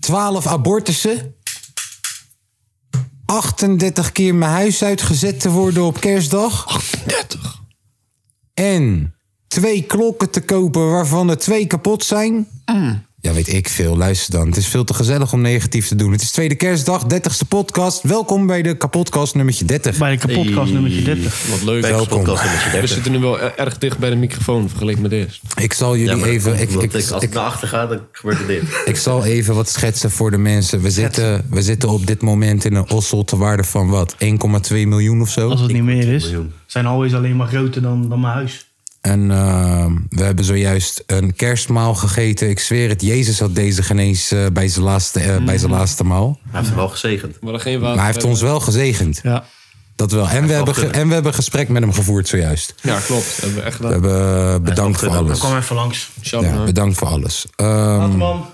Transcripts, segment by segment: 12 abortussen. 38 keer mijn huis uitgezet te worden op kerstdag. 30. En twee klokken te kopen waarvan er twee kapot zijn. Ja, weet ik veel. Luister dan. Het is veel te gezellig om negatief te doen. Het is tweede kerstdag, 30ste podcast. Welkom bij de kapotkast nummertje 30. Bij de podcast nummertje 30. Wat leuk. Welkom. We zitten nu wel er- erg dicht bij de microfoon vergeleken met de eerst. Ik zal jullie even... Ik, ik, als ik, ik, naar achter ga, dan gebeurt dit. ik zal even wat schetsen voor de mensen. We zitten, we zitten op dit moment in een ossel te waarde van wat? 1,2 miljoen of zo? Als het niet meer is. Zijn always alleen maar groter dan, dan mijn huis. En ehm, we hebben zojuist een kerstmaal gegeten. Ik zweer het, Jezus had deze genees eh, bij zijn laatste, eh, bij Mhm. zijn laatste maal. Hij heeft hem wel gezegend. Maar er geen Maar water. hij heeft ons wel gezegend. eh, Ja. Dat wel. En we, hebben ge- gunnen. en we hebben gesprek met hem gevoerd zojuist. Ja, klopt. Dat hebben we echt We gedaan. hebben eh, bedankt voor gunnen. alles. Kom even langs. Sjap, Ja, man. bedankt voor alles. Ehm, Laat man.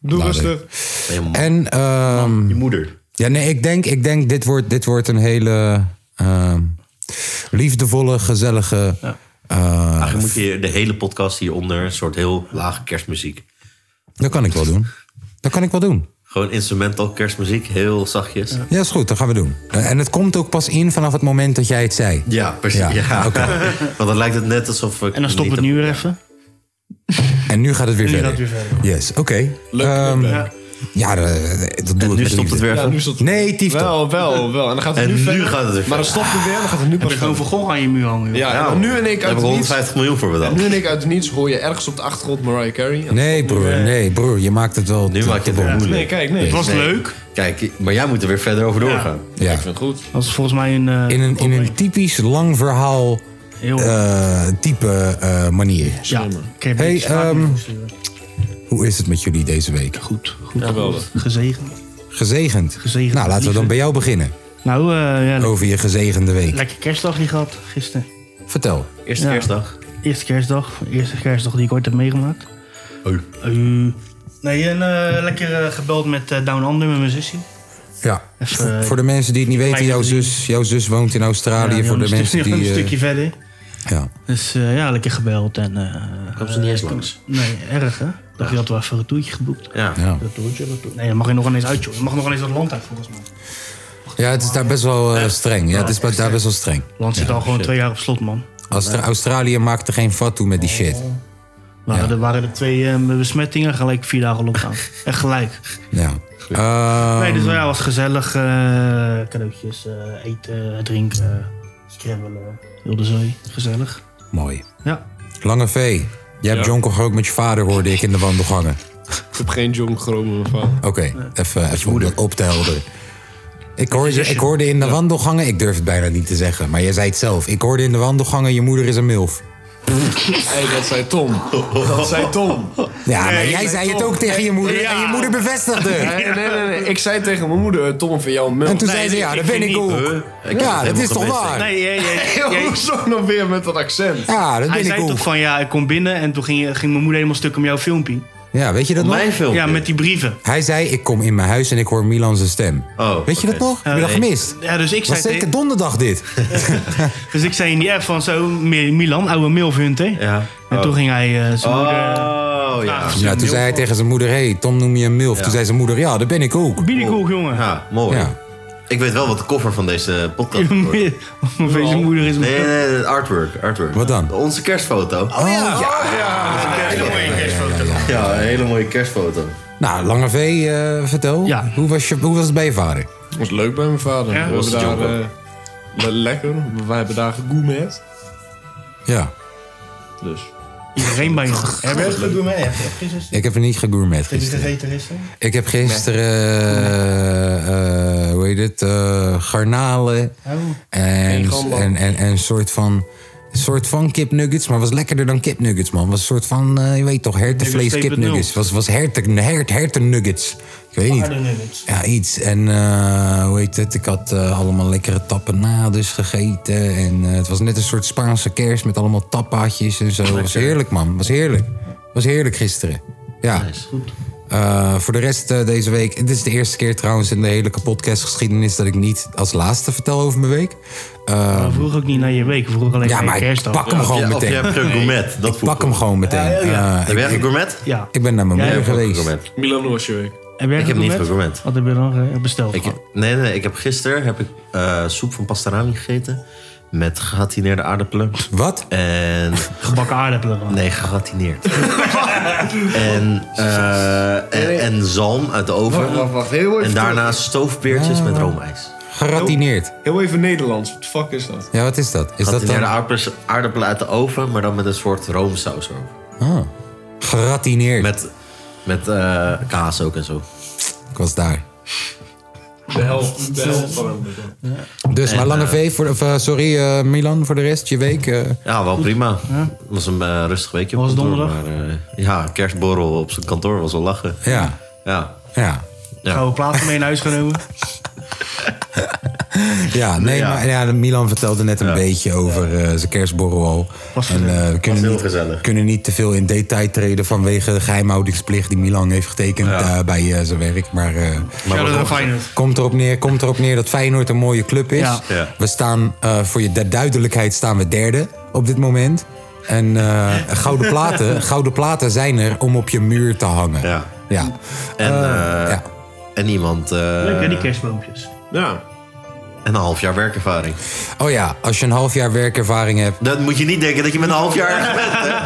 Doe nou, rustig. Helemaal mooi. en ehm, je moeder. ja, nee, ik denk, ik denk dit, wordt, dit wordt een hele ehm, liefdevolle, gezellige. eh, Eigenlijk moet je de hele podcast hieronder een soort heel lage kerstmuziek. dat kan ik wel doen. Dat kan ik wel doen. Gewoon instrumental kerstmuziek, heel zachtjes. Ja, Ja, is goed, dat gaan we doen. Eh, En het komt ook pas in vanaf het moment dat jij het zei. precies. Ja, Ja, oké. Want dan lijkt het net alsof we. En dan stoppen we het nu weer even. En nu gaat het weer Nu verder. gaat het weer verder. Yes, oké. Leuk. Ehm, leuk. ja, eh, dat doe ik Nu met stopt het liefde. weer. Ja, nu is het... Nee, Tief toch. Wel, wel, wel. En dan gaat het En nu nu verder. gaat het weer Maar dan stopt het weer en dan gaat het nu Heb pas je gewoon verder. van Gogh aan je muur hangen. joh. Ja, en dan nu en ik Daar uit heb ik het niets... 150 miljoen voor bedacht. Nu en ik uit het niets hoor je ergens op de achtergrond Mariah Carey. Nee, broer, nee, broer. Je maakt het wel. Nu maak je het wel moeilijk. Nee, kijk, nee. Het Ik was Nee. leuk. Kijk, maar jij moet er weer verder over doorgaan. Ja. vind het goed. Dat is volgens mij een... eh, In een, in een typisch lang verhaal Heel... eh, type eh, manier. ja. Ik heb Hey, iets vaak ehm, niet opgestuurd. Hoe is het met jullie deze week? Goed. Goed. Geweldig. Gezegend. Gezegend. Gezegend. Nou, laten we dan bij jou beginnen. Nou, eh, ja, le- Over je gezegende week. lekker kerstdagje gehad gisteren. Vertel. Eerste Ja. kerstdag. Eerste kerstdag. Eerste kerstdag die ik ooit heb meegemaakt. Eh, nee, en eh, lekker eh, gebeld met eh, Down Under met mijn zusje. Ja. Even, eh, Voor de mensen die het niet weten, klein jouw gezien. zus, jouw zus woont in Australië. die voor de woont een mensen stukje- die. Een eh, stukje verder. ja. Dus eh, ja, lekker gebeld en... eh, Kwam ze niet eens langs? Nee, erg hè? Dacht je had wel even een toertje geboekt. Ja. Ja. Nee, dan mag je nog ineens uit, joh. Je mag nog ineens dat land uit, volgens mij. ja, het is daar best wel eh, streng. Ja, het is daar best wel streng. Het land zit al gewoon twee jaar op slot, man. Austra- Australië maakt er geen vat toe met die shit. Waren, er, waren er twee eh, besmettingen, gelijk vier dagen lockdown. Echt gelijk. Ja. Ehm, Nee, dus ja, was gezellig. eh, cadeautjes, eh, eten, drinken, scrabbelen. Heel de zooi. Gezellig. mooi. Ja. Lange V, jij hebt Ja. Jonko ook met je vader, hoorde ik in de wandelgangen. Ik heb geen John Chrome of wat. Oké, even, even om dat op te helderen. Ik hoorde, ik hoorde in de wandelgangen, ik durf het bijna niet te zeggen, maar jij zei het zelf. Ik hoorde in de wandelgangen, je moeder is een milf. Hé, dat zei Tom. Dat zei Tom. Ja, maar Nee, jij nee, zei het Tom. ook tegen je moeder Ja. en je moeder bevestigde. het. Nee, nee, nee, nee. Ik zei tegen mijn moeder, eh, Tom, vind jou een En milf. toen zei ze, ik- ja, dat ik ben vind ik niet, ook. hoor. Ik heb het ja, dat helemaal is toch gemist, waar? Nee, jij, jij, Hey, jij- Hoezo nog weer met dat accent? Ja, dat hij ben ik zei ook. toch van ja, ik kom binnen en toen ging, ging mijn moeder helemaal stuk om jouw filmpje. Ja, weet je dat nog? Mijn film. Ja, met die brieven. Hij zei, ik kom in mijn huis en ik hoor Milan zijn stem. Oh, Weet je dat oké. nog? Heb je dat nee. gemist? Ja, dus ik was zei zeker tegen- donderdag dit. Dus ik zei in die app van zo, Mi- Milan, oude milfhunt, hè? Ja. En Oh. toen ging hij eh, zijn moeder... Oh ja. Ah, Ja, toen zei hij tegen zijn moeder, hey, Tom noem je een milf. Toen zei zijn moeder, ja, dat ben ik ook. Binnenkoek, jongen. Oh. Ja, mooi. Ja. Ik weet wel wat de koffer van deze podcast wordt. Nee, Of deze moeder is... nee, nee, het artwork, artwork. Wat dan? Onze kerstfoto. Oh ja. Ja, een hele mooie kerstfoto. Nou, Lange V, eh, vertel. Ja. Hoe, was je, hoe was het bij je vader? was leuk bij mijn vader. Ja? we Was hebben het daar Jonko? eh, le- lekker. Wij hebben daar gegourmet. Ja, Dus. Iedereen bij je. Heb je het gedoe mee? ik heb er niet gegourmet gisteren. gegeten gisteren? Ik heb gisteren, eh, eh, hoe heet het, eh, garnalen Oh. en, gambo. en, en, en een soort van Een soort van kipnuggets, maar was lekkerder dan kipnuggets, man. Was een soort van, eh, je weet toch, hertenvlees Nuggets 2.0. kipnuggets. Was, was herten, hert, hertennuggets. Ik weet Ah, niet. Aardenuggets. Ja, iets. En eh, hoe heet het? Ik had eh, allemaal lekkere tapenades gegeten. En eh, het was net een soort Spaanse kerst met allemaal tapaatjes en zo. was heerlijk, man. was heerlijk. was heerlijk gisteren. Ja. Eh, voor de rest eh, deze week. Dit is de eerste keer trouwens in de hele podcastgeschiedenis dat ik niet als laatste vertel over mijn week. Eh, Maar vroeg ook niet naar je week, vroeg alleen ja, naar maar je ik kerstdag. pak hem Of gewoon je- of je meteen. hebt een gourmet. Dat voel Pak hem gewoon meteen. Eh, Heb jij een gourmet? Ja. ik ben naar mijn Ja, moeder Ik heb ook een geweest. gourmet. Milan, hoe was je week? Heb jij Ik heb gegourmet? niet gegourmet. Wat heb je dan ge- besteld? Ik, gehad? nee, nee, nee, ik heb gisteren heb ik, eh, soep van pastarami gegeten. Met gegatineerde aardappelen. Wat? En. Gebakken aardappelen. gehad. Nee, gegatineerd. en, eh, en, en zalm uit de Wacht, wacht, oven. wacht. Heel En even, daarna stoofpeertjes met roomijs. Geratineerd. heel even Nederlands. Wat de fuck is dat? Ja, wat is dat? Is dat Gegatineerde dan? aardappels- aardappelen uit de oven, maar dan met een soort roomsaus erover. Ah, geratineerd. Met, met eh, kaas ook en zo. Ik was daar. De helft, de helft van hem. Dus, maar Lange V, voor, of, eh, sorry eh, Milan, voor de rest, je week. eh, Ja, wel prima. Het was een eh, rustig weekje op Was het kantoor, donderdag? Maar, eh, ja, kerstborrel op zijn kantoor was wel lachen. ja, Ja. ja. Gouden platen mee naar huis genomen. Ja, nee, maar ja, Milan vertelde net een beetje over eh, zijn kerstborrel al. en eh, we kunnen, heel niet, gezellig. kunnen niet te veel in detail treden vanwege de geheimhoudingsplicht die Milan heeft getekend eh, bij eh, zijn werk. Maar, eh, Maar ja, dat Feyenoord. Komt erop, neer, komt erop neer dat Feyenoord een mooie club is. Ja. Ja. We staan, eh, voor je de duidelijkheid, staan we derde op dit moment. En eh, gouden, platen, gouden platen zijn er om op je muur te hangen. Ja. ja. En, eh, ja. en iemand... eh, Leuk hè, die kerstboompjes. Ja. en een half jaar werkervaring. Oh ja, als je een half jaar werkervaring hebt, Dat moet je niet denken dat je met een half jaar...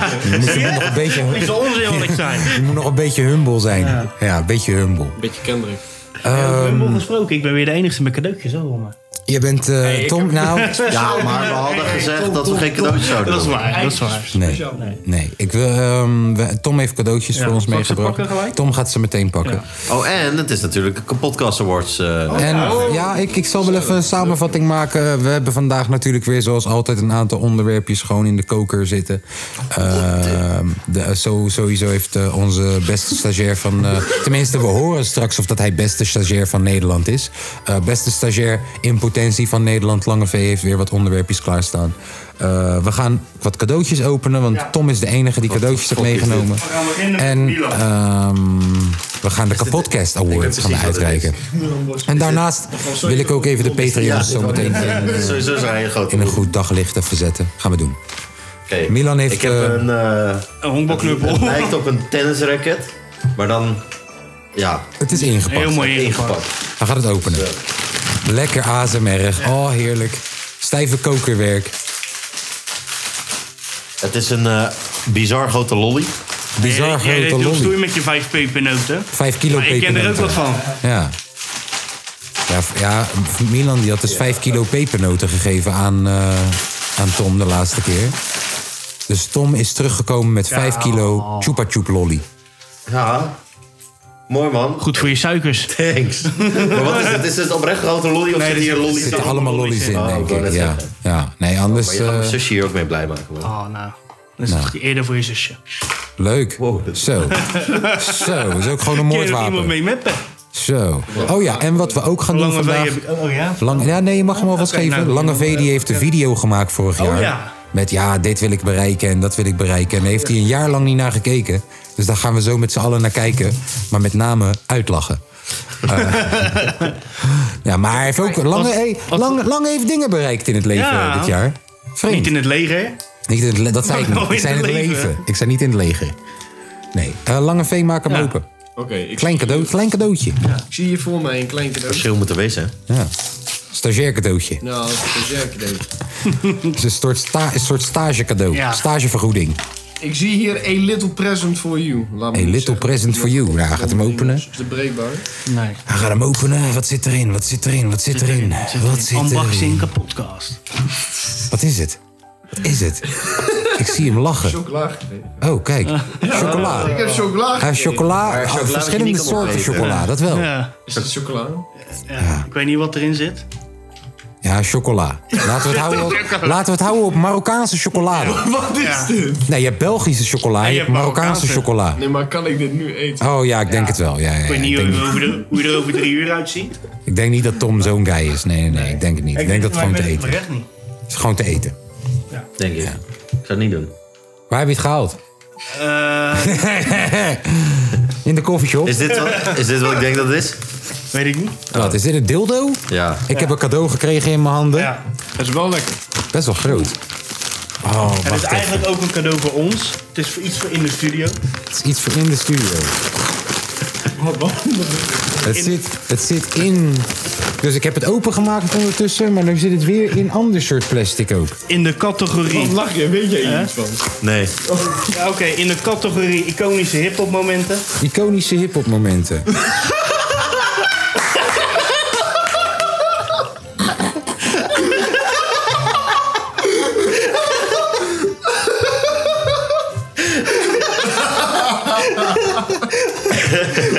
moet Dus je nog een Ik beetje, zal onzin wat ik zijn. je moet nog een beetje humble zijn. Ja, een beetje humble. Beetje Kendrick. Ehm, Humble gesproken, ik ben weer de enige met cadeautjes hoor. hoor, maar. Je bent eh, Tom, nou... Ja, maar we hadden gezegd dat we geen cadeautjes zouden Dat is doen. waar, dat is waar. Nee, nee. Ik wil, ehm, we- Tom heeft cadeautjes voor ons zal ik ze pakken meegebracht. gelijk? Tom gaat ze meteen pakken. Oh, en het is natuurlijk de Podcast Awards. eh, En Oh. ja, ik, ik zal wel even een samenvatting maken. We hebben vandaag natuurlijk weer zoals altijd een aantal onderwerpjes gewoon in de koker zitten. Ehm, de, eh, zo, sowieso heeft eh, onze beste stagiair van... eh, tenminste, we horen straks of dat hij beste stagiair van Nederland is. Eh, beste stagiair in potentie van Nederland. Lange V heeft weer wat onderwerpjes klaarstaan. Eh, we gaan wat cadeautjes openen, want Tom is de enige die cadeautjes heeft meegenomen. gaan beginnen met En Milan. ehm, we gaan de Kapotcast Awards gaan we uitreiken. En daarnaast wil ik ook even de Patreons zo meteen Sowieso zijn je grote in een broer. goed daglicht even zetten. Gaan we doen. Oké. Milan heeft, Ik heb eh, een... eh, Een honkbalknuppel. het lijkt op een tennisracket, maar dan... Ja, Het is ingepakt. Heel mooi ingepakt. ingepakt. Hij gaat het openen. Lekker ASMR. Oh, heerlijk. Stijve kokerwerk. Het is een eh, bizar grote lolly. Bizar Jij- jij grote deed heel stoer lolly. met je 5 pepernoten. Vijf kilo Maar ik ken er ook pepernoten. wat van. Ja. Ja, v- ja, Milan die had dus 5 kilo pepernoten gegeven aan, eh, aan Tom de laatste keer. Dus Tom is teruggekomen met 5 kilo chupa chup lolly. Ja, mooi man. Goed voor je suikers. Thanks. maar wat is dit? Is dit oprecht grote lolly of Nee, zit dit hier is- lolly? Er zitten allemaal lollies in, Oh, ik denk wou ik. net Ja. zeggen. ja. Nee, Oh, Maar anders... je gaat mijn eh, zusje hier ook mee blij maken. man. Oh, nou. Dat is toch eerder voor je zusje. leuk. Wow, dit- Zo. Zo, is ook gewoon een Kun je er iemand moordwapen. mee meppen? Zo. Oh ja, en wat we ook gaan doen Lange V vandaag... heb ik- Oh ja? Lang, ja, nee, je mag hem alvast Oké, geven. nou, Oh Lange V die heeft een video gemaakt vorig jaar. ja. Met ja, dit wil ik bereiken en dat wil ik bereiken. En daar heeft hij een jaar lang niet naar gekeken. Dus daar gaan we zo met z'n allen naar kijken. Maar met name uitlachen. Eh, ja, maar hij heeft ook... Lange, hey, Lange, Lange heeft dingen bereikt in het leven Ja. dit jaar. Vreemd. Niet in het leger. Oh, Niet in het le- dat zei ik Maar niet. wel Ik zei in het leven. Ik zei niet in het leger. Nee. Eh, Lange V, maak hem open. Oké, ik, Klein, cadeau, klein cadeutje. Ik zie hier voor mij een klein cadeau. Verschil moeten wezen, hè? Ja. Stagiair cadeautje. Nou, dat is een cadeau. Het is een soort, sta, een soort stage cadeau. Ja. Stagevergoeding. Ik zie hier a little present for you. Laat me A niet little present for you. Nou, hij gaat hem openen. Dat is de breekbaar. Nee. Hij gaat hem openen. Wat zit erin? Wat zit erin? Wat zit erin? Wat zit erin? Unboxing podcast. Wat is het? Wat is het? Ik zie hem lachen. Chocola gekregen. Oh, kijk. Chocola. Ik heb chocola Hij heeft gekregen. chocola. oh, chocola dat je niet Verschillende kan soorten opeten. chocola, dat wel. Ja, Is dat chocola? ja. Ik weet niet wat erin zit. Ja, chocola. Laten we het houden op, laten we het houden op Marokkaanse chocolade. Wat is dit? Nee, je hebt Belgische chocola en je hebt Marokkaanse chocola. Nee, maar kan ik dit nu eten? Oh ja, ik denk het wel. Ja, ja, Ik ja. weet Ik, niet eh, denk, hoe, hoe, er, hoe je er over drie uur uitziet. ik denk niet dat Tom zo'n guy is. Nee, nee, nee, ik denk het niet. Ik denk dat het maar gewoon te weet eten is. oprecht niet. Het is gewoon te eten. Denk ik. Ik zou het niet doen. Waar heb je het gehaald? Eh, In de koffieshop? Is dit, wat, is dit wat ik denk dat het is? weet ik niet. Wat, is dit een dildo? Ja. Ik heb een cadeau gekregen in mijn handen. Ja. Dat is wel lekker. Best wel groot. Oh, Het is wacht even. eigenlijk ook een cadeau voor ons. Het is voor iets voor in de studio. Het is iets voor in de studio. Het zit, het zit in... Dus ik heb het opengemaakt ondertussen, maar nu zit het weer in ander soort plastic ook. In de categorie. Wat lach je? Weet jij hier iets van? Nee. Ja, Oké, in de categorie iconische hip-hop momenten. Iconische hip-hop momenten.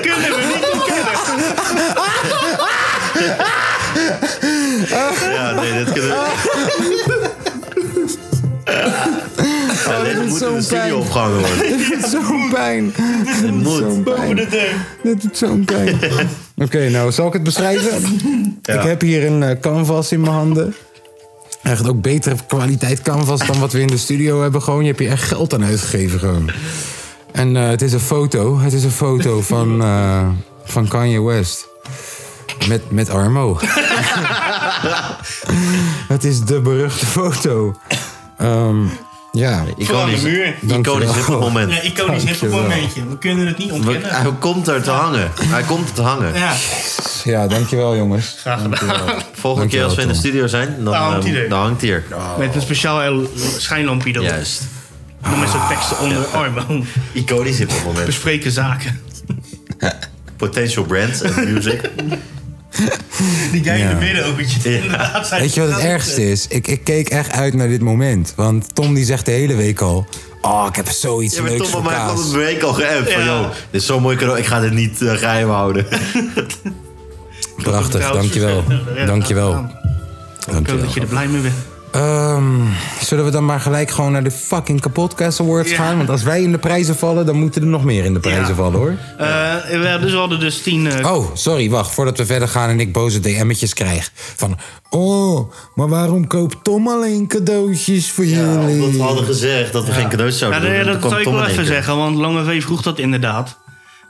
Kunnen we niet ontkennen. Ja, nee, dit kunnen we... Oh, Ja, dit moet in zo'n de pijn. studio opgehangen worden. Het doet zo'n pijn. Dit moet. Boven de deur. Het doet zo'n pijn. Oké, nou, zal ik het beschrijven? Ik heb hier een eh, canvas in mijn handen. Echt ook betere kwaliteit canvas dan wat we in de studio hebben. Gewoon, je hebt hier echt geld aan uitgegeven gewoon. En eh, het is een foto. Het is een foto van, eh, van Kanye West. Met, met Armo. het is de beruchte foto. Ehm, ja. Voor aan de Iconisch, muur. iconisch Dankjewel. hippe moment. Ja, iconisch hip-hop Dankjewel. momentje. We kunnen het niet We- Ah, ontkennen. hij komt er te hangen. Hij komt er te hangen. Ja, ja, dankjewel jongens. Volgende keer als we in de studio zijn, dan, Dan hangt hij ehm, er. dan hangt hij er. met een speciaal el- schijnlampje erop. Juist. Ah, Dan Met zo'n teksten onder armen. Iconisch hippe moment. Bespreken zaken. Potential brands en music. Die jij in de midden ook iets inderdaad. Weet je wat het ergste is? Ik, ik keek echt uit naar dit moment. Want Tom die zegt de hele week al... Oh, ik heb zoiets Ja, maar leuks Tom voor had mij kaas. van de week al geappt. Van, Ja. joh, dit is zo'n mooi cadeau. Ik ga dit niet eh, geheim houden. Prachtig, dankjewel. Ja, Dankjewel. Oh. nou, Ik hoop dat dankjewel. je er blij mee bent. Ehm, zullen we dan maar gelijk gewoon naar de fucking Kapotcast Awards Ja. gaan? Want als wij in de prijzen vallen, dan moeten er nog meer in de prijzen Ja. vallen, hoor. Eh, we hadden- dus we hadden dus tien... eh, Oh, sorry, wacht. Voordat we verder gaan en ik boze DM'tjes krijg. Van, oh, maar waarom koopt Tom alleen cadeautjes voor jullie? Omdat we hadden gezegd dat we geen cadeaus Ja, zouden dat, doen. dat zou ik wel even zeggen, want Lange V vroeg dat inderdaad.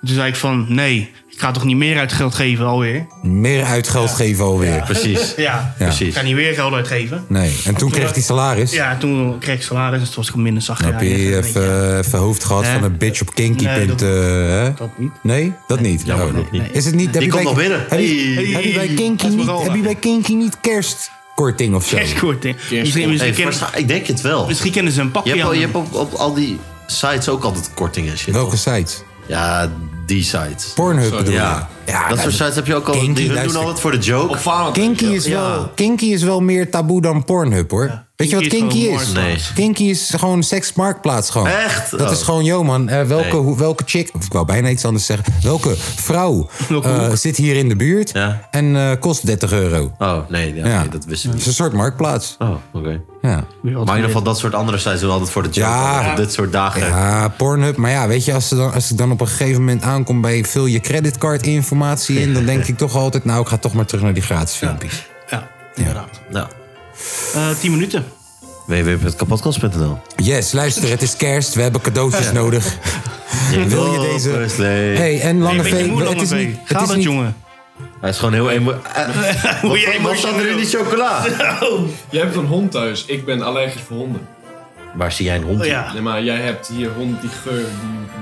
Toen zei ik van, nee, ik ga toch niet meer uit geld geven alweer? Meer uitgeld geven alweer. Precies. Ja, ik Precies. ga niet weer geld uitgeven. Nee, en toen kreeg hij salaris. Ja, toen kreeg ik salaris en toen was ik minder zacht. Heb je even, even hoofd gehad Nee. van een bitch op kinky Nee, punt? dat- eh, hè? dat niet. Nee, dat niet. jammer Oh. genoeg niet. Is het niet? heb Die je komt bij- nog binnen. Heb je, Hey. heb je bij kinky Dat is niet? wel Heb je bij kinky niet kerstkorting of zo? Kerstkorting. Misschien, Hey, misschien, kennen- maar ik denk het wel. misschien kennen ze een Je pakje hebt, al- aan. je hebt op, op al die sites ook altijd kortingen en shit. Welke toch? sites? Ja, die sites. Pornhub bedoel je? Ja. dat nou, soort sites heb je ook al. Kinky, die hun doen luister. altijd voor de joke. Kinky is, wel, kinky is wel meer taboe dan Pornhub, hoor. Weet je wat Kinky is kinky gewoon is? marktplaats. Kinky is gewoon seksmarktplaats gewoon. Echt? Dat Oh. is gewoon, yo man, eh, welke, Nee. hoe- welke chick... of Ik wou bijna iets anders zeggen. Welke vrouw Welke eh, hoek? zit hier in de buurt Ja. en eh, kost 30 euro? Oh, nee, ja, Ja. nee, dat wist ik Het is niet. een soort marktplaats. Oh, oké. Ja. Maar in ieder geval, dat soort andere sites doen altijd voor de joke. Ja. altijd op dit soort dagen. Ja, Ah, Pornhub. Maar ja, weet je, als, ze dan, als ik dan op een gegeven moment aankom bij vul je creditcardinformatie in, dan denk ik toch altijd, nou, ik ga toch maar terug naar die gratis filmpjes. Ja, inderdaad. Nou, Eh, Tien minuten. www.kapotkast.nl Yes, luister, het is kerst, we hebben cadeautjes nodig. Wil je deze? Presley. hey, en Lange Ik ben je V, moeder, het Lange is V. niet... Ga Het is dat, niet jongen. Hij is gewoon heel emo... Eh, Hoe wat- je Wat staat er in die emotioneel- chocola? Nou. Jij hebt een hond thuis. Ik ben allergisch voor honden. Waar zie jij een hond in? Ja, Nee, maar jij hebt hier hond, die geur,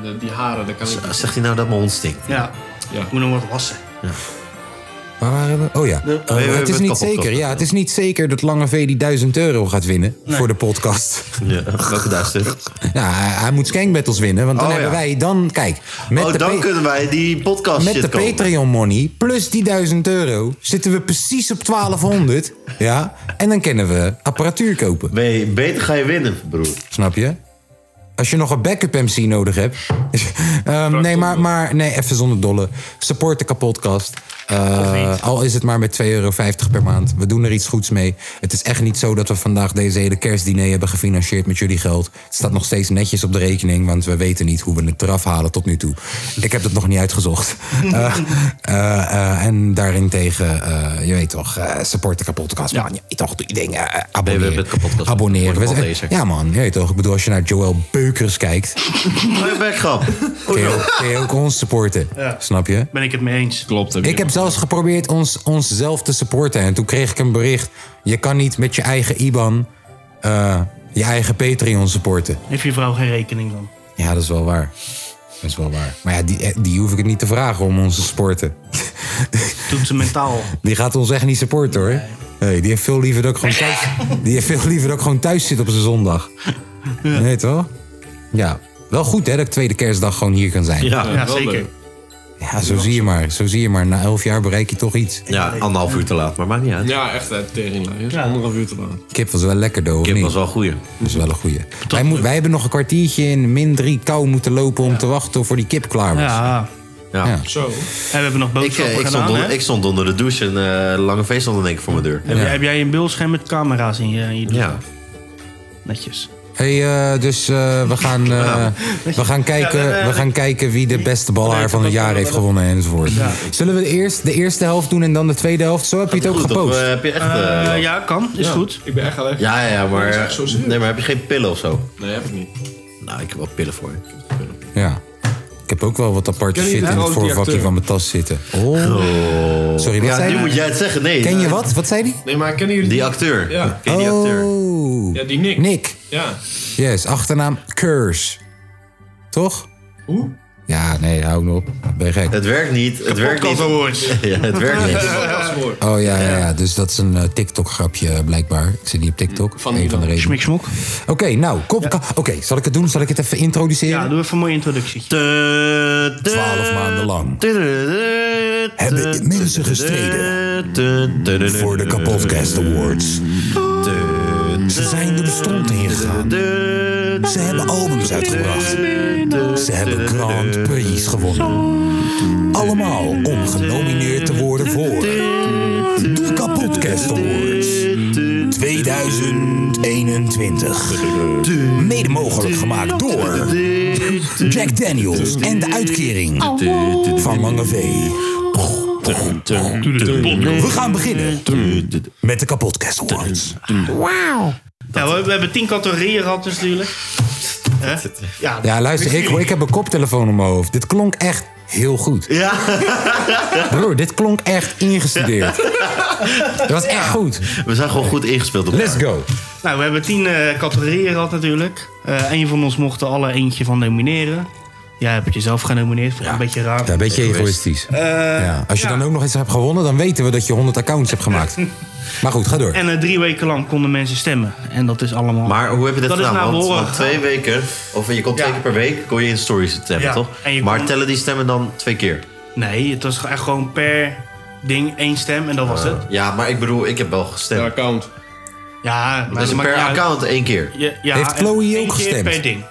die, de- die haren, daar kan ik niet. Zegt hij nou dat mijn hond stinkt? ja. Ja. Ik moet nog wat wassen. Waar waren we? Oh ja. Eh, we hebben het is het niet kapot zeker. gehad. Ja, het is niet zeker dat Lange V die 1000 euro gaat winnen voor de podcast. Ja, welke duister? Nou, hij, hij moet Skank Battles winnen, want dan Oh, hebben ja. wij... Dan, kijk, met Oh, de dan pe- kunnen wij die podcast Met shit de kopen. Patreon money plus die 1000 euro zitten we precies op 1200. Ja, en dan kunnen we apparatuur kopen. Ben je- beter ga je winnen, broer. Snap je? Als je nog een backup MC nodig hebt. Ehm, nee, maar, maar nee, even zonder dolle. Support de kapotkast. Eh, al is het maar met 2,50 euro per maand. We doen er iets goeds mee. Het is echt niet zo dat we vandaag deze hele kerstdiner hebben gefinancierd met jullie geld. Het staat nog steeds netjes op de rekening, want we weten niet hoe we het eraf halen tot nu toe. Ik heb dat nog niet uitgezocht. Eh, eh, eh, en daarentegen, eh, je weet toch, eh, support de kapotkast. man. Je weet toch, doe je dingen. eh, abonneer. www.kapotkast.nl. Abonneren. Voor de We zijn- Malteser. ja man, je weet toch. Ik bedoel, als je naar Joel Beukers kijkt, Mijn bekgrap. kun je, ook- kun je ook ons supporten. Snap je? Ben ik het mee eens. Klopt. Heb Ik heb zelfs geprobeerd ons, onszelf te supporten. En toen kreeg ik een bericht. Je kan niet met je eigen IBAN eh, je eigen Patreon supporten. Heeft je vrouw geen rekening dan? Ja, dat is wel waar. Dat is wel waar. Maar ja, die, eh, die hoef ik het niet te vragen om ons te supporten. Doet ze mentaal. Die gaat ons echt niet supporten hoor. Nee, die heeft veel liever dat ik gewoon thuis, die heeft veel liever dat ik gewoon thuis zit op zijn zondag. Nee toch? Ja. Wel goed hè, dat ik tweede kerstdag gewoon hier kan zijn. Ja, Ja. Ja, zeker. zo zie je maar. Zo zie je maar. Na elf jaar bereik je toch iets. ja, anderhalf uur te laat, maar maakt niet uit. Ja, echt uit teringlijn. Ja. Anderhalf uur te laat. Kip was wel lekker doe. Kip was wel een goeie. Dat is wel een goeie. Wij, moet- wij hebben nog een kwartiertje in min 3 kou moeten lopen om te wachten voor die kip klaar was. Ja, Ja. Ja. Zo. en we hebben nog Ik, boodschappen eh, ik, gedaan, stond hè? on- ik stond onder de douche en eh, lange feest stond in één keer voor mijn deur. Heb, heb jij een beeldscherm met camera's in je, in je doek? Ja. Netjes. Hey, eh, dus eh, we, gaan, eh, we, gaan kijken, eh, Ja, we- we- we gaan kijken wie de beste balhaar van het jaar heeft gewonnen enzovoort. Zullen we eerst de eerste helft doen en dan de tweede helft? Zo heb je het ook Goed, of, gepost. eh, heb je echt... eh, Eh, last? ja, kan. Is goed. Ik ben echt al even. ja, ja, maar... eh, Dat is echt zo zuur. nee, maar heb je geen pillen of zo? Nee, heb ik niet. Nou, ik heb wel pillen voor je. Ja. Ik heb ook wel wat aparte Ken je shit die in het acteur? voorvakje van mijn tas zitten. Oh. Sorry, wat Ja, zei nu moet die? jij het zeggen. Nee. Ken je wat? Wat zei die? Nee, maar kennen jullie Die acteur. Ja. Ken je die acteur? Oh. Ja, die Nick. Nick. Ja. Yes, achternaam Curse. Toch? Hoe? Ja, nee, hou ik nog op. Ben je gek. Het werkt niet. Het werkt niet. Ja, het werkt niet. Oh ja, ja, ja. dus dat is een eh, TikTok-grapje eh, blijkbaar. Ik zit niet op TikTok. Van een van de Ilan. redenen. Schmik smok. Oké, nou, kop. ka- Oké, zal ik het doen? Zal ik het even introduceren? Ja, doe even een mooie introductie. Twaalf Twaalf Eh, maanden lang hebben mensen gestreden voor de Kapotcast Awards. Ze zijn de bestond ingegaan. Ze hebben albums uitgebracht. Ze hebben Grand Prix gewonnen. Allemaal om genomineerd te worden voor de Kapotcast Awards 2021. Mede mogelijk gemaakt door Jack Daniels en de uitkering van Lange V. We gaan beginnen met de Kapotcast Awards. Hm. Ja, we, we hebben tien categorieën gehad dus natuurlijk. Hè? Ja, Ja, luister, ik, ik heb een koptelefoon op mijn hoofd. Dit klonk echt heel goed. Ja. Broer, dit klonk echt ingestudeerd. Dat was echt goed. We zijn gewoon goed ingespeeld op Let's go. Nou, we hebben tien eh, categorieën gehad natuurlijk. Eh Eén van ons mocht er alle eentje van nomineren. Jij hebt het jezelf genomineerd. Vond ik Een beetje raar. Ja, een beetje egoïstisch. ja. Als je Eh, ja. dan ook nog eens hebt gewonnen, dan weten we dat je 100 accounts hebt gemaakt. Maar goed, ga door. En eh, drie weken lang konden mensen stemmen. En dat is allemaal... Maar hoe heb je dat, Dat is gedaan? naar want, behoren want twee weken, of je kon twee Ja. keer per week, kon je in stories stemmen, Ja. toch? En je Maar kon- tellen die stemmen dan twee keer. Nee, het was echt gewoon per ding één stem en dat Ah. was het. Eh, Ja, maar ik bedoel, ik heb wel gestemd. De account. Ja, maar dus dat maakt per niet uit. account één keer. Ja, ja, Heeft en Chloe één ook keer gestemd? per ding.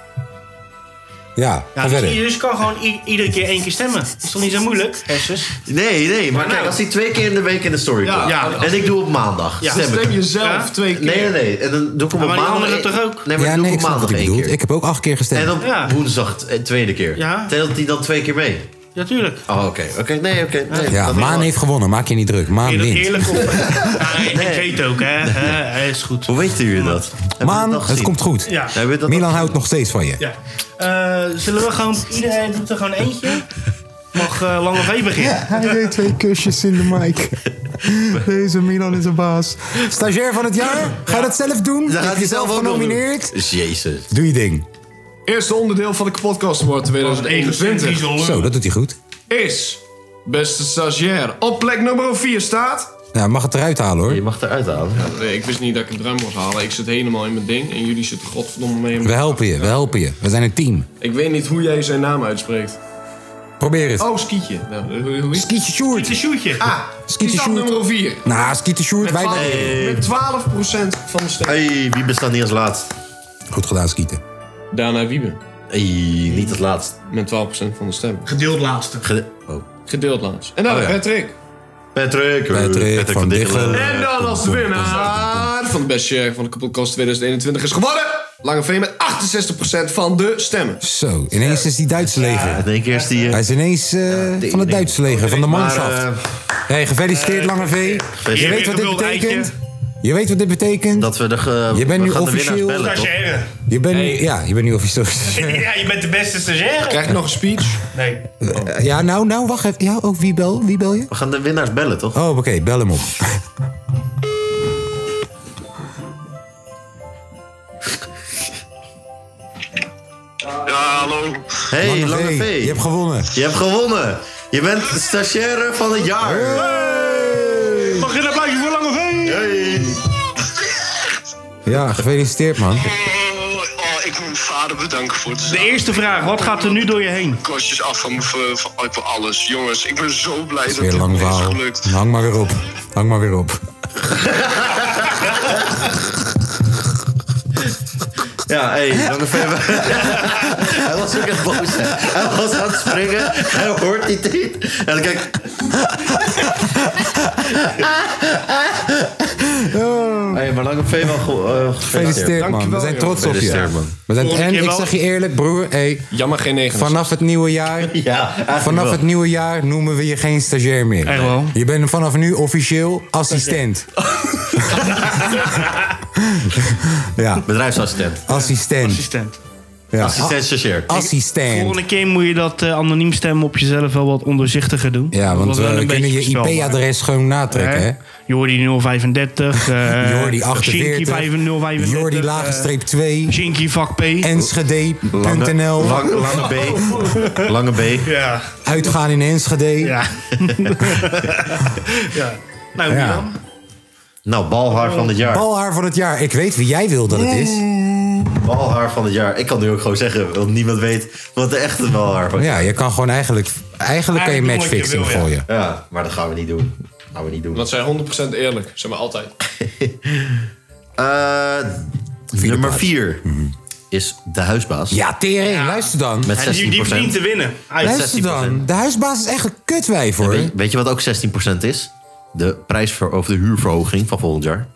Ja, Ja, ga dus je verder. dus kan gewoon i- iedere keer één keer stemmen. Dat is toch niet zo moeilijk, hersens? Nee, nee, maar kijk, als die twee keer in de week in de story Ja, komt. nou. ja. En ik doe op maandag. Ja. Stem Stem ik. jezelf Ja? twee keer. Nee, nee, nee. En dan doe ik hem op Ja, maar die maandag. anderen toch ook? Nee, maar Ja, dan nee, doe ik ik hem snap wat maandag ik één bedoel. keer. Ik heb ook acht keer gestemd. En op Ja. woensdag eh, tweede keer. Ja. Telt die dan twee keer mee? Ja, tuurlijk. Oh, oké. Oké, nee, oké. nee, Ja, dat Maan wel. heeft gewonnen. Maak je niet druk. Maan Vind je dat wint. eerlijk op? Ja, nee, ik weet ook, hè. Hè, hè, is goed. Hoe weten jullie dat? Hebben jullie Maan, dat het gezien? komt goed. Ja. Hebben jullie dat Milan gezien? houdt nog steeds van je. Ja. Eh, zullen we gewoon... Iedereen doet er gewoon eentje. Mag eh Lange V beginnen? Hij deed twee kusjes in de mic. Deze Milan is een baas. Stagiair van het jaar? Ga je dat zelf doen? Dan Heb gaat je hij zelf zelf ook nog genomineerd? doen. Jezus. Doe je ding. Eerste onderdeel van de podcast wordt 2021 Zo, dat doet hij goed. is beste stagiair. Op plek nummer 4 staat. Nou, mag het eruit halen hoor. Je mag eruit halen. Nee, ik wist niet dat ik het ruim mocht halen. Ik zit helemaal in mijn ding en jullie zitten godverdomme mee. in We mijn- helpen je, we helpen je. We zijn een team. Ik weet niet hoe jij zijn naam uitspreekt. Probeer het. Oh, Skietje. Nou, hoe, hoe is Skietje Het Sjoerd. is een shootje. Ah, Skietje die staat Sjoerd. nummer 4. Nou, Skietje Sjoerd, wij... Met 12% van de stem. Hey, wie bestaat niet als laatst? Goed gedaan, Skieten. Daarna Wiebe. Hey, niet als laatst. Met 12% van de stem. Gedeeld laatste. Ge- oh. Gedeeld laatst. En dan Oh, ja. Patrick. Patrick, eh, Patrick van Dichelen. En dan als winnaar van de beste jager van de kapotkast 2021 is geworden... Lange V met 68% van de stemmen. Zo, ineens is die Duitse leger. In één keer is die... eh, Hij is ineens eh, van het Duitse leger, van de Maar, eh, manschaft. Hey, gefeliciteerd, Lange V. Je weet wat dit betekent? Je weet wat dit betekent? dat we de... ge- Je bent we nu gaan de winnaars officieel- bellen, toch? Stagiaire. Je bent nu, ja, je bent nu officieel. Ja, je bent de beste stagiaire. Krijg ik nog een speech? Nee. Ja, nou, nou, wacht even. Ja, ook wie bel, wie bel je? We gaan de winnaars bellen, toch? Oh, oké, bel hem op. Hey, Lange Lange V, V. Je hebt gewonnen. Je hebt gewonnen. Je bent stagiaire van het jaar. Mag je dat blijven voor lange vee? Hey. Ja, gefeliciteerd, man. Oh, ik moet mijn vader bedanken voor het De eerste vraag, wat gaat er nu door je heen? kostjes af van, van, van, van alles. Jongens, ik ben zo blij dat Weer dit een lang me is verhaal. gelukt. Hang maar weer op. Hang maar weer op. Ja, hey, Lange V. Hij was ook echt boos. Hij was aan het springen. Hij hoort die teet. En kijk, hey, maar Lange V wel goed. Gefeliciteerd, man. We Dankjewel, zijn joh. trots op je. Gefeliciteerd, man. We zijn, Volgende en keer ik wel. zeg je eerlijk, broer. Hey, Jammer geen 9. vanaf het nieuwe jaar... Ja, eigenlijk Vanaf wel. het nieuwe jaar noemen we je geen stagiair meer. Echt wel? Je bent vanaf nu officieel assistent. ja, Bedrijfsassistent. assistent. Assistent. Ja. Assistent stagiair. Assistent. Volgende keer moet je dat eh, anoniem stemmen op jezelf wel wat onderzichtiger doen. Ja, Dat want eh, wordt wel we een kunnen je beetje voorspelbaar. IP-adres gewoon natrekken, hè? Jordi 035. eh Jordi 48, Shinky 035. Jordi laagstreep 2, Shinky vak P. Enschede.nl, Lang- lange B. Lange B. Ja. uitgaan in Enschede. Ja. ja. Nou, Ja. Milan. Nou, balhaar van het jaar. Balhaar van het jaar. Ik weet wie jij wil dat het is. Balhaar van het jaar. Ik kan nu ook gewoon zeggen, want niemand weet wat de echte balhaar van Ja, je kan gewoon eigenlijk... Eigenlijk kan je Eigenlijk doen wat je matchfixing wil, ja. gooien. Ja, maar dat gaan we niet doen. Dat gaan we niet doen. Dat zijn 100% eerlijk. Zeg maar altijd. Eh, nummer 4 is de huisbaas. Ja, tering, luister dan. Mhm. Met En die, 16 die verdient te winnen. Ah, Hij Luister dan. De huisbaas is echt een kutwijf, hoor. Weet, weet je wat ook 16 is? De prijs voor, of de huurverhoging van volgend jaar.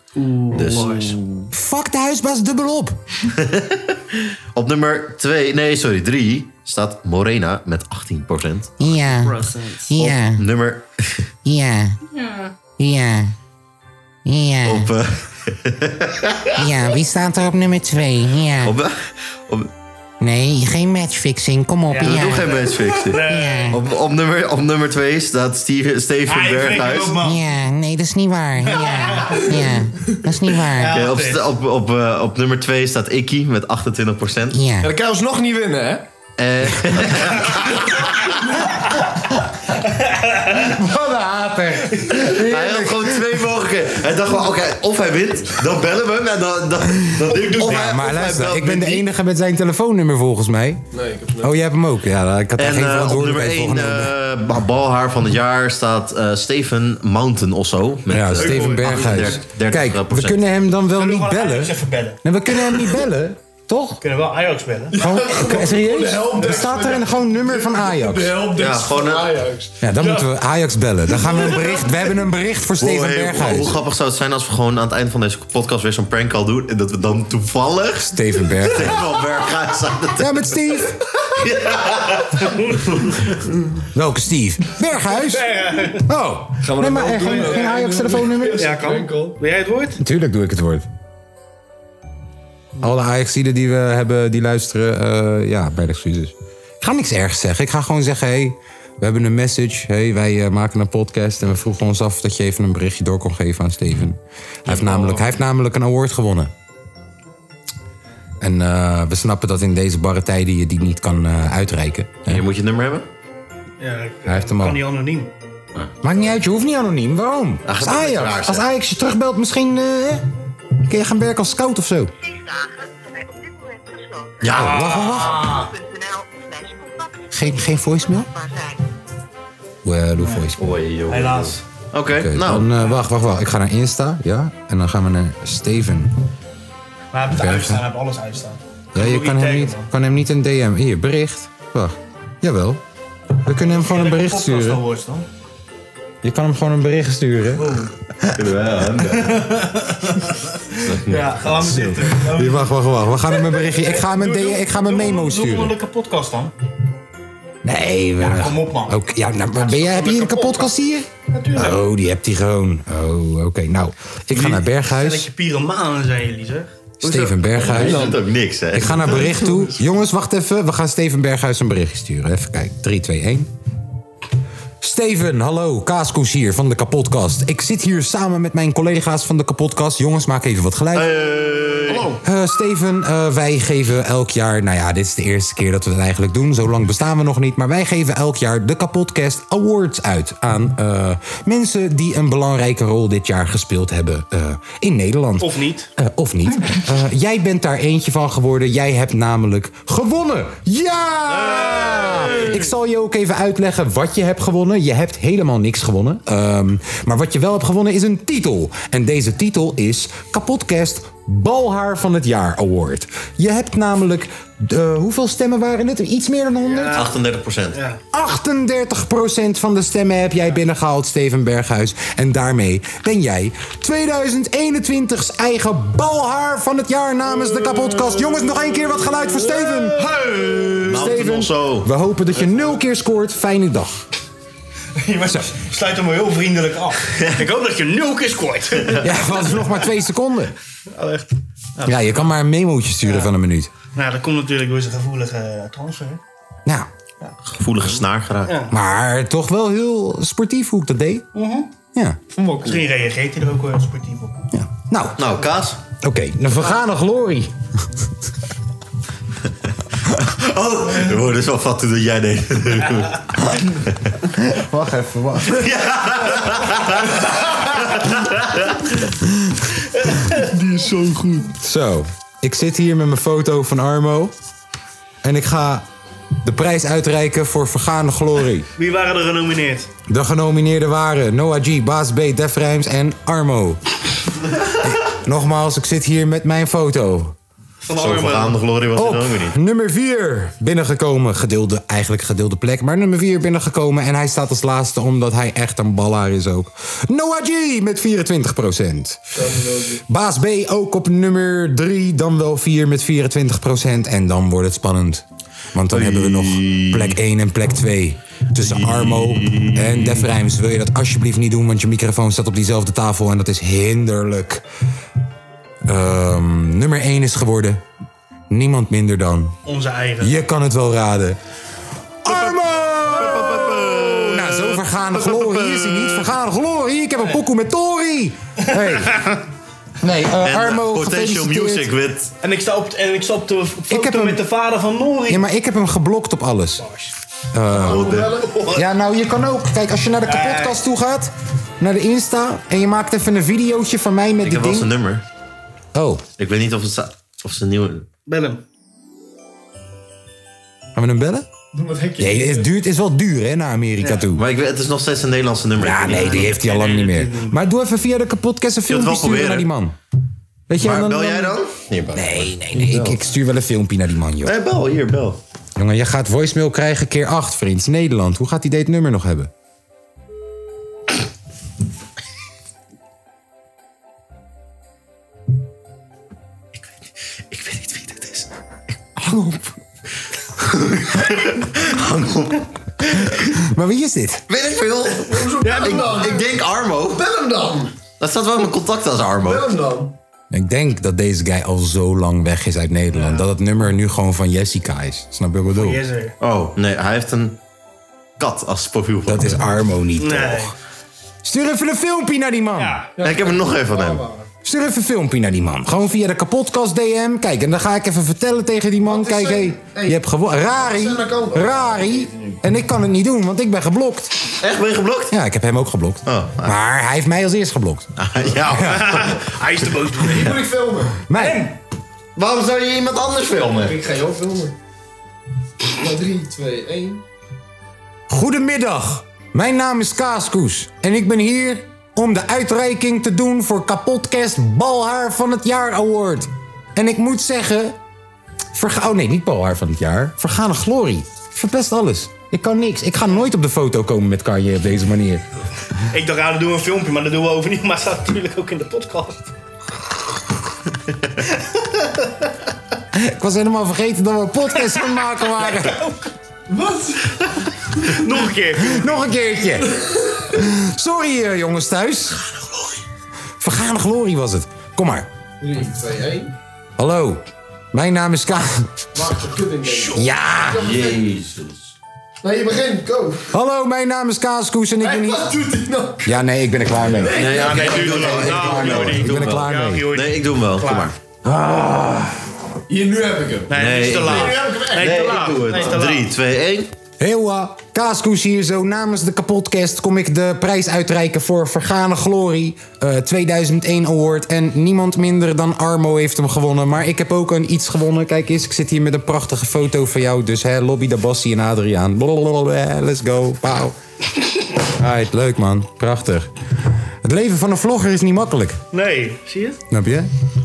dus Fuck de huisbaas dubbel op. op nummer 2, nee sorry, 3 staat Morena met 18 Ja. Ja. Nummer Ja. Ja. Ja. op, eh, Ja. Wie staat er op nummer twee? Ja. op, eh, op, Nee, geen matchfixing. Kom op. we doen Ja. geen matchfixing. Ja. Op, op nummer 2 op nummer twee staat Steven, Steven Ah, Berghuis. ook, man. Ja. Nee, dat is niet waar. Ja. Ja. Dat is niet waar. Oké, op, st- op, op, eh, op nummer 2 staat Ikkie met 28 Ja. dan kan je ons nog niet winnen, hè? Eh, Hij had gewoon twee mogelijkheden. Hij dacht wel, oké, of hij wint, dan bellen we hem. En dan, dan, dan, of hij- Ja, of maar hij luister, belt ik ben de niet. enige met zijn telefoonnummer volgens mij. Nee, ik heb het Oh, jij hebt hem ook? Ja, ik had daar En geen eh, op nummer verantwoordelijkheid voor 1, genomen. balhaar van het jaar, staat eh Steven Mountain of zo. Met, Ja, eh, Steven Berghuis. 38, Kijk, we 30%. kunnen hem dan wel Kunnen niet we Ajax bellen. even bellen? Nee, we kunnen hem niet bellen, toch? Kunnen we wel Ajax bellen? Gewoon, serieus? Er staat er een gewoon nummer van Ajax. Ja, gewoon een- Ja, dan moeten we Ajax bellen. Dan gaan we een bericht. We hebben een bericht voor Wow, Steven hey, wow, hoe Berghuis. grappig zou het zijn als we gewoon aan het eind van deze podcast weer zo'n prank call doen. En dat we dan toevallig Steven Berghuis. Steven Berghuis aan de Ja, met Steve. Welke Steve? Berghuis. Oh, nee, maar eh, geen, geen Ajax telefoonnummer? Ja, kan. Wil jij het woord? Natuurlijk doe ik het woord. Alle Ajaxiden die we hebben, die luisteren, eh, ja, bij de excuses. Ik ga niks ergs zeggen. Ik ga gewoon zeggen, hey, we hebben een message. Hey, wij eh, maken een podcast en we vroegen ons af dat je even een berichtje door kon geven aan Steven. Hij, heeft, namelijk, hij heeft namelijk een award gewonnen. En eh, we snappen dat in deze barre tijden je die niet kan eh, uitreiken. hè. Hier moet je het nummer hebben. Ja, ik- Hij heeft hem al. kan niet anoniem. Maakt niet uit, je hoeft niet anoniem. Waarom? Ach, Als dat is raar, Ajax, zeg. als Ajax je terugbelt, misschien eh, kun je gaan werken als scout of zo. Ja, Wacht, wacht, wacht. Geen, geen voicemail? Well, doe voicemail. Oei, joh. Helaas. Oké, Oké, nou. Dan, eh, wacht, wacht, wacht. Ik ga naar Insta, ja? En dan gaan we naar Steven. Maar hij heeft het Bergen. uitstaan, hij heeft alles uitstaan. Ja, je Moet kan niet hem, niet, taggen, man. kan hem niet een DM... Hier, bericht. Wacht. Jawel. We kunnen hem gewoon een bericht Podcast sturen. awards dan. Je kan hem gewoon een bericht sturen. Oh. Ja, gaan we met dit. Je mag wacht, wacht. We gaan hem een berichtje. Ik ga hem een, DM ik ga hem een memo Doe sturen. een leuke podcast dan. Nee, we... Ja, kom op, man. Ook, ja, nou, maar ben jij, heb je hier een kapotkast hier? Oh, die hebt hij gewoon. Oh, oké. Nou, ik ga naar Dat Berghuis. je pyromanen zijn jullie, zeg. Steven Berghuis. Dat is ook niks, hè? Ik ga naar bericht toe. Jongens, wacht even. We gaan Steven Berghuis een berichtje sturen. Even kijken. 3, 2, 1. Steven, hallo. Kaaskoes hier van de kapotkast. Ik zit hier samen met mijn collega's van de kapotkast. Jongens, maak even wat geluid. Eh, Steven, eh, wij geven elk jaar... Nou ja, dit is de eerste keer dat we het eigenlijk doen. Zo lang bestaan we nog niet. Maar wij geven elk jaar de Kapotcast Awards uit... aan eh, mensen die een belangrijke rol dit jaar gespeeld hebben eh, in Nederland. Of niet. Eh, of niet. Eh, jij bent daar eentje van geworden. Jij hebt namelijk gewonnen. Ja! Ik zal je ook even uitleggen wat je hebt gewonnen. Je hebt helemaal niks gewonnen. Ehm, maar wat je wel hebt gewonnen is een titel. En deze titel is Kapotcast Balhaar van het Jaar Award. Je hebt namelijk... eh, hoeveel stemmen waren het? Iets meer dan 100? 38 38% van de stemmen heb jij binnengehaald, Steven Berghuis. En daarmee ben jij 2021's eigen balhaar van het jaar namens de kapotkast. Jongens, nog één keer wat geluid voor Steven. Steven, we hopen dat je nul keer scoort. Fijne dag. Je was- sluit hem wel heel vriendelijk af. Ik hoop dat je nul keer scoort. Ja, dat is nog maar twee seconden. Oh, echt. Ja, je kan maar een memootje sturen van een minuut. Nou, dat komt natuurlijk door zijn gevoelige eh, transfer. Nou, Gevoelige snaar geraakt. Ja. maar toch wel heel sportief hoe ik dat deed. Mhm. Ja. Misschien reageert hij er ook wel sportief op. Nou, Nou, Kaas. oké. Een vergane glorie. Oh, we worden zo fatten dat jij deed. Wacht even, wacht. Die is zo goed. Zo, ik zit hier met mijn foto van Armo. En ik ga de prijs uitreiken voor Vergane Glorie. Wie waren er genomineerd? De genomineerden waren Noah G, Baas B, Def Rijms en Armo. Nogmaals, ik zit hier met mijn foto. Van Zo vergaande glorie was het Op dan ook weer niet. nummer 4 binnengekomen. Gedeelde, eigenlijk gedeelde plek, maar nummer 4 binnengekomen. En hij staat als laatste omdat hij echt een ballaar is ook. Noah G met 24%. Baas B ook op nummer 3, dan wel 4 met 24%. En dan wordt het spannend. Want dan hebben we nog plek 1 en plek 2. Tussen Armo en Def Rijms. Wil je dat alsjeblieft niet doen, want je microfoon staat op diezelfde tafel en dat is hinderlijk. Ehm, nummer 1 is geworden. Niemand minder dan Onze eigen. je kan het wel raden. Armo! Nou, zo vergaande glorie is hij niet. Vergaande glorie, ik heb een pokoe met Tori. Hey. Nee, eh, En Armo, Potential gefeliciteerd. Music with... En ik sta op, en ik sta op de Ik heb foto hem- met de vader van Nori. Ja, maar ik heb hem geblokt op Oh, alles. Ehm, Ja, nou, je kan ook. Kijk, als je naar de kapotkast toe gaat, naar de Insta... en je maakt even een videootje van mij met Ik dit heb wel ding. zijn nummer. Oh, Ik weet niet of het staat... Of zijn nieuwe... Bel hem. gaan we hem bellen? Nee, het duurt, is wel duur, hè, naar Amerika toe. Maar ik weet, het is nog steeds een Nederlandse nummer. Ja, Ik weet nee, niet. die heeft hij al lang niet meer. Maar doe even via de kapotkast een het filmpje wel sturen naar die proberen. man. Weet je, en Maar dan- bel jij dan? Nee, bel. Nee, nee, nee. Ik, ik stuur wel een filmpje naar die man, joh. Nee, bel. Hier, bel. Jongen, je gaat voicemail krijgen keer 8, vriend. Nederland. Hoe gaat hij dit nummer nog hebben? Ik weet niet wie dit is. Hang op. Hang op. Maar wie is dit? Weet ik veel. Ja, ik dan. Ik denk Armo. Bel hem dan. Dat staat wel in mijn contact als Armo. Bel hem dan. Ik denk dat deze guy al zo lang weg is uit Nederland. Dat het nummer nu gewoon van Jessica is. Snap je wat ik bedoel? Yes, sir. Oh, nee, hij heeft een kat als profiel. Dat is Armo niet, Nee. toch? Stuur even een filmpje naar die man. Ja, ik heb er nog één van hem. Stuur even een filmpje naar die man. Gewoon via de kapotkast DM. Kijk, en dan ga ik even vertellen tegen die man. Kijk, hé, zijn- hey, je hebt gewonnen. Rari, zijn account? Rari. En ik kan het niet doen, want ik ben geblokt. Echt, ben je geblokt? Ja, ik heb hem ook geblokt. Oh, ah. Maar hij heeft mij als eerst geblokt. ja. Hij is de boos. Die moet ik filmen. Mij? Waarom zou je iemand anders filmen? Ik ga jou filmen. Maar 3, 2, 1. Goedemiddag. Mijn naam is Kaaskoes. En ik ben hier om de uitreiking te doen voor Kapotcast Balhaar van het Jaar Award. En ik moet zeggen... Verga oh nee, niet Balhaar van het Jaar. Vergane glorie. Verpest alles. Ik kan niks. Ik ga nooit op de foto komen met Kanye op deze manier. Ik dacht, ja, dan doen we een filmpje, maar dat doen we over niet. Maar het staat natuurlijk ook in de podcast. Ik was helemaal vergeten dat we een podcast aan het maken waren. Wat? Nog een keer. Nog een keertje. Sorry eh, jongens thuis. Vergane glorie was het. Kom maar. 3, 2, 1. Hallo. Mijn naam is K. Wacht, de kudding. Ja. Jezus. Nee, je begint. Go. Hallo, mijn naam is Kaaskoes en ik ben Wat doet hij nou? Ja, nee, ik ben er klaar mee. Nee, ja, nee, ik doe Nou, hem wel. Ik ben er klaar Ja, mee. Nee, ik doe hem wel. Kom maar. Hier, nu heb ik hem. Nee, het is te laat. Nee, Nee, te ik laat. doe Nee, te het. laat. 3, 2, 1. Hewa, Kaaskoes eh, hier zo. Namens de kapotkast kom ik de prijs uitreiken voor Vergane Glorie. eh, 2001 Award. En niemand minder dan Armo heeft hem gewonnen. Maar ik heb ook een iets gewonnen. Kijk eens, ik zit hier met een prachtige foto van jou. Dus hè, Lobby de Bassi en Adriaan. Blablabla, Let's go. Wauw. Alright, leuk man. Prachtig. Het leven van een vlogger is niet makkelijk. Nee, zie je het? Snap je?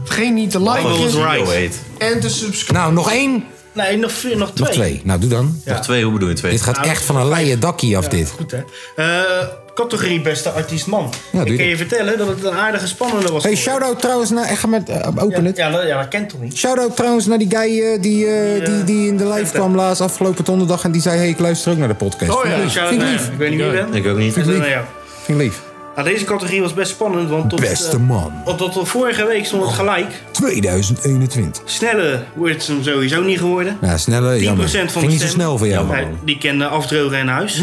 Vergeet niet te Michael is liken right. en te subscriben. Nou, nog één. Nee, nog, vier, nog twee. Nog twee. Nou, doe dan. Nog twee, hoe bedoel je twee? Dit gaat Nou, echt van een leien dakkie af, dit. Goed, hè? Eh, categorie beste artiest man. doe ik je kan je dat. vertellen Oh, dat het een aardige spannende was. Hey, geworden. shout-out trouwens naar... Echt met... eh, open het. ja, dat, ja, dat kent toch niet? Shout-out trouwens naar die guy eh, die, eh, die, die in de live kwam laatst afgelopen donderdag. En die zei, hey, ik luister ook naar de podcast. Oh ja, Vind ik lief. shout-out Vind ik naar lief. jou. Ik weet niet Ik wie je bent. ook niet. Dat is aan jou. Vind ik lief. Nou, deze categorie was best spannend, want tot, Beste eh, man. Oh. tot, tot de vorige week stond het gelijk. 2021. Snelle wordt het hem sowieso niet geworden. 10% Ja, sneller, jammer. van de Ging niet zo stemmen. snel voor jou. Nee, die kende afdrogen en huis.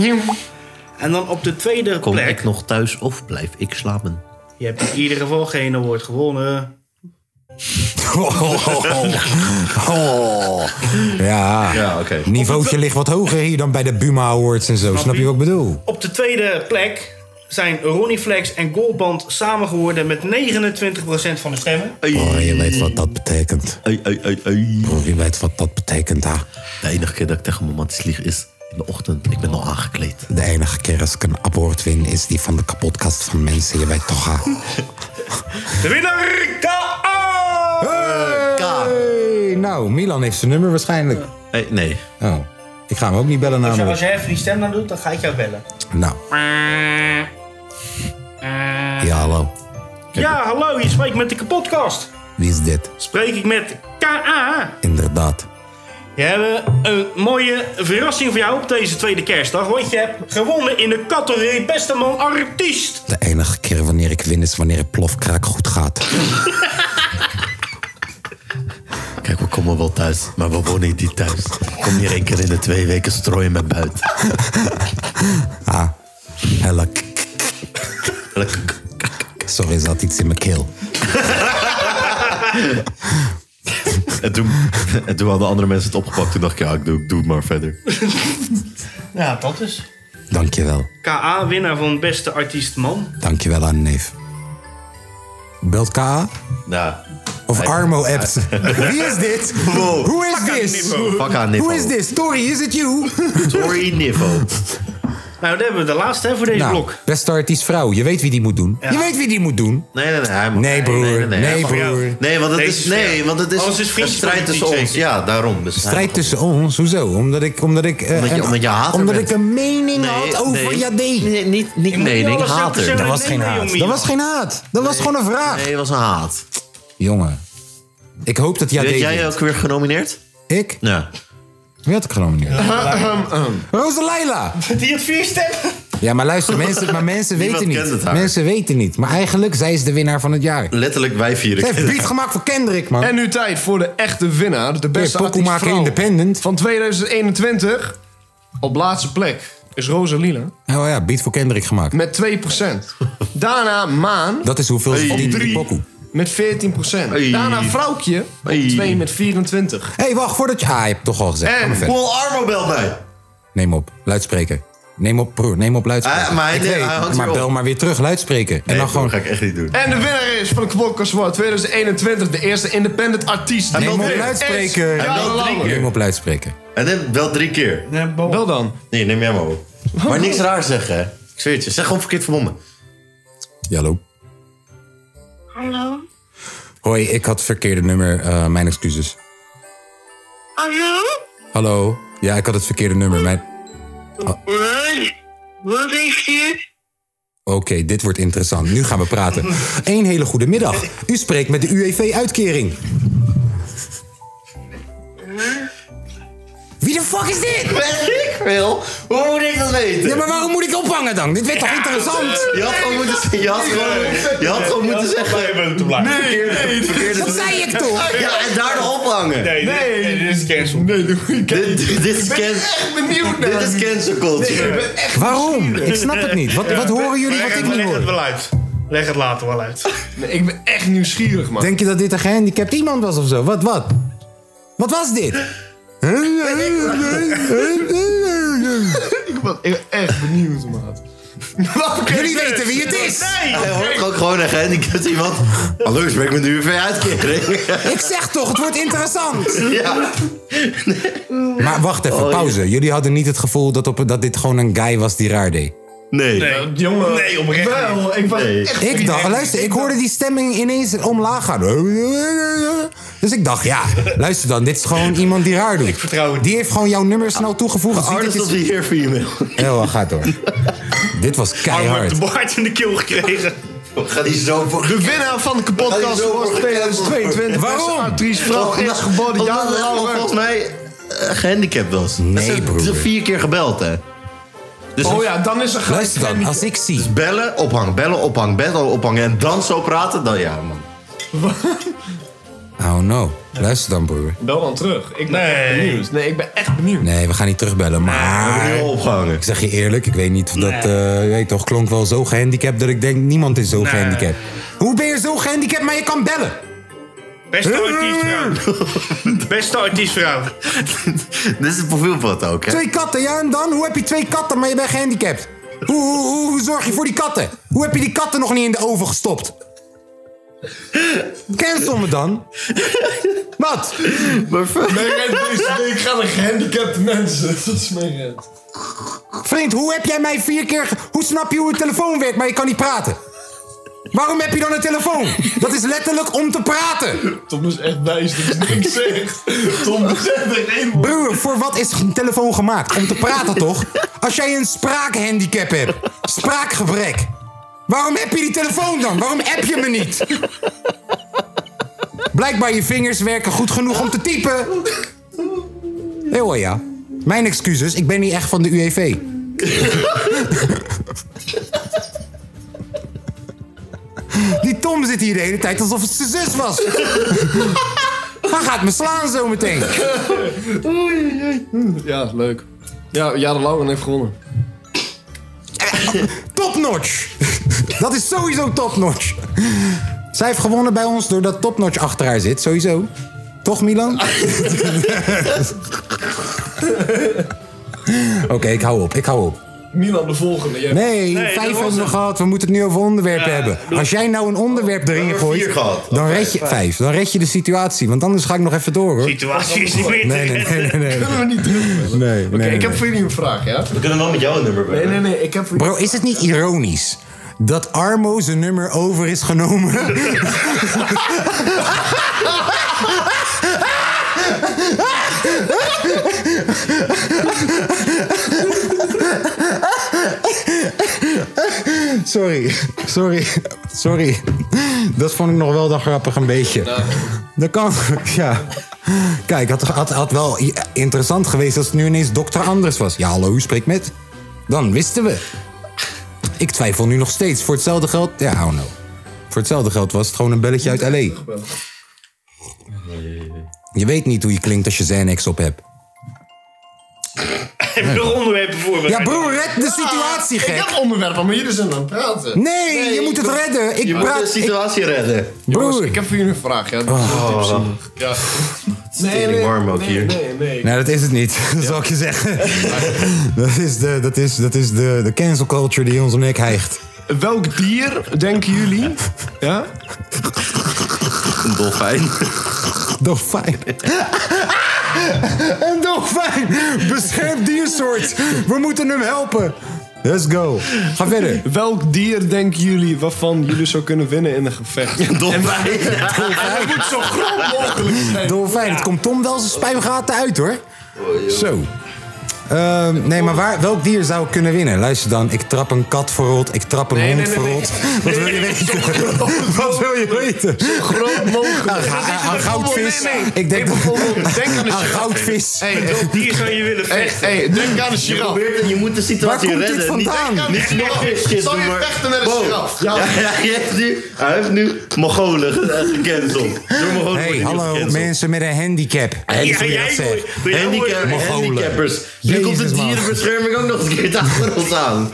En dan op de tweede Kom plek. ik nog thuis of blijf ik slapen? Je hebt in ieder geval geen award gewonnen. Oh. Ja, Ja, oké. niveautje ligt wat hoger hier dan bij de Buma Awards en zo. Snap je wat ik bedoel? Op de tweede plek zijn Ronnie Flex en Goldband samen geworden met 29% van de stemmen. Oh, je weet wat dat betekent. Ei, ei, ei, ei. Oh, je weet wat dat betekent, hè. De enige keer dat ik tegen mijn man lieg is in de ochtend. Ik ben al aangekleed. De enige keer als ik een award win is die van de kapotkast van mensen. Je weet toch, hè. De winnaar K.O. Hey, nou, Milan heeft zijn nummer waarschijnlijk. Hey, nee. Oh, ik ga hem ook niet bellen Als je, als namelijk. je even die stem dan doet, dan ga ik jou bellen. Nou. Ja, hallo. Ja, hallo, je spreekt met de kapotkast. Wie is dit? Spreek ik met K.A. Inderdaad. We hebben een mooie verrassing voor jou op deze tweede kerstdag. Want je hebt gewonnen in de categorie Beste Man Artiest. De enige keer wanneer ik win is wanneer het plofkraak goed gaat. Kijk, we komen wel thuis, maar we wonen niet thuis. Kom hier één keer in de twee weken strooien met buiten. Ah, Helle. k- Sorry, zat iets in mijn keel. En toen, en toen hadden andere mensen het opgepakt. Toen dacht ik, ja, ik doe, ik doe het maar verder. Ja, dat is. Dankjewel. K.A. winnaar van Beste Artiest Man. Dankjewel aan neef. Belt K.A.? Nou, Of Armo appt? Wie is dit? Hoe is this? pak aan, Niffo. Hoe is this? Tori, is it you? Sorry, Niffo. Nou, dan hebben we de laatste hè, voor deze Nou, blok. beste artiest vrouw. Je weet wie die moet doen. Je weet wie die moet doen. Nee, nee, nee. hij mag- Nee, broer. Nee, hij mag- broer. Nee, want het Deze is, is fair. nee, want het is, Alles is een vriendschap strijd tussen politiek, ons. zeker. Ja, daarom. Dus hij Strijd mag- tussen ons, hoezo? Omdat ik, omdat ik, eh, Omdat je- een- omdat je hater omdat bent. ik een mening had over nee. Jadé. Nee, niet, niet moet niet mening, alles hater. zeggen. Dat was nee, geen nee, haat. jongen. Dat was geen haat. Dat was gewoon een vraag. Nee, het was een haat. Jongen, ik hoop dat Jadé Weet jij wint. ook weer genomineerd? Ik? Ja. Wie had ik genomineerd? Roze Leila. Die het vier stemmen. Ja, maar luister, mensen, maar mensen Niemand weten kent het niet. haar. Mensen weten niet. Maar eigenlijk, zij is de winnaar van het jaar. Letterlijk wij vieren. Ze heeft beat gemaakt voor Kendrick, man. En nu tijd voor de echte winnaar, de beste Hey, artiest pokoemaker vrouw independent. van 2021. Op laatste plek is Rosalina Oh ja, beat voor Kendrick gemaakt. met 2%. Daarna Maan Dat is hoeveel ze verdienen die drie. pokoe. met 14%. Daarna Vrouwtje op 2 met 24. Hé, hey, wacht, voordat je... Ah, je hebt het toch al gezegd. Ga maar En verder. Paul Armo belt mij. Neem op, luidspreker. Neem op, broer, neem op luidspreker. Ah, maar hij- Ik nee, weet, hij hangt maar weer op. bel maar weer terug, luidspreker. en dan gewoon... dat ga ik echt niet doen. En de winnaar is van de Kwokkas Award 2021, de eerste independent artiest. Hij Neem belt op weer. luidspreker. Hij belt drie keer. Neem op luidspreker. En dan wel drie keer. Wel dan. Nee, neem jij maar op. Maar niks raar zeggen, hè. Ik zweer het je. Zeg gewoon verkeerd verbonden. Ja, hallo. Hallo? Hoi, ik had het verkeerde nummer. eh, mijn excuses. Hallo? Hallo. Ja, ik had het verkeerde nummer. Mijn... Wat? Wat heeft u? Oké, dit wordt interessant. Nu gaan we praten. Eén hele goede middag. U E spreekt met de UEV-uitkering. Wie de fuck is dit? ik wil. Hoe moet ik dat weten? Ja, maar waarom moet ik ophangen dan? Dit werd toch interessant? Je had gewoon moeten, je had gewoon, je had gewoon moeten zeggen. verkeerde- verkeerde- Dat zei ik toch? Ja, en daar de ophangen. Nee, nee, dit is cancel. Nee, dit, dit, dit is Ik ben cancel. echt benieuwd naar Dit is cancel culture. Waarom? Ik snap het niet. Wat, wat horen jullie wat ik niet Leg het hoor? wel uit. Leg het later wel uit. ik ben echt nieuwsgierig, man. Denk je dat dit een gehandicapt iemand was of zo? Wat, wat? Wat was dit? ik ben echt benieuwd, maat. Jullie weten wie het is. Hij hoort ook gewoon een gehandicapt iemand. Hallo, ik spreek met de UV-uitkering. Ik zeg toch, het wordt interessant. Ja. Maar wacht even, pauze. Jullie hadden niet het gevoel dat, op, dat dit gewoon een guy was die raar deed? Nee. Nee, Nou, jongen. Nee, oprecht. Wel, ik was echt Ik dacht, luister, ik hoorde die stemming ineens omlaag gaan. Dus ik dacht, ja, luister dan, dit is gewoon iemand die raar doet. Ik vertrouw Die heeft gewoon jouw nummer snel toegevoegd. Dus Artist of the year female. Heel Oh, gaat hoor. Dit was Arm keihard. de baard in de keel gekregen. Gaat die zo voor... De winnaar van de Gaat die kapotkast zo was voor- 2022. Waarom? Actrice vrouw is geboren. Ja, Omdat het allemaal volgens mij eh, gehandicapt was. Nee, Ze broer. is vier keer gebeld, hè. Dus Oh ja, dan is er gelijk Luister dan, als ik zie. bellen, ophang, bellen, ophang, bellen, ophangen en dan zo praten, dan ja, man. Oh no. Luister dan, broer. Bel dan terug. Ik ben Nee. echt benieuwd. Nee, ik ben echt benieuwd. Nee, we gaan niet terugbellen, maar... Nu opgehangen. Ik zeg je eerlijk, ik weet niet of dat... eh, je weet toch, klonk wel zo gehandicapt dat ik denk... Niemand is zo gehandicapt. Hoe ben je zo gehandicapt, maar je kan bellen? Beste artiestvrouw. Beste artiestvrouw. Dit is een profielfoto ook, hè? Twee katten, ja en dan? Hoe heb je twee katten, maar je bent gehandicapt? Hoe, hoe, hoe, hoe zorg je voor die katten? Hoe heb je die katten nog niet in de oven gestopt? Cancel me dan. Wat? Mijn red deze week gaan er gehandicapte mensen. Dat is mijn red. Vriend, hoe heb jij mij vier keer... ge- Hoe snap je hoe een telefoon werkt, maar je kan niet praten? Waarom heb je dan een telefoon? Dat is letterlijk om te praten. Tom is echt wijs dat hij niks zegt. Tom zegt er geen woord. Broer, voor wat is een telefoon gemaakt? Om te praten, toch? Als jij een spraakhandicap hebt. Spraakgebrek. Waarom heb je die telefoon dan? Waarom app je me niet? Blijkbaar je vingers werken goed genoeg om te typen. Heel ja. Mijn excuses, ik ben niet echt van de E UEV. Die Tom zit hier de hele tijd alsof het zijn zus was. Hij gaat me slaan zometeen. Ja, leuk. Ja, Jaren Lauren heeft gewonnen. Topnotch! Dat is sowieso topnotch. Zij heeft gewonnen bij ons doordat topnotch achter haar zit, sowieso. Toch, Milan? Oké, ik hou op, ik hou op. Milan de volgende. Jij Nee, Nee, dat vijf was hebben we hem. gehad. We moeten het nu over onderwerpen hebben. Als jij nou een onderwerp erin hebben gooit, vier gehad. dan red je vijf. Dan red je de situatie, want anders ga ik nog even door, hoor. Situatie is niet meer te Nee, nee, nee, nee, nee. kunnen we niet terug. Oké, nee, nee, ik nee. heb voor jullie een vraag, ja? We kunnen wel met jouw nummer Nee, bellen. nee, nee. Ik heb voor Bro, is het niet ironisch dat Armo zijn nummer over is genomen? Sorry, sorry, sorry. Dat vond ik nog wel dan grappig een beetje. Dat kan, ja. Kijk, het had, had, had wel i- interessant geweest als het nu ineens dokter Anders was. Ja, hallo, u spreekt met. Dan wisten we. Ik twijfel nu nog steeds. Voor hetzelfde geld, ja, oh no. Voor hetzelfde geld was het gewoon een belletje uit L.A. Je weet niet hoe je klinkt als je Xanax op hebt. Heb je nog onderwerpen voorbereid? Ja, broer, red de situatie, Ik gek. heb onderwerpen, maar jullie zijn aan het praten. Nee, je moet het redden. Ik Moet de praat... ik- situatie redden. Jongens, broer. Oh, ik heb voor jullie een vraag, ja? Dat is wel diepzinnig. ja. Nee, Tering warm ook nee, hier. Nee, nee. Nee, dat is het niet. Dat zal ik je zeggen. Dat is de, dat is, dat is de, de cancel culture die ons om nek hijgt. Welk dier denken jullie? Ja? Een dolfijn. Dolfijn. Een dolfijn. Beschermd diersoort. We moeten hem helpen. Let's go. Ga verder. Welk dier denken jullie waarvan jullie zou kunnen winnen in een gevecht? Een dolfijn. Het moet zo groot mogelijk zijn. Dolfijn. Het komt Tom wel zijn spuigaten uit hoor. Zo. Eh, Ehm, nee, maar waar, welk dier zou kunnen winnen? Luister dan, ik trap een kat verrot, ik trap een hond verrot. Wat wil je weten? Wat wil je weten? groot mogelijk. Aan, aan- aan goudvis. Ik denk dat... Denk aan de Aan goudvis. Hier zou je willen vechten. Hey, denk aan de Je giraf. probeert het, je moet de situatie Waar komt dit redden. vandaan? Niet, niet Denk aan- nog shit Zou je doen, maar- vechten met een Wow. giraf? Ja, ja, hij heeft nu, hij heeft nu Mongolen ge- gecanceld. Door Mongolen wordt hij Hey, nu hallo, gecanceld. mensen met een handicap. Handicap- Handicap- handicappers. Nu komt de Jezus, man. dierenbescherming ook nog eens een keer tegen ons aan.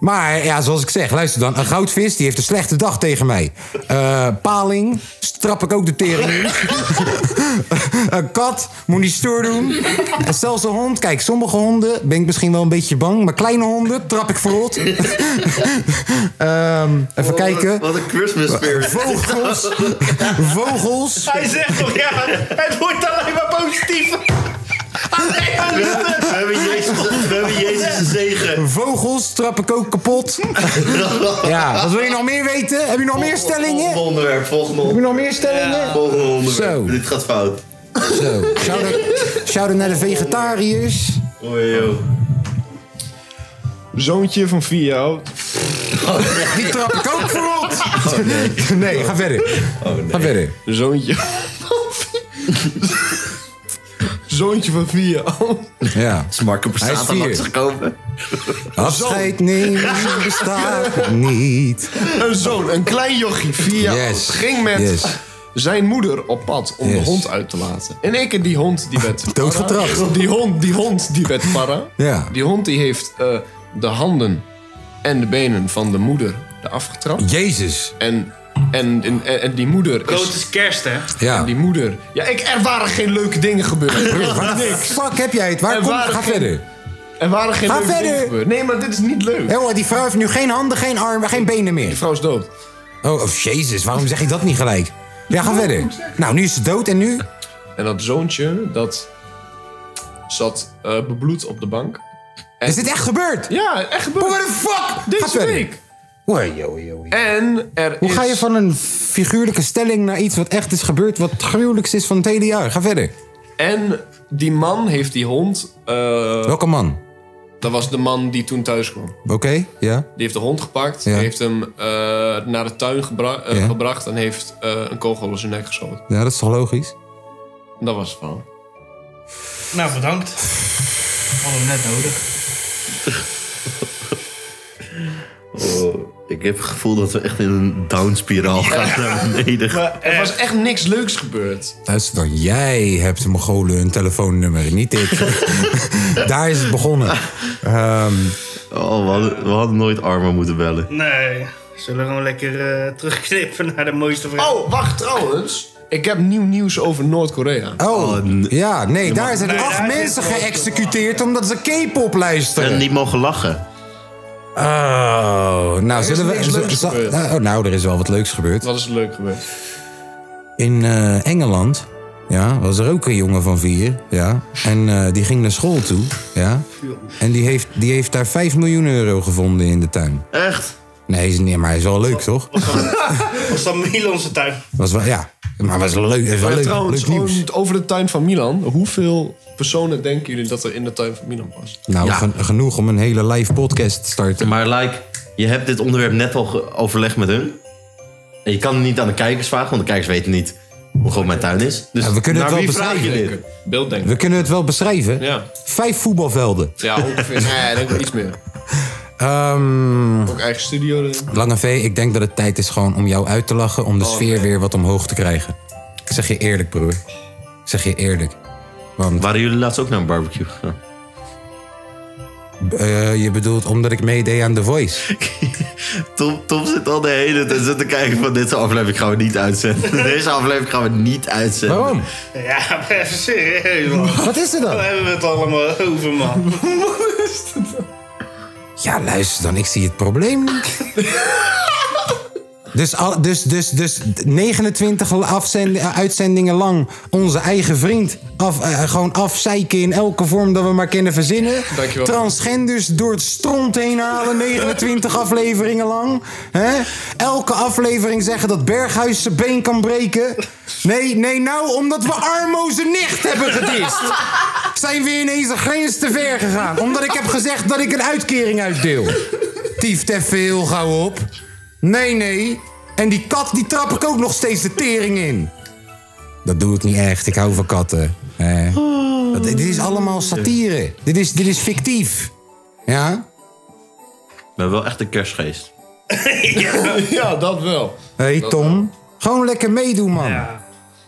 Maar ja, zoals ik zeg, luister dan. Een goudvis die heeft een slechte dag tegen mij. Eh, paling, strap ik ook de tering in. een kat, moet niet stoer doen. En zelfs een hond. Kijk, sommige honden ben ik misschien wel een beetje bang. Maar kleine honden trap ik verrot. Ehm, even kijken. Oh, Wat een Christmas spirit. Vogels. Vogels. Hij zegt toch ja, het wordt alleen maar positief. Ah, Alleen maar We hebben- we liefde. hebben Jezus- we hebben Jezus de zegen. Vogels trap ik ook kapot. ja, wat wil je nog meer weten? Heb je nog meer stellingen? Volgende onderwerp, volgende onderwerp. Heb je nog meer stellingen? Volgende onderwerp. Zo. Dit gaat fout. Zo. Shout-out shout-out naar de vegetariërs. Oei, joh. Zoontje van vier jaar oud. Oh, Die trap ik ook verrot. Oh, nee. ga verder. Ga verder. Zoontje. Zoontje van vier jaar oud. Ja. Marco Hij is Prestaat aan vier. langs gekomen. Afscheid nemen bestaat niet. Een zoon, een klein jochie, vier jaar oud, Yes. ging met Yes. zijn moeder op pad om Yes. de hond uit te laten. En ik en die hond, die werd Doodgetrapt. Die hond, die hond, die werd para. Ja. Die hond die heeft eh, de handen en de benen van de moeder eraf getrapt. Jezus. En, en, en, en, en die moeder is... Groot is kerst, hè? En Ja. die moeder... Ja, ik, er waren geen leuke dingen gebeurd. Waar de Niks. fuck heb jij het? Waar Er komt waren Ga geen- verder. Er waren geen Ga leuke verder. dingen gebeurd. Nee, maar dit is niet leuk. Hé, hoor, die vrouw heeft nu geen handen, geen armen, geen benen Die meer. vrouw is dood. Oh, oh, jezus, waarom zeg ik dat niet gelijk? Ja, ga verder. Nou, nu is ze dood en nu? En dat zoontje, dat zat eh, bebloed op de bank. En- Is dit echt gebeurd? Ja, echt gebeurd. What the fuck? Ga Deze verder. week. Oei, oei, oei. En er Hoe is... ga je van een figuurlijke stelling naar iets wat echt is gebeurd, wat het gruwelijkste is van het hele jaar? Ga verder. En die man heeft die hond... eh, Welke man? dat was de man die toen thuis kwam. Oké, ja. Die heeft de hond gepakt, Ja. heeft hem eh, naar de tuin gebra- eh, Ja. gebracht... en heeft eh, een kogel in zijn nek geschoten. Ja, dat is toch logisch? En dat was het verhaal. Nou, bedankt. Hadden we net nodig. Oh, ik heb het gevoel dat we echt in een downspiraal gaan naar beneden. Eh. Er was echt niks leuks gebeurd. Luister dan, jij hebt de Mongolen een telefoonnummer, niet ik. Daar is het begonnen. Ehm, Oh, we hadden, we hadden nooit Arma moeten bellen. Nee, zullen we gewoon lekker eh, terugknippen naar de mooiste vraag. Oh, wacht trouwens. Ik heb nieuw nieuws over Noord-Korea. oh, ja, nee, daar zijn Nee, acht daar is mensen het wel geëxecuteerd omdat ze K-pop En luisteren. niet mogen lachen. Oh, nou, zullen we... niks leuks zal- gebeurd. nou, nou, er is wel wat leuks gebeurd. Wat is er leuk gebeurd? In eh, Engeland ja, was er ook een jongen van vier. Ja, en eh, die ging naar school toe. Ja, en die heeft, die heeft daar 5 miljoen euro gevonden in de tuin. Echt? Nee, is, nee maar hij is wel leuk, toch? Was dan Milan onze tuin? Was wel, ja, maar was leuk. Is wel Maar leuk, trouwens, leuk nieuws. gewoon over de tuin van Milan. Hoeveel personen denken jullie dat er in de tuin van Milan past? Nou, Ja. gen- genoeg om een hele live podcast te starten. Maar like, je hebt dit onderwerp net al ge- overlegd met hun. En je kan het niet aan de kijkers vragen, want de kijkers weten niet hoe groot mijn tuin is. Dus Ja, we kunnen naar het wel wie vraag je dit? Denken. Beeld denken. We kunnen het wel beschrijven. Ja. Vijf voetbalvelden. Ja, ongeveer. Nee, denk ik iets meer. Ehm, Ook eigen studio erin. Lange V, ik denk dat het tijd is gewoon om jou uit te lachen... Oh, om de sfeer weer wat omhoog te krijgen. Ik zeg je eerlijk, broer. Ik zeg je eerlijk. Want Waren jullie laatst ook naar een barbecue gegaan? Eh, je bedoelt omdat ik meedeed aan The Voice. Tom, Tom zit al de hele tijd zo te kijken van deze aflevering gaan we niet uitzenden. Deze aflevering gaan we niet uitzenden. Waarom? Ja, maar even serieus, man. Wat is er Waar dan? hebben we het allemaal over, man? Ja, luister dan, ik zie het probleem niet. Dus, al- dus, dus, dus 29 afzend- eh, uitzendingen lang onze eigen vriend af, eh, gewoon afzeiken in elke vorm dat we maar kunnen verzinnen. Dankjewel. Transgenders door het stront heen halen, 29 afleveringen lang. Hè? Elke aflevering zeggen dat Berghuis zijn been kan breken. Nee, nee, nou, omdat we Armo zijn nicht hebben gedist. Zijn we ineens een grens te ver gegaan. Omdat ik heb gezegd dat ik een uitkering uitdeel. Tief te veel, gauw op. Nee, nee. En die kat, die trap ik ook nog steeds de tering in. Dat doe ik niet echt. Ik hou van katten. Eh. Dat- dit is allemaal satire. Dit is, dit is fictief. Ja? Maar wel echt een kerstgeest. ja, dat wel. Hé, hey, Tom. Gewoon lekker meedoen, man.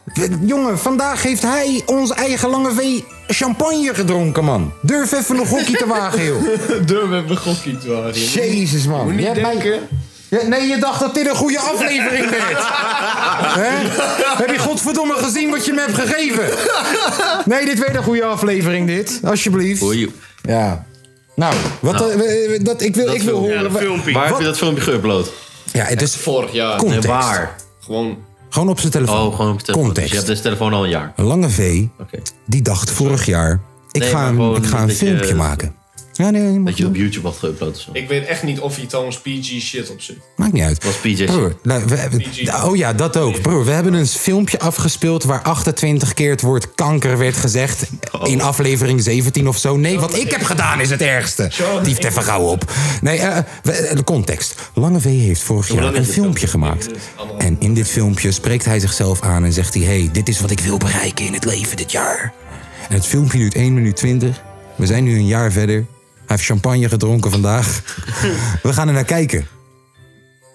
W- Jongen, vandaag heeft hij onze eigen lange V champagne gedronken, man. Durf even een gokje te wagen, joh. Durf even een gokje te wagen. Jezus, man. Moet niet Je hebt mij- Ja, nee, je dacht dat dit een goede aflevering werd. Hè? Heb je godverdomme gezien wat je me hebt gegeven? Nee, dit werd een goede aflevering, dit. Alsjeblieft. Ja. Nou, wat Nou. eh, we- we- dat, ik wil, ik wil horen. wa- Waar heb wat- je dat filmpje geüpload? Ja, het is vorig jaar. Context. Nee, waar? Gewoon. Gewoon op zijn telefoon. Oh, gewoon op je telefoon. Dus Context. je hebt deze telefoon al een jaar. Lange V, die dacht vorig jaar... Ik Nee, ga maar een, gewoon ik ga een dat je- filmpje maken. Ja, nee, dat je op YouTube had geüpload. zo. Ik weet echt niet of hij trouwens PG shit op zit. Maakt niet uit. Was PJ. Broer, nou, we hebben, oh ja, dat ook. Broer, we hebben een filmpje afgespeeld waar 28 keer het woord kanker werd gezegd. In aflevering 17 of zo. Nee, wat ik heb gedaan is het ergste. Dief even gauw op. Nee, eh, we- eh, de context. Lange V heeft vorig jaar een filmpje gemaakt. En in dit filmpje spreekt hij zichzelf aan en zegt hij... hey, dit is wat ik wil bereiken in het leven dit jaar. En het filmpje duurt 1 minuut 20. We zijn nu een jaar verder. Hij heeft champagne gedronken vandaag. We gaan er naar kijken.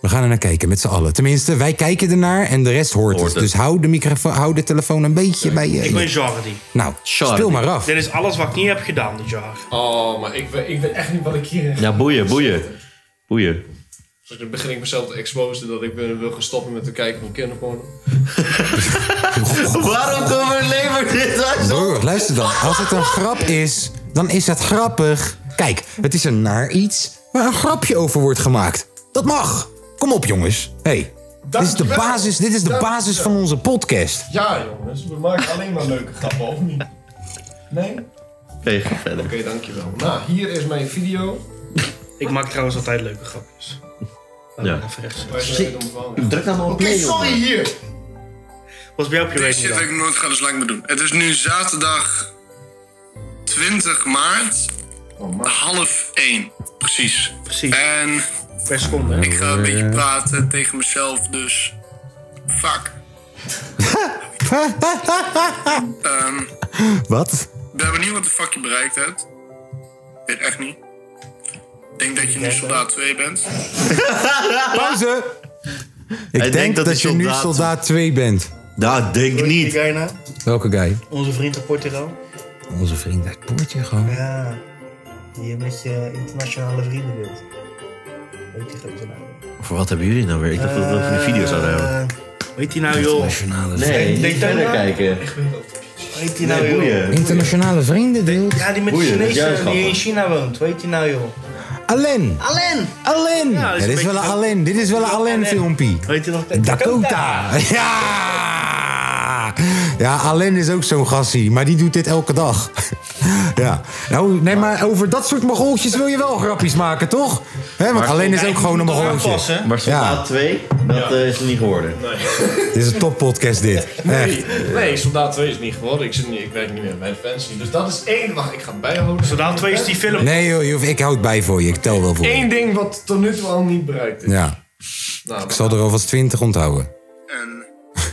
We gaan er naar kijken met z'n allen. Tenminste, wij kijken ernaar en de rest hoort, het. Dus hou de, microfoon, hou de telefoon een beetje bij je. Ik ben Jordi. Nou, speel maar af. Dit is alles wat ik niet heb gedaan dit jaar. Oh, maar ik weet, ik weet echt niet wat ik hier. Ja, boeien, boeien. Boeien. Dus dan begin ik mezelf te exposen dat ik ben- wil gaan stoppen met het kijken van kinderporno. Waarom doen we leven dit uit? Broer, luister dan. Als het een grap is, dan is het grappig. Kijk, het is een naar iets waar een grapje over wordt gemaakt. Dat mag. Kom op, jongens. hey, dit is de Dankjewel. basis, dit is de Dankjewel. basis van onze podcast. Ja, jongens, we maken alleen maar leuke grappen, of niet? Nee? Oké, Oké, ga verder. dankjewel. Nou, hier is mijn video. Ik maak trouwens altijd leuke grapjes. Ja. Even rechts. Waar is het om van? Druk nou maar op Oké, sorry, hier. Was bij jou op je Deze shit weet niet wil ik dan? nooit gaan, dus laat ik me doen. Het is nu zaterdag 20 maart, half 1. Precies. Oh, Precies. En Per seconde. hè? ik ga een beetje praten tegen mezelf, dus... Fuck. Ehm, Wat? ben benieuwd wat de fuck je bereikt hebt. Ik weet echt niet. Ik denk dat je nu soldaat 2 bent. Pauze! Ik Hij denk, denkt dat, dat je hij nu soldaat- soldaat 2 bent. Ah, Nou, denk ik Die niet. guy nou, Welke guy? Onze vriend uit Portugal. Onze vriend uit Portugal. Ja. Die een beetje internationale vrienden wilt. Weet die gozer nou? Voor wat hebben jullie nou weer? Ik dacht dat we het over de video zouden hebben. Weet die nou joh? Internationale Nee, Nee, niet verder daarna- kijken. Weet die nou Nee, joh? boeien. Internationale vrienden, dude. Ja, die met de Boeien, dat is juist Chinezen die in grappig. China woont. Weet die nou joh? Allen. Allen! Allen. Ja, dat is dit een is wel een beetje- Allen. Dit is wel een Allen filmpie. Weet je nog? Dakota. Ja. Ja, Allen is ook zo'n gassie, maar die doet dit elke dag. ja. Nou, nee, maar over dat soort mogoltjes wil je wel grapjes maken, toch? Hè, want Allen is ook gewoon een mogoltje. Maar soldaat 2, dat eh, is er niet geworden. Dit is een toppodcast, dit. Echt. Nee, soldaat 2 is niet geworden. Ik, zit niet, ik werk niet meer bij Defensie. Dus dat is één. Wacht, ik ga het bijhouden. Soldaat 2 is die film. Nee, joh, joh, ik houd bij voor je. Ik tel wel voor je. Eén ding wat tot nu toe al niet bereikt is. Ja. Nou, Ik zal er alvast 20 onthouden. En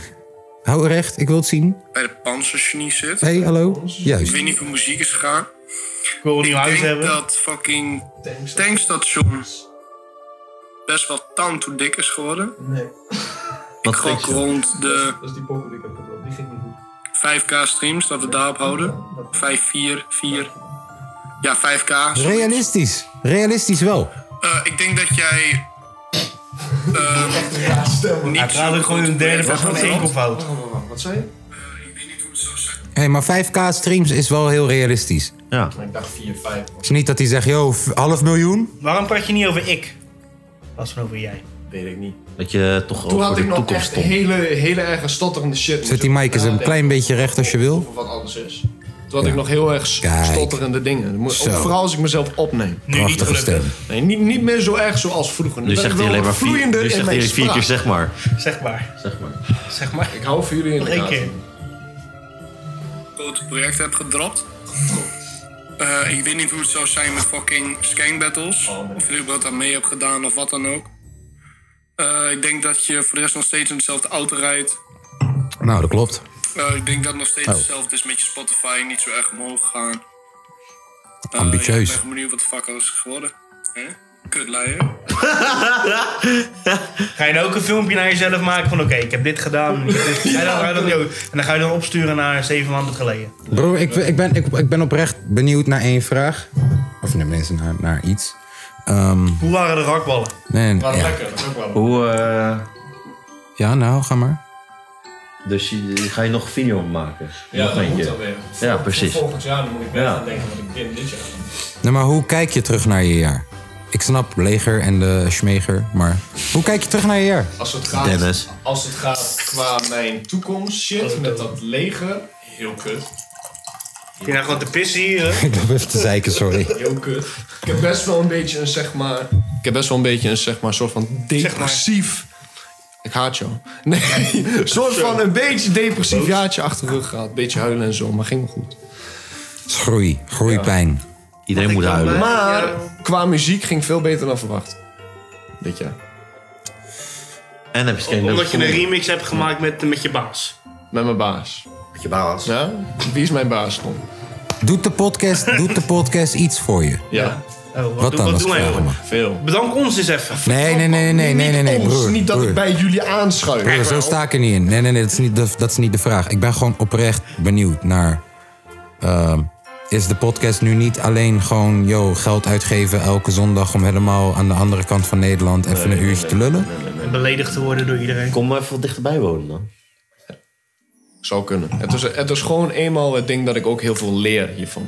Hou recht, ik wil het zien. bij de panzergenie zit. Hé, hey, hallo? Ik Juist. weet niet hoe muziek is gegaan. Ik wil een nieuw huis Ik denk hebben. dat fucking tankstation best wel tand toe dik is geworden. Nee, Ik gok rond de dat is die poker die ik heb gedaan. Die ging niet goed. 5k streams dat we daarop houden. 5, 4, 4. Ja, 5k. Ah, Realistisch. Realistisch wel. Eh, ik denk dat jij. ehm, Hij niet praat ook gewoon in een derde van gewoon één fout. Wat zei je? Hé, maar 5k streams is wel heel realistisch. Ja. Ik dacht 4, 5. Het is niet dat hij zegt, yo, f- half miljoen. Waarom praat je niet over ik? Als van over jij. Weet ik niet. Dat je toch Toen ook had voor ik de nog toekomst echt stond. hele, hele erg een stotterende shit. Zet die mic eens een klein beetje recht als je wil. Of wat anders is. Toen had ik nog heel erg s- stotterende dingen. Mo- Zo. Vooral als ik mezelf opneem. Prachtige stem. Nee, niet, niet meer zo erg zoals vroeger. Nu zegt hij alleen maar vier, nu zegt hij vier keer zeg maar. Zeg maar. Zeg maar. Zeg maar. Ik hou voor jullie in Nog de één gaten. keer. grote project heb gedropt. Eh, ik weet niet hoe het zou zijn met fucking skank battles. Oh, of je überhaupt aan mee hebt gedaan of wat dan ook. Eh, ik denk dat je voor de rest nog steeds in dezelfde auto rijdt. Nou, dat klopt. Eh, ik denk dat het nog steeds Oh. hetzelfde is met je Spotify. Niet zo erg omhoog gaan. Eh, Ambitieus. Ik ben echt benieuwd wat de fuck dat is geworden. Hè? Kutluier. Ga je dan ook een filmpje naar jezelf maken van oké, ik heb dit gedaan. ik heb dit- en, dan ga je dat ook- en dan ga je dan opsturen naar zeven maanden geleden. Broer, ik, ik, ben, ik, ik ben oprecht benieuwd naar één vraag. Of nee, mensen naar, naar iets. Ehm, Hoe waren de rakballen? nee, nee, ja. lekker, dat Hoe, eh, ja, nou, ga maar. dus je, ga je nog een video maken? Ja, nog dat eentje. moet alweer. Ja, precies. Volgend jaar dan moet ik wel Ja. gaan denken wat ik in dit jaar Nee, maar hoe kijk je terug naar je jaar? Ik snap leger en de schmeger, maar hoe kijk je terug naar je jaar? Als het gaat, Dennis. Als het gaat qua mijn toekomst shit met dat leger, heel kut. Je nou gewoon te pissen hier. Ik heb even te zeiken, sorry. Heel kut. Ik heb best wel een beetje een zeg maar. Ik heb best wel een beetje een zeg maar soort van depressief. Ik haat jou. Nee, een soort van een beetje depressief jaartje achter de rug gehad. Beetje huilen en zo, maar ging me goed. Groei, groeipijn. Iedereen moet eh, huilen. Maar qua muziek ging veel beter dan verwacht. Dit jaar. En heb je geen Omdat je een remix hebt gemaakt met, met je baas. Met mijn baas. Met je baas? Ja? Wie is mijn baas dan? Doet de podcast, doet de podcast iets voor je? Ja. Oh, Wat dan als doen wij vraag, jongen? man? Veel. Bedank ons eens even. Nee, nee, nee, nee, nee, nee, nee, Ons, broer. niet dat broer. ik bij jullie aanschuif. Broer, zo sta ik er niet in. Nee, nee, nee, dat is niet de, dat is niet de vraag. Ik ben gewoon oprecht benieuwd naar... ehm, is de podcast nu niet alleen gewoon yo, geld uitgeven elke zondag... om helemaal aan de andere kant van Nederland even een uurtje te lullen? En beledigd te worden door iedereen. Kom maar even wat dichterbij wonen dan. Zou kunnen. Het is, het is gewoon eenmaal het ding dat ik ook heel veel leer hiervan.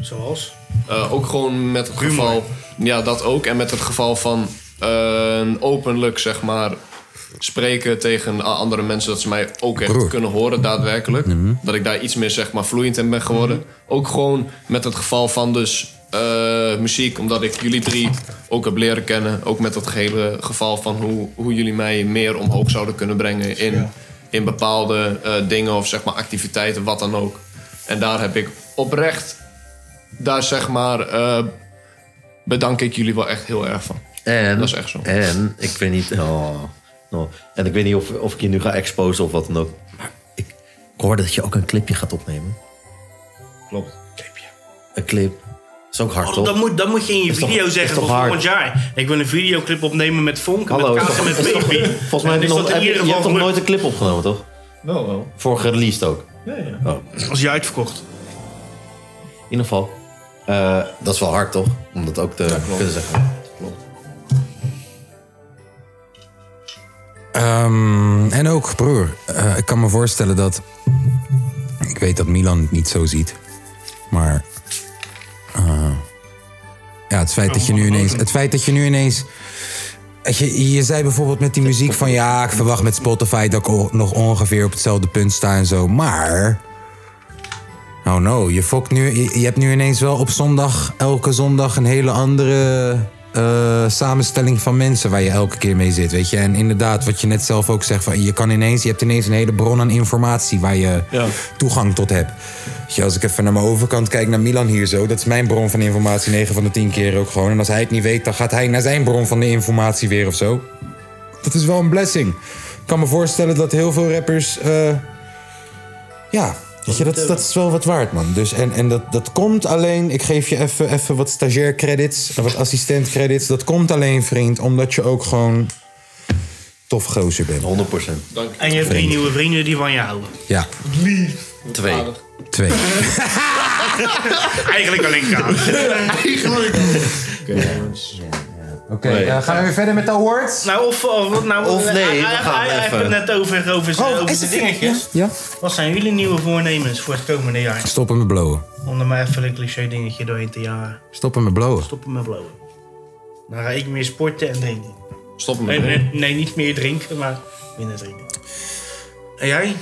Zoals? Eh, ook gewoon met het geval... Ja, dat ook. En met het geval van eh, openlijk, zeg maar... Spreken tegen a- andere mensen dat ze mij ook echt Broer. kunnen horen, daadwerkelijk. Mhm. Dat ik daar iets meer zeg maar, vloeiend in ben geworden. Mhm. Ook gewoon met het geval van dus eh, muziek, omdat ik jullie drie ook heb leren kennen. Ook met dat gehele geval van hoe, hoe jullie mij meer omhoog zouden kunnen brengen in, in bepaalde eh, dingen of zeg maar activiteiten, wat dan ook. En daar heb ik oprecht, daar zeg maar, eh, bedank ik jullie wel echt heel erg van. En, Dat is echt zo. En ik weet niet. Oh, oh. En ik weet niet of, of ik je nu ga exposen of wat dan ook. Maar ik, ik hoorde dat je ook een clipje gaat opnemen. Klopt. Een clip. is ook hard, Oh, toch? dat, moet, dat moet je in je Is toch- video is zeggen toch voor hard? volgend jaar. Ik wil een videoclip opnemen met Fonk, met is Kaas toch- en met is toch- Baby. Volgens mij heb je, is nog, dat in heb je, ieder je hebt geval toch gelukt. nooit een clip opgenomen, toch? Wel, wel. Vorige released ook. Oh. Als je uitverkocht. In ieder geval. eh, dat is wel hard, toch? Om dat ook te kunnen zeggen. Ehm, en ook, broer, eh, ik kan me voorstellen dat... Ik weet dat Milan het niet zo ziet. Maar... eh, ja, het feit dat je nu ineens... Het feit dat je nu ineens... weet Je, je zei bijvoorbeeld met die muziek van... Ja, ik verwacht met Spotify dat ik o- nog ongeveer op hetzelfde punt sta en zo. Maar... Oh no, je, fokt nu, je, je hebt nu ineens wel op zondag, elke zondag, een hele andere eh, samenstelling van mensen waar je elke keer mee zit. Weet je? En inderdaad, wat je net zelf ook zegt, van, je, kan ineens, je hebt ineens een hele bron aan informatie waar je toegang tot hebt. Weet je, als ik even naar mijn overkant kijk, naar Milan hier zo, dat is mijn bron van informatie 9 van de 10 keer ook gewoon. En als hij het niet weet, dan gaat hij naar zijn bron van de informatie weer of zo. Dat is wel een blessing. Ik kan me voorstellen dat heel veel rappers. eh, ja, weet je, dat, dat is wel wat waard, man. Dus, en en dat, dat komt alleen. Ik geef je even, even wat stagiair credits en wat assistent credits. Dat komt alleen, vriend, omdat je ook gewoon tof gozer bent. 100%. En je hebt drie nieuwe vrienden die van je houden. Ja, Lief. Twee. twee. Eigenlijk alleen Kaas. Eigenlijk. Oké, eh, gaan we weer verder met de awards? Nou, of, of, nou, Of nee, hij- we hij- gaan hij- Hij even. heeft het net over, over, Oh, zijn- over is zijn het- dingetjes. Ja? Wat zijn jullie nieuwe voornemens voor het komende jaar? Stoppen met blowen. Om er maar even een cliché dingetje doorheen te jagen. Stoppen met blowen. Stoppen met blowen. Dan ga ik meer sporten en drinken. Stop hem Nee, ermee. nee, nee, niet meer drinken, maar minder drinken. En jij?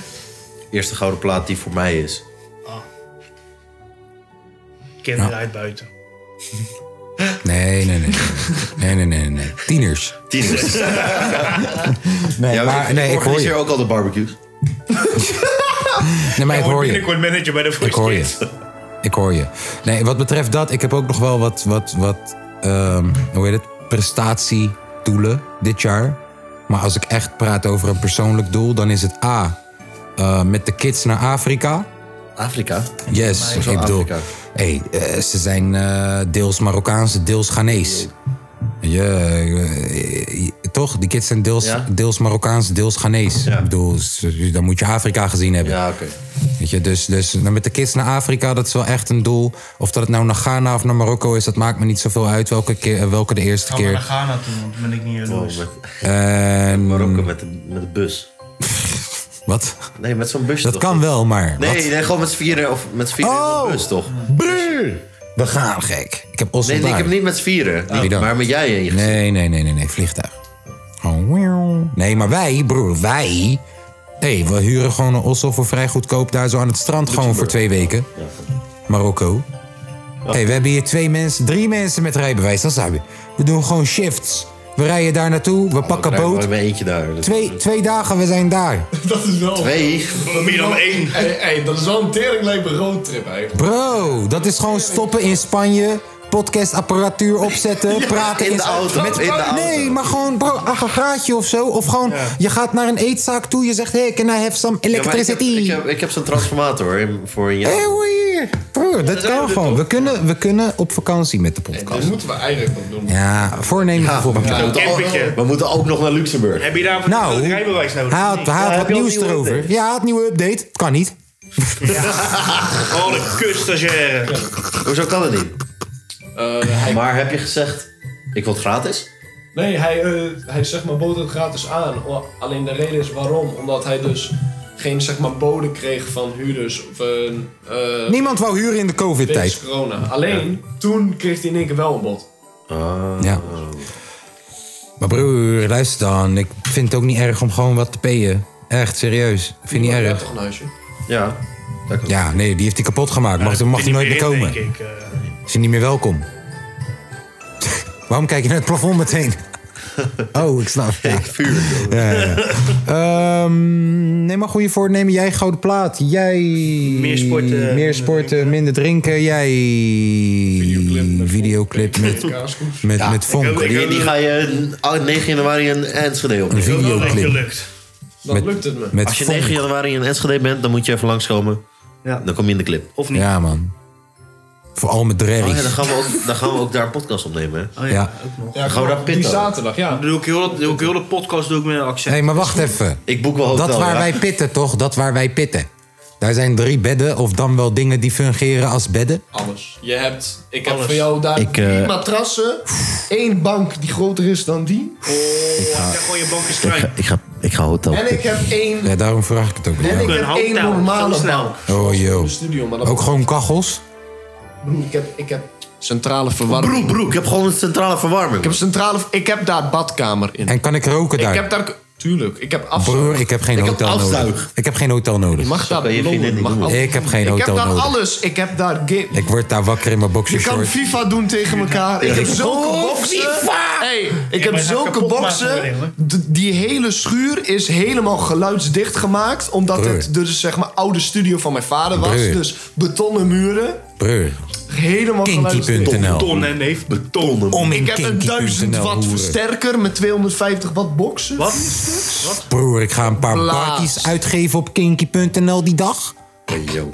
Eerste gouden plaat die voor mij is. Kinderen uit buiten. Nee, nee, nee. Nee, nee, nee, nee, nee. Tieners. Tieners. Nee, maar, nee ik hoor je. ook al de barbecues. Nee, maar ik hoor je. Binnenkort manager bij de Ik Voice hoor Kids. je. Ik hoor je. Nee, wat betreft dat, ik heb ook nog wel wat, wat, wat ehm, hoe heet het, prestatiedoelen dit jaar. Maar als ik echt praat over een persoonlijk doel, dan is het A, eh, met de kids naar Afrika. Afrika? Yes, Maar ik bedoel, Afrika. hey, eh, ze zijn eh, deels Marokkaanse, deels Ghanese. Ja, eh, eh, toch? Die kids zijn deels, Ja. deels Marokkaans, deels Ghanese. Ik bedoel, ze- dan moet je Afrika gezien hebben. Ja, oké. Weet je, dus, dus nou, met de kids naar Afrika, dat is wel echt een doel. Of dat het nou naar Ghana of naar Marokko is, dat maakt me niet zoveel uit welke, keer, eh, welke de eerste Ga maar naar keer. Ghana toe, want dan ben ik niet Oh, jaloers. En... Marokko met de, met de bus. Wat? Nee, met zo'n bus Dat toch? kan wel, maar. Nee, wat? Oh! nee, gewoon met z'n vieren, of met z'n vieren in de bus, toch? Bruur! We gaan gek. Ik heb Os Nee, nee, ik heb niet met z'n vieren. Niet- maar met jij in Nee, nee, nee, nee, nee, vliegtuig. Oh, wauw. nee, maar wij, broer, wij. Hé, we huren gewoon een ossel voor vrij goedkoop daar zo aan het strand gewoon voor twee weken. Marokko. Hé, we hebben hier twee mensen, drie mensen met rijbewijs. Dat zijn we. We doen gewoon shifts. We rijden daar naartoe, we pakken we boot. hebben eentje Oh, daar. Dat is- Twee, twee dagen, we zijn daar. Dat is wel... Twee? Oh. Meer dan één. Hey, hey, dat is wel een teringlepe roadtrip eigenlijk. Bro, dat is gewoon stoppen in Spanje. Podcastapparatuur opzetten, Ja, praten in de Spanje. auto, in de auto. Nee, maar gewoon, bro, aggregaatje of zo. Of gewoon, je gaat naar een eetzaak toe, je zegt: Hey, can I have some Ja, maar ik, heb, electricity? ik, heb, ik heb zo'n transformator hoor, in- voor een jaar. Hé, hoe hier? Bro, dat kan gewoon. We kunnen, we kunnen op vakantie met de Dat podcast. moeten we eigenlijk nog doen. Ja, voornemen voor volgend jaar. we moeten ook nog naar Luxemburg. Heb je daarvoor Nou, een rijbewijs nodig? Hij had, hij had wat nieuws erover. Ja, hij had een nieuwe update. Het kan niet. Oh, de kutstagiaire. Eh, Hoezo kan het niet? Maar heb je gezegd, ik wil het gratis? Nee, hij, eh, hij zeg maar, bood het gratis dus aan. O- Alleen de reden is waarom. Omdat hij dus geen zeg maar, bode kreeg van huurders. Of, een, eh, Niemand wou huren in de wegens COVID-tijd. corona. Alleen toen kreeg hij in één keer wel een bod. Ja. Oh. Maar broer, luister dan. Ik vind het ook niet erg om gewoon wat te payen. Echt, serieus. Ik vind het niet Hij had erg. toch een huisje? Ja. Ja, nee, die heeft hij kapot gemaakt. Mag, mag hij nooit meer komen. Is hij niet meer welkom. Waarom kijk je naar het plafond meteen? Oh, ik snap. Ja. vuur. Ja, ja, ja. Ehm, nee, maar goede voornemen. Jij gouden plaat. Jij... Meer sporten. Meer sporten, minder drinken. Jij... Videoclip met... Met, Ja, met vonk. Die, die ga je eh, 9 januari in Enschede op. Een videoclip. Dan lukt het me. met Als je vonk. 9 januari in Enschede bent, dan moet je even langskomen. Dan kom je in de clip. Of niet? Ja, man. Vooral met Oh ja, drerries. dan, gaan we ook, dan gaan we ook daar een podcast opnemen. Hè? Oh ja, Ja. Dan gaan we daar Die pitten. zaterdag, ja. Doe ik heel, doe ik heel de podcast doe ik met een accent. hey, maar wacht even. Ik boek wel hotel, Dat waar ja. wij pitten, toch? Dat waar wij pitten. Daar zijn drie bedden, of dan wel dingen die fungeren als bedden. Alles. Je hebt, ik heb voor jou daar Ik, eh, drie matrassen. één bank die groter is dan die. Gewoon je bank is Ik ga, ik, ga, ik ga hotel. En ik heb één, Ja, daarom vraag ik het ook. en ik Ja. heb één normale bank. Oh, joh. Studio, maar dat Ook gewoon kachels? Broer, ik heb, ik heb centrale verwarming. Broek, broek, ik heb gewoon een centrale verwarming. Ik heb centrale, ik heb daar badkamer in. En kan ik roken daar? Ik heb daar, tuurlijk, ik heb afzuig. Broer, ik heb geen Ik heb hotel nodig. afzuig. Ik heb geen hotel nodig. Je mag daar kan je blowen, vriendin mag niet alles. Ik heb geen Ik heb hotel daar nodig. alles. Ik heb daar game. Ik word daar wakker in mijn Je kan boxershorts. FIFA doen tegen elkaar. Ik heb zulke Oh, boxen. Hey, ik heb maar je gaat zulke kapot maken, boxen. hoor, jongen. D- Die hele schuur is helemaal geluidsdicht gemaakt. Omdat Broer. het dus zeg maar oude studio van mijn vader was. Broer. Dus betonnen muren. Broer, Helemaal geluidsdicht. kinky.nl. Ton en neef betonnen. Om in Ik heb een 1000 kinky.nl. watt hoeren. versterker met 250 watt boxen. Wat? Broer, ik ga een paar Blaas. parties uitgeven op kinky.nl die dag. joh.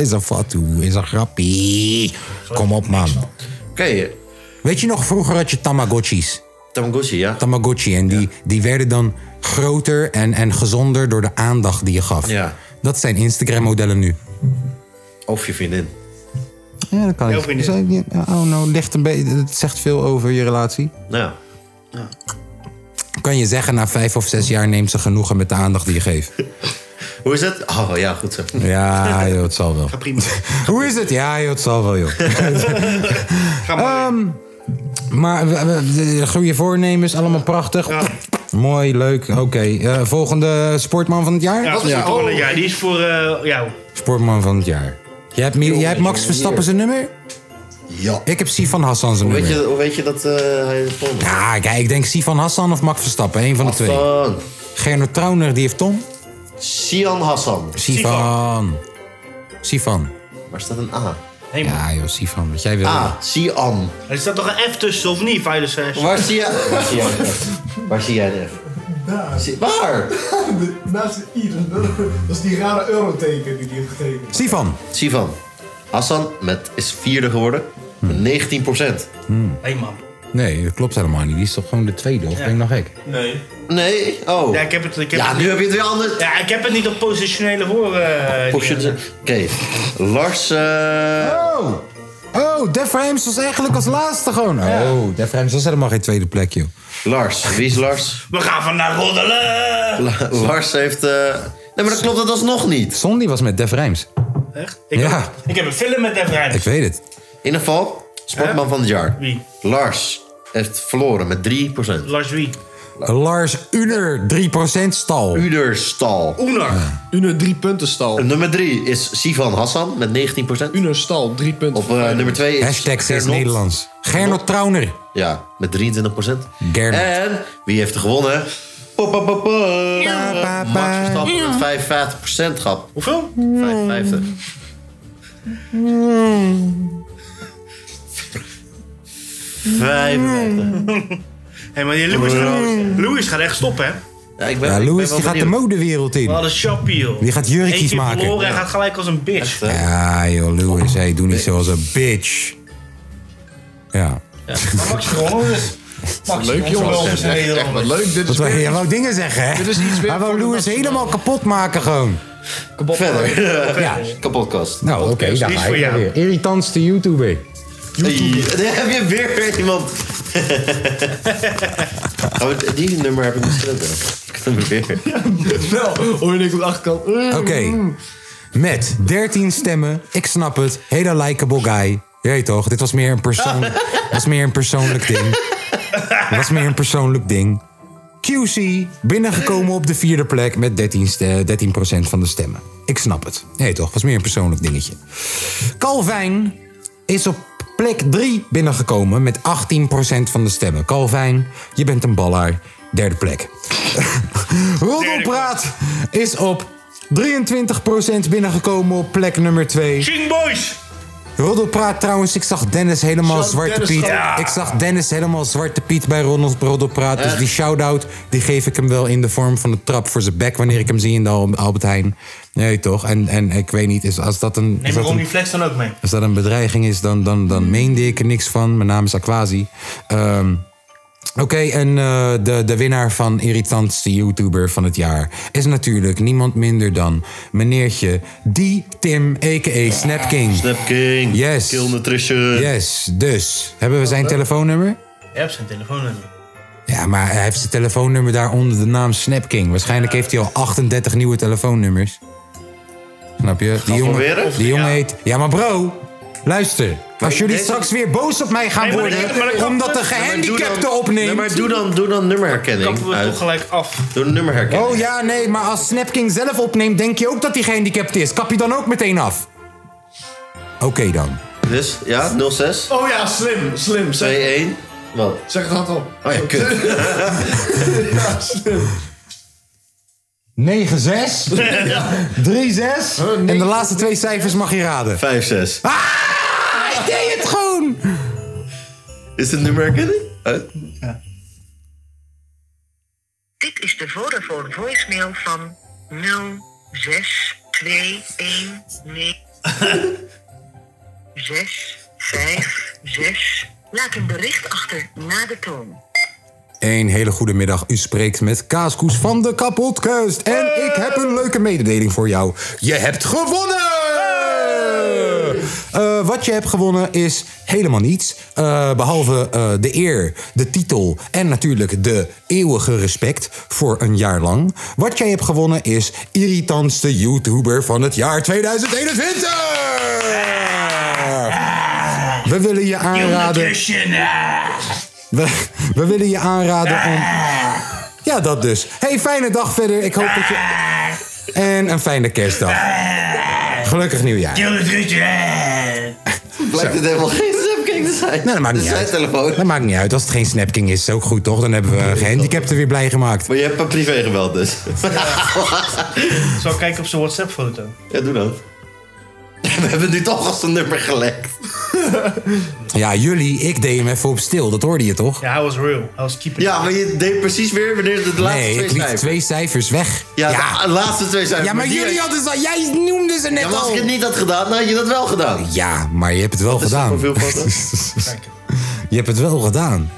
Is een fatu, is een grappie. Kom op, man. Oké, eh, Weet je nog, vroeger had je Tamagotchis. Tamagotchi, ja. Tamagotchi. En die, die werden dan groter en, en gezonder door de aandacht die je gaf. Ja. Dat zijn Instagram-modellen nu. Of je vriendin. Ja, dat kan Jouw vriendin. Zou ik- Oh, nou, ligt een beetje. Het zegt veel over je relatie. Nou ja. Kan je zeggen, na vijf of zes jaar neemt ze genoegen met de aandacht die je geeft? Hoe is het? Oh ja, goed zo. Ja, joh, het zal wel. Prima. Hoe is het? Ja, joh, het zal wel, joh. Ga maar. Ehm, Maar we- we- de- de goede voornemens, allemaal prachtig. Mooi, leuk. Oké, eh, volgende sportman van het jaar? Ja, ja. Oh, ja, die is voor eh, jou. Sportman van het jaar. Jij hebt, Mi- jij hebt Max Verstappen zijn nummer? Ja. Ik heb Sifan Hassan zijn Hoe weet, nummer. je, hoe weet je dat eh, hij het vond? Ja, kijk, ik denk Sifan Hassan of Max Verstappen. Een van de twee. Gernot Trauner, die heeft Tom. Sian Hassan. Sifan. Sifan. Waar staat een A? Ja, joh, Sifan, wat jij wil. A. Sian. Er staat toch een F tussen, of niet, Veilig Waar zie jij? Waar zie jij de F? Waar zie jij de F? Zie- Waar? Naast de I. Dat dat is die rare euroteken die die heeft getekend. Sivan. Sivan. Hassan met, is vierde geworden. Met Hm. 19 procent. Hé man. Hmm. Nee, dat klopt helemaal niet. Die is toch gewoon de tweede, of ben ik nog gek? Nee. Nee? Oh. Ja, ik heb het, ik heb Ja, het nu niet- heb je het weer anders. Ja, ik heb het niet op positionele eh, horen. Potion- Oké. Dus, Lars... eh, Oh! Oh, Def Rhymes was eigenlijk als laatste gewoon. Oh, Def Rhymes was helemaal geen tweede plek, joh. Lars. Wie is Lars? We gaan vandaag roddelen! La- Lars heeft... eh, Nee, maar dat klopt dat alsnog niet. Sondi was met Def Rhymes. Echt? Ik ja, Ik heb een film met Def Rijn. ik weet het. In ieder geval, sportman van het jaar. Wie? Lars heeft verloren met 3 procent. Lars wie? Lars Uner, 3% stal. Uderstal. Oener. Uner 3 punten stal. Nummer 3 is Sivan Hassan met 19%. Unerstal 3 punten. Of eh, nummer 2 is. Hashtag is Gernot. Nederlands. Gernot Trauner. Ja, met 23%. Gernot. En wie heeft er gewonnen? Pa, pa, pa, pa. Max Verstappen met 55% grap. Hoeveel? 55. Hé, maar die Louis, gaat- Louis gaat echt stoppen, hè? Mm. Ja, ik Ja, Louis die gaat de modewereld in. Wat een chappie, joh. Die gaat jurkjes Eén keer maken. verloren en Ja. gaat gelijk als een bitch. Ja, joh, Louis, hey, doe niet zoals een bitch. Ja. Max gewonnen dus. Max Leuk gewonnen, jongens. wel Echt, gezien, echt jongens. wat leuk. Dit Dat is wij, weer- jij wou dingen zeggen, hè? Dit is iets weer Hij wou voor de Louis nationale- helemaal kapot maken gewoon. Kapot Verder. Ja. Kapotkast. Nou, oké, daar Die is ga voor ik jou. weer. Irritantste YouTuber. Hey, daar heb je weer iemand. oh, die nummer heb ik misschien ook wel. Ik heb hem weer. Wel, hoor je niks op de achterkant. Oké. Met 13 stemmen, ik snap het, hele likable guy. Je weet toch, dit was meer een, persoon, was meer een persoonlijk ding. was meer een persoonlijk ding. QC, binnengekomen op de vierde plek met 13, ste- 13% van de stemmen. Ik snap het. Je weet toch, was meer een persoonlijk dingetje. Calvijn is op plek 3 binnengekomen met 18% van de stemmen. Calvijn, je bent een ballaar. Derde plek. Roddelpraat is op 23% binnengekomen op plek nummer 2. Ching Boys! Roddelpraat trouwens, ik zag Dennis helemaal Zag Zwarte Oh, Dennis Piet. gewoon- Ja. Ik zag Dennis helemaal Zwarte Piet bij Ronald Roddelpraat. Dus Echt? die shout-out die geef ik hem wel in de vorm van de trap voor zijn bek... wanneer ik hem zie in de Al- Albert Heijn. Nee, toch? En, en ik weet niet, is, als dat een... is Neem dat een- Ronnie Flex dan ook mee. als dat een bedreiging is, dan, dan, dan meende ik er niks van. Mijn naam is Aquasi. Ehm, Oké, en eh, de, de winnaar van irritantste YouTuber van het jaar is natuurlijk niemand minder dan meneertje die Tim, a.k.a. Snapking. Snapking. Yes. Kill Nutrition. Yes, dus hebben we zijn telefoonnummer? Je hebt zijn telefoonnummer. Ja, maar hij heeft zijn telefoonnummer daar onder de naam Snapking. Waarschijnlijk heeft hij al 38 nieuwe telefoonnummers. Snap je? Die jongen, proberen? die jongen heet... Ja, maar bro, luister. Als jullie deze- straks weer boos op mij gaan Nee, maar worden... nee, maar dat kan- omdat de Nee, maar doe gehandicapte dan- opneemt... Nee, maar doe dan, doe dan nummerherkenning. Kappen we uit. toch gelijk af. Doe een nummerherkenning. Oh ja, nee, maar als Snapking zelf opneemt... denk je ook dat hij gehandicapt is. Kap je dan ook meteen af. Oké dan. Dus, ja, 06. Oh ja, slim, slim. Zeg, 2, 1. Wat? zeg het hardop. Oh ja, kut. ja, slim. 9-6. 3-6. En de laatste twee cijfers mag je raden. 5, 6. Ah, ik deed het gewoon! Is het nummerherkenning? Eh, Dit is de Vodafone voicemail van 06219 656. Laat een bericht achter na de toon. Een hele goede middag. U spreekt met Kaaskoes van de Kapotkeust. En ik heb een leuke mededeling voor jou. Je hebt gewonnen! Eh, wat je hebt gewonnen is helemaal niets. Eh, behalve eh, de eer, de titel en natuurlijk de eeuwige respect voor een jaar lang. Wat jij hebt gewonnen is irritantste YouTuber van het jaar 2021! We willen je aanraden. eh. We, we willen je aanraden om. Ah. Ja, dat dus. Hey, fijne dag verder. Ik hoop dat je. Ah. En een fijne kerstdag. Gelukkig nieuwjaar. Blijkt het helemaal geen snapking te zijn. Nee, dat maakt niet uit. Dat maakt niet uit. Als het geen snapking is, is het ook goed toch? Dan hebben we een gehandicapten weer blij gemaakt. Maar je hebt een privé gebeld dus. Zal ik kijken op zijn WhatsApp-foto? Ja, doe dat. We hebben nu toch al zijn nummer gelekt. Ja, jullie, ik deed hem even op stil. Dat hoorde je toch? Ja, hij was real. Hij was keeper. Ja, maar je deed precies weer wanneer de laatste Nee, twee ik liet cijfers. twee cijfers weg. Ja, de Ah, laatste twee cijfers. Ja, maar die- jullie hadden ze al. Jij noemde ze net Ja, maar als al. ik het niet had gedaan, dan had je dat wel gedaan. Ja, maar je hebt het wel gedaan. je hebt het wel gedaan.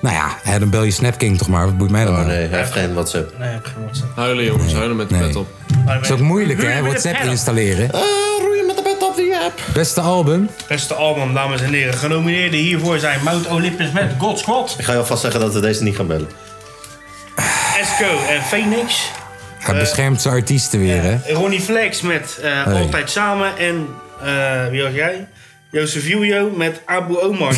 Nou ja, hè, dan bel je Snapking toch maar. Wat boeit mij dan? Oh nee, hij heeft geen WhatsApp. Nee, heb geen WhatsApp. Huilen jongens, huilen met de pet op. Het is ook moeilijk Roeien hè, met de WhatsApp pet op. installeren. Eh, roeien met de pet op die app. Beste album. Beste album, dames en heren. Genomineerden hiervoor zijn Mount Olympus met God Squad, Ik ga je alvast zeggen dat we deze niet gaan bellen. Esco en Phoenix. Hij Eh, beschermt zijn artiesten weer hè. Ronnie Flex met eh, Hey. Altijd Samen. En eh, wie was jij? Jozef Julio met Abu Omar.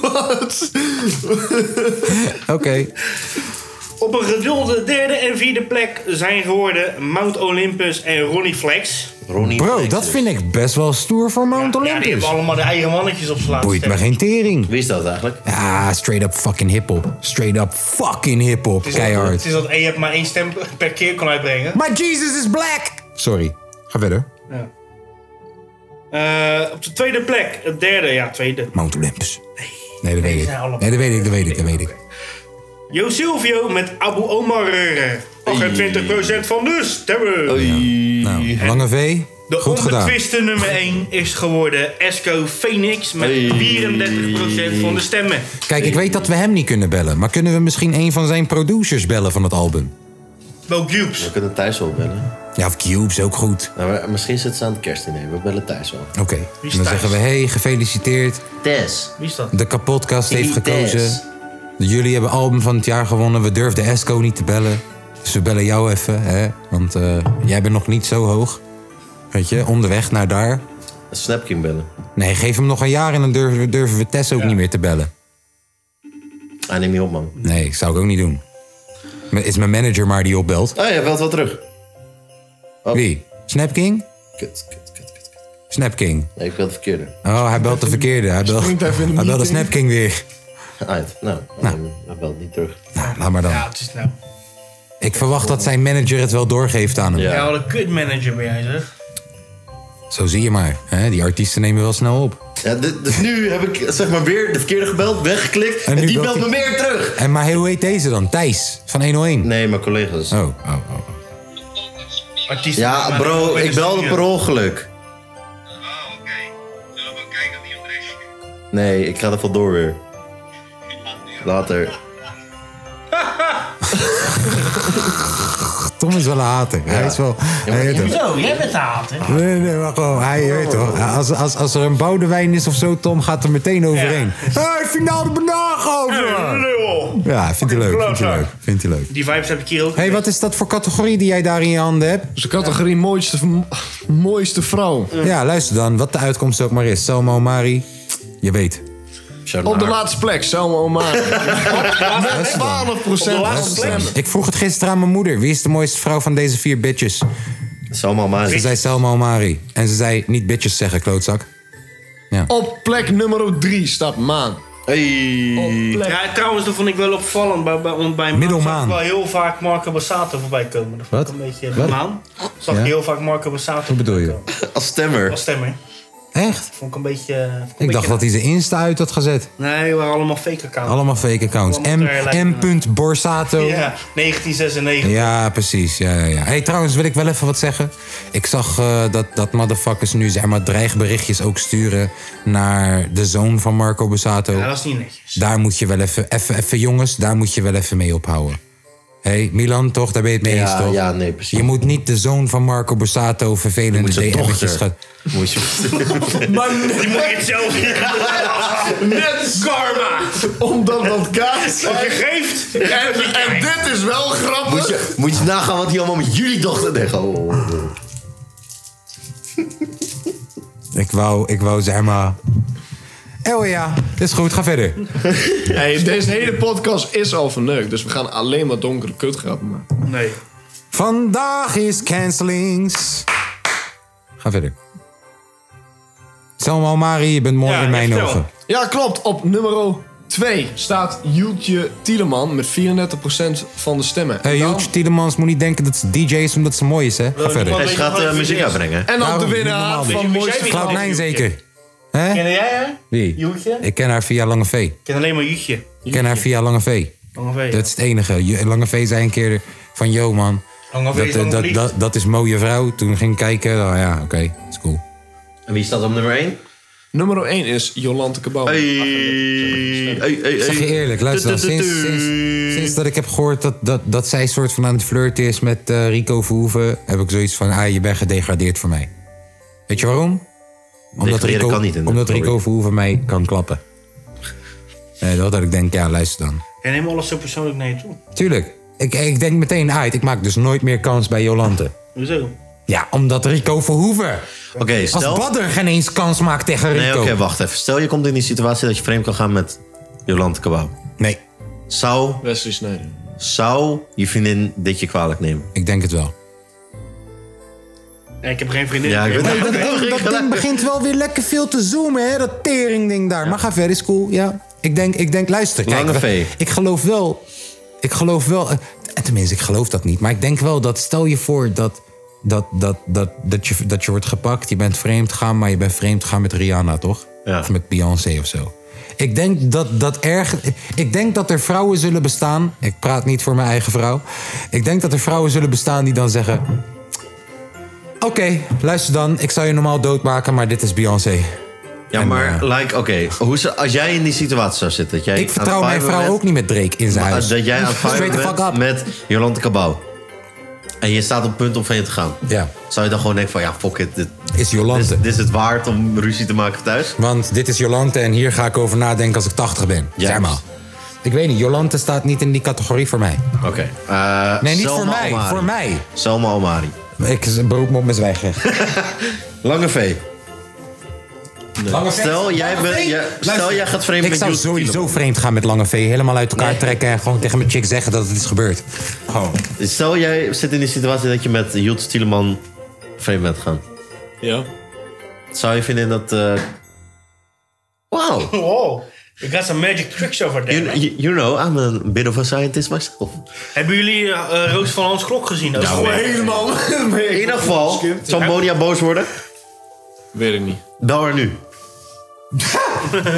Wat? Oké. Op een gedulde derde en vierde plek zijn geworden Mount Olympus en Ronnie Flex. Bro, dat vind ik best wel stoer voor Mount Ja, die hebben Olympus. allemaal de eigen mannetjes op slaap. Boeit me geen tering. Wie is dat eigenlijk? Ja, straight up fucking hip-hop. Straight up fucking hip-hop. Het is dat- Het Keihard. is dat je hebt maar één stem per keer kon uitbrengen. Maar Jesus is black! Sorry. Ga verder. Eh, op de tweede plek, het derde, ja, tweede. Mount Olympus. Nee, dat Nee, weet ze ik. zijn allemaal- Nee, dat weet ik, dat weet ik, dat weet ik. Jo Silvio met Abu Omar. 28% van de stemmen. Nou, Lange V, De goed gedaan. onbetwiste nummer 1 is geworden Esco Phoenix met 34% van de stemmen. Kijk, ik weet dat we hem niet kunnen bellen. Maar kunnen we misschien een van zijn producers bellen van het album? Wel Cubes. We kunnen Thijs wel bellen. Ja, of Cubes, ook goed. Nou, maar misschien zit ze aan het kerstdiner. We bellen Thijs wel. Oké, en dan Thijs? zeggen we... hey, gefeliciteerd. Tess. Wie is dat? De kapotkast heeft Hey, Tess. gekozen. Jullie hebben album van het jaar gewonnen. We durfden Esco niet te bellen. Dus we bellen jou even, hè? Want eh, jij bent nog niet zo hoog. Weet je, onderweg naar daar. Snapkin bellen. Nee, geef hem nog een jaar en dan durven, durven we Tess ook niet meer te bellen. Ah, neem niet op, man. Nee, zou ik ook niet doen. M- Is mijn manager maar die opbelt. Oh, ja, belt wel terug. Oh. Wie? Snapking? Kut, Snapking. Nee, ik wil het verkeerde. Oh, hij belt de verkeerde. Hij belt, Springt even in de hij belt de meeting. Snapking weer. Uit. Nou, ehm, hij belt niet terug. Nou, laat maar dan. Ja, het is nou. Ik verwacht dat zijn manager het wel doorgeeft aan hem. Ja, wat een kut manager ben jij zeg. Zo zie je maar. Hè? Die artiesten nemen wel snel op. Ja, dit- dus nu heb ik zeg maar weer de verkeerde gebeld, weggeklikt. En, nu die belt belt me hij- meer terug. En maar hoe heet deze dan? Thijs van 101? Nee, mijn collega's. Oh, oh, oh. Artiesten Ja, maar bro, ook in ik de belde studio. per ongeluk. Nee, ik ga er vandoor weer. Later. Tom is wel een hater. Hij is wel... hij weet het. Hoezo? Jij bent de hater. Nee, nee, maar gewoon, hij weet toch. Als, als, als er een Boudewijn is of zo, Tom gaat er meteen overheen. Hey, finale benaag Hey, over! lul. Ja, vindt hij leuk, vindt hij leuk, vindt hij leuk. Die vibes heb ik hier ook. Hé, hey, wat is dat voor categorie die jij daar in je handen hebt? is de categorie mooiste, mooiste vrouw. Ja, luister dan, wat de uitkomst ook maar is. Selma Omari, je weet. Op de laatste plek, Selma Omar. Met 12 Ik vroeg het gisteren aan mijn moeder. Wie is de mooiste vrouw van deze vier bitches? Selma Omari. Ze zei Selma Omari. En ze zei niet bitches zeggen, klootzak. Op plek nummer 3 staat Maan. Hey. Ja, trouwens, dat vond ik wel opvallend. Bij, bij, want bij Maan Middelmaan. zag ik wel heel vaak Marco Bassato voorbij komen. Dat vond ik Wat? een beetje Wat? Maan. Zag Ja? ik heel vaak Marco Bassato. Hoe bedoel je? Als stemmer. Als stemmer. Echt? Vond ik een beetje... eh, vond een Ik dacht beetje- dat hij zijn Insta uit had gezet. Nee, we waren allemaal fake accounts. Allemaal fake accounts. M. M. Borsato. Ja, 1996. Ja, precies. Ja, ja, ja. Hey, trouwens, wil ik wel even wat zeggen. Ik zag eh, dat, dat motherfuckers nu zeg maar, dreigberichtjes ook sturen naar de zoon van Marco Bussato. Ja, dat is niet netjes. Daar moet je wel even, even, even jongens, daar moet je wel even mee ophouden. Hé, hey, Milan, toch? Daar ben je het mee eens, Ja, toch? ja, nee, precies. Je moet niet de zoon van Marco Borsato vervelende zijn dochter. DM'tjes gaan... Moet je... Je moet het zelf Net karma. Omdat dat kaas Wat je geeft. En, en dit is wel grappig. Moet je, moet je nagaan wat hij allemaal met jullie dochter deed. Oh. Ik wou, ik wou zeg maar... Oh ja, is goed, ga verder. Hey, deze hele podcast is al verneukt, dus we gaan alleen maar donkere kutgrappen maken. Nee. Vandaag is cancelings. Ga verder. Selma Mari, je bent mooi in mijn ogen. Ja, klopt. Op nummer 2 staat Jultje Tieleman met 34% van de stemmen. Hey, Jootje Tiedemans moet niet denken dat ze DJ is omdat ze mooi is, hè? Ga verder. Nou, Hij gaat eh, muziek uitbrengen. En dan de winnaar van mooiste Cloud Nine zeker. Hè? Ken jij haar? Wie? Joetje? Ik ken haar via Lange V. Ik ken alleen maar Jutje. Ik ken haar via Lange V. Lange V, ja. Dat is het enige. Je- Lange V zei een keer van, yo man, Lange dat, V is eh, lang dat, verliefd. dat, dat is mooie vrouw. Toen ging ik kijken, nou ja, oké, is cool. En wie staat op nummer 1? Nummer 1 is Jolante Cabau. Hey, Ik zeg je eerlijk, luister dan. Sinds, sinds, sinds dat ik heb gehoord dat, dat, dat zij soort van aan het flirten is met eh, Rico Verhoeven... heb ik zoiets van, ah, je bent gedegradeerd voor mij. Weet je waarom? Omdat Degraderen Rico, kan niet in de omdat Rico categorie. Verhoeven mij kan klappen. Eh, dat dat ik denk, ja, luister dan. En neem alles zo persoonlijk naar je toe. Tuurlijk, ik, ik denk meteen uit. Ik maak dus nooit meer kans bij Jolante. Hoezo? Ja, omdat Rico Verhoeven... Oké, stel- Als Badder geen eens kans maakt tegen Rico. Nee, oké, wacht even. Stel je komt in die situatie dat je vreemd kan gaan met Jolante Kabau. Nee. Zou... Wesley Snijder. Zou je vriendin dit je kwalijk nemen? Ik denk het wel. Nee, ik heb geen vriendin. Ja, ik weet Nee, dat, ding, dat ding begint wel weer lekker veel te zoomen, hè? Dat teringding daar. Maar ga verder, is cool. Ja. Ik denk, ik denk luister. Kijk, Lange we- V. Ik geloof wel. Ik geloof wel. eh, En tenminste, ik geloof dat niet. Maar ik denk wel dat stel je voor dat. Dat, dat, dat, dat, je, dat je wordt gepakt, je bent vreemd gaan, maar je bent vreemd gaan met Rihanna, toch? Of met Beyoncé of zo. Ik denk dat, dat erg. Ik denk dat er vrouwen zullen bestaan. Ik praat niet voor mijn eigen vrouw. Ik denk dat er vrouwen zullen bestaan die dan zeggen: Oké, luister dan. Ik zou je normaal doodmaken, maar dit is Beyoncé. Ja, maar like, oké. hoe ze- Als jij in die situatie zou zitten... Dat jij eh, Ik vertrouw mijn vrouw ook niet met Drake in zijn huis. Ah, Dat jij aan het Straight vijven the fuck bent met Jolante Kabau. En je staat op het punt om van je te gaan. Ja. Zou je dan gewoon denken van... Ja, fuck it. Dit is Jolante. Dit, is het waard om ruzie te maken thuis? Want dit is Jolante en hier ga ik over nadenken als ik 80 ben. Zeg maar. Ik weet niet, Jolante staat niet in die categorie voor mij. Oké. eh, Nee, niet Selma voor mij, Omari. voor mij. Selma Omari. Ik beroep me op mijn zwijgen. Lange V. Lange V. Stel, jij, Lange bent- V? jij- stel, jij gaat vreemd ik met zou Joet sowieso vreemd gaan met Lange V. Helemaal uit elkaar trekken en gewoon tegen mijn chick zeggen dat het is gebeurd. Gewoon. Stel, jij zit in die situatie dat je met Jult Tieleman vreemd bent gaan. Ja. Zou je vinden dat... eh, Wow. Wow. Ik got some magic tricks over there. man. you, you know, I'm a bit of a scientist myself. Hebben jullie eh, eh, Roos van Hans Klok gezien? Dat is Nou, gewoon nee. helemaal... In ieder geval, zal Monia boos worden? Weet ik niet. Bel haar nu.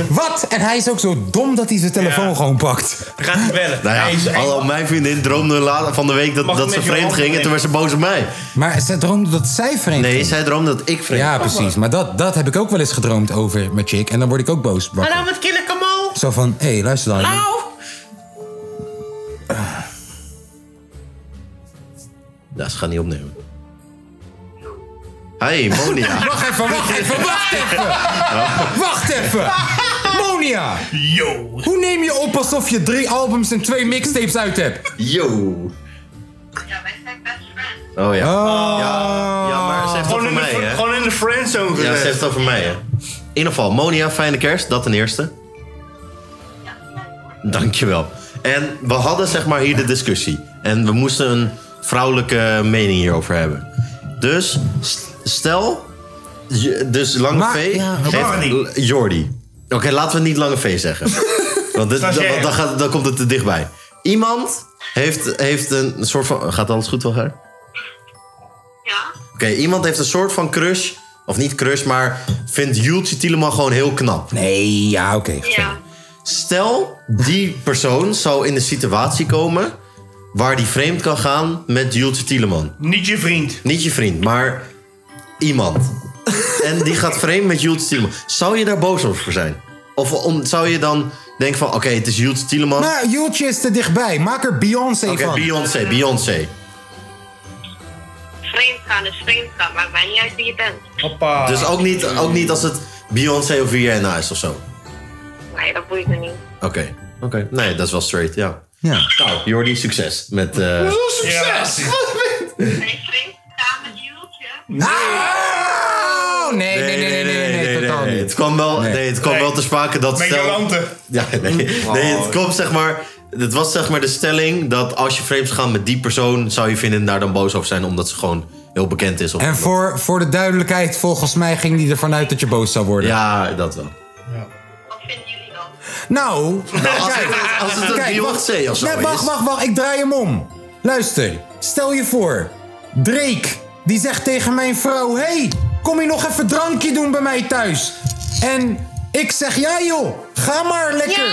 Wat? En hij is ook zo dom dat hij zijn telefoon gewoon pakt. Gaat hij bellen. Nou ja, hallo, mijn vriendin droomde la- van de week dat, Mag ik dat ze met je vreemd handen ging en toen werd ze boos op mij. Maar zij droomde dat zij vreemd Nee, zij droomde dat ik vreemd Ja, precies. Maar dat, dat heb ik ook wel eens gedroomd over mijn chick. En dan word ik ook boos. wakker. met Killer Kamal. Zo van, hé, hey, luister dan. Ja, ze gaan niet opnemen. Hey, Monia. Wacht even, wacht even, wacht even. Ah! Wacht even. Monia. Yo. Hoe neem je op alsof je drie albums en twee mixtapes uit hebt? Yo. Oh ja. Ah. Ah. Ja, ja, maar ze heeft het Gewoon over in de mij, fr- hè? gewoon in de friendzone Ja, gezet. ze heeft het over mij, hè? In ieder geval, Monia, fijne kerst, dat ten eerste. Dankjewel. En we hadden zeg maar hier de discussie. En we moesten een vrouwelijke mening hierover hebben. Dus st- stel, je- dus Lange Maar- V ja, geeft Jordi. L- Jordi. Oké, laten we niet Lange V zeggen. Want dit, dan, Stagiair. dan, gaat, dan komt het te dichtbij. Iemand heeft, heeft een soort van... Gaat alles goed wel, haar? Oké, iemand heeft een soort van crush. Of niet crush, maar vindt Jultje Tieleman gewoon heel knap. Nee, ja, oké. Stel, die persoon zou in de situatie komen... waar die vreemd kan gaan met Jultje Tieleman. Niet je vriend. Niet je vriend, maar iemand. en die gaat vreemd met Jultje Tieleman. Zou je daar boos over zijn? Of om, zou je dan denken van... oké, het is Jultje Tieleman. Nou, Jultje is te dichtbij. Maak er Beyoncé Oké, van. Beyoncé, Beyoncé. Vreemd gaan is vreemd gaan, maakt mij niet uit wie je bent. Hoppa. Dus ook niet, ook niet als het Beyoncé of Rihanna is of zo. Nee, dat boeit me niet. Oké. Oké. Nee, dat is wel straight, ja. Ja. Nou, Jordi, succes met... eh, succes! Ah! Oh, nee, nee, nee, nee, nee, nee, totaal niet. Het kwam wel, nee. het kwam wel te sprake dat stel... Ja, nee. nee, het komt zeg maar... Het was zeg maar de stelling dat als je frames gaat met die persoon... zou je vinden daar dan boos over zijn omdat ze gewoon heel bekend is. Of En voor, voor de duidelijkheid, volgens mij ging die ervan uit dat je boos zou worden. Ja, dat wel. Nou, als het- als het een DLC of zo nee, wacht, is. wacht, wacht. Ik draai hem om. Luister, stel je voor. Drake, die zegt tegen mijn vrouw... hey, kom je nog even drankje doen bij mij thuis? En ik zeg, ja joh, ga maar lekker.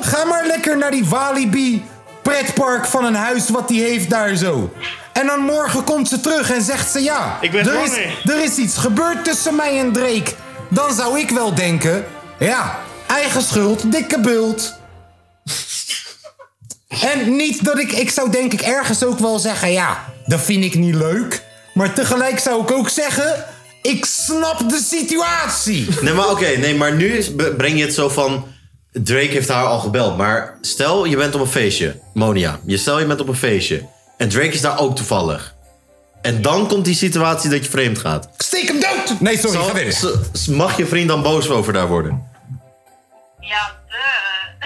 Ga maar lekker naar die Walibi pretpark van een huis wat die heeft daar zo. En dan morgen komt ze terug en zegt ze ja. Ik ben er, is, zwanger. er is iets gebeurd tussen mij en Drake. Dan zou ik wel denken, ja, eigen schuld, dikke bult. En niet dat ik, ik zou denk ik ergens ook wel zeggen, ja, dat vind ik niet leuk. Maar tegelijk zou ik ook zeggen, ik snap de situatie. Nee, maar oké, nee, maar nu is- be- breng je het zo van. Drake heeft haar al gebeld, maar stel je bent op een feestje, Monia. Je stel je bent op een feestje en Drake is daar ook toevallig. En dan komt die situatie dat je vreemd gaat. Steek hem dood! Nee, sorry, ga weer. Mag je vriend dan boos over daar worden?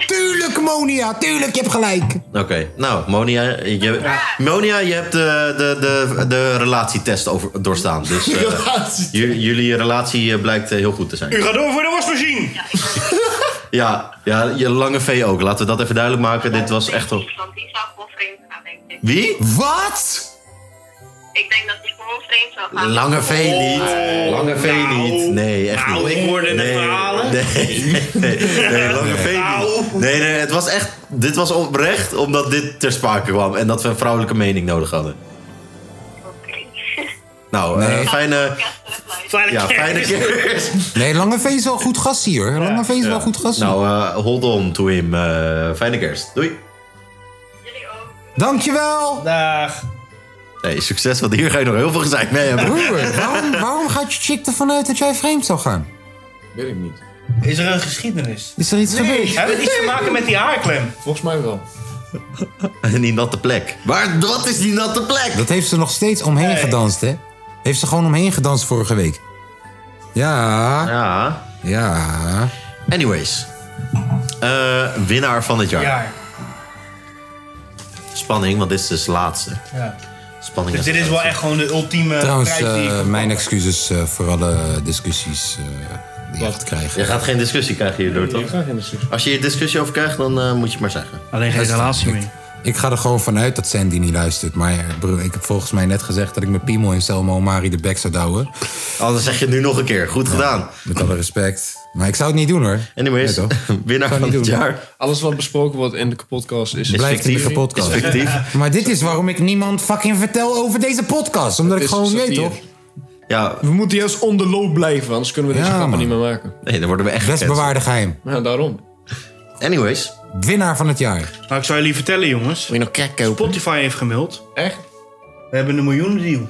Tuurlijk, Monia, tuurlijk, je hebt gelijk. Oké, nou, Monia, je, Monia, je hebt de, de, de, de relatietest over, doorstaan. Dus eh, Relatietest. ju- jullie relatie eh, blijkt eh, heel goed te zijn. U gaat door voor de wasmachine. Ja, ja, je lange V ook. Laten we dat even duidelijk maken. Dit was echt wel. Wie? Wat? Lange V niet. Oh. Lange V niet. Nee, echt niet. Oh. nou, ik hoorde het nee, verhalen. Nee, nee, nee, nee, Lange V niet. Nee, nee, het was echt... Dit was oprecht omdat dit ter sprake kwam. En dat we een vrouwelijke mening nodig hadden. Nou, eh, fijne... Fijne ja, fijne kerst. Nee, Lange V is wel goed gassie hoor. Lange V is wel goed gassie. Nou, eh, hold on to him. eh, fijne kerst. Doei. Dankjewel. Dag. Nee, succes, want hier ga je nog heel veel gezeik mee hebben. Broer, waarom, waarom gaat je chick ervan uit dat jij vreemd zou gaan? Weet ik niet. Is er een geschiedenis? Is er iets gebeurd? Hebben we iets te maken met die haarklem? Volgens mij wel. die natte plek. Maar wat is die natte plek? Dat heeft ze nog steeds omheen gedanst, hè? Heeft ze gewoon omheen gedanst vorige week. Ja. Ja. Ja. Anyways. Eh, winnaar van het jaar. Ja. Spanning, want dit is dus de laatste. ja. Spanning Dus dit is wel echt gewoon de ultieme Trouwens, prijs die ik- eh, mijn excuses eh, voor alle discussies eh, die je gaat krijgen. Je gaat geen discussie krijgen hierdoor, toch? Als je hier discussie over krijgt, dan eh, moet je het maar zeggen. Alleen geen relatie meer. Ik ga er gewoon vanuit dat Sandy niet luistert. Maar eh, broer, ik heb volgens mij net gezegd dat ik mijn piemel in Selma Omari de bek zou douwen. Anders zeg je het nu nog een keer. Goed gedaan. Met alle respect. Maar ik zou het niet doen hoor. Anyways, Nee, toch? winnaar Zou van niet het doen. jaar. Alles wat besproken wordt in de podcast is, Blijft in de fictief. podcast. Maar dit is waarom ik niemand fucking vertel over deze podcast. Omdat ik gewoon weet toch? Ja. We moeten juist onder loop blijven, anders kunnen we deze Ja, grappen man. niet meer maken. Nee, dan worden we echt Best gecanceld. bewaarde geheim. Ja, daarom. Anyways. Winnaar van het jaar. Nou, ik zou jullie vertellen, jongens. Wil je nog crack kopen? Spotify heeft gemeld. Echt? We hebben een miljoenendeal.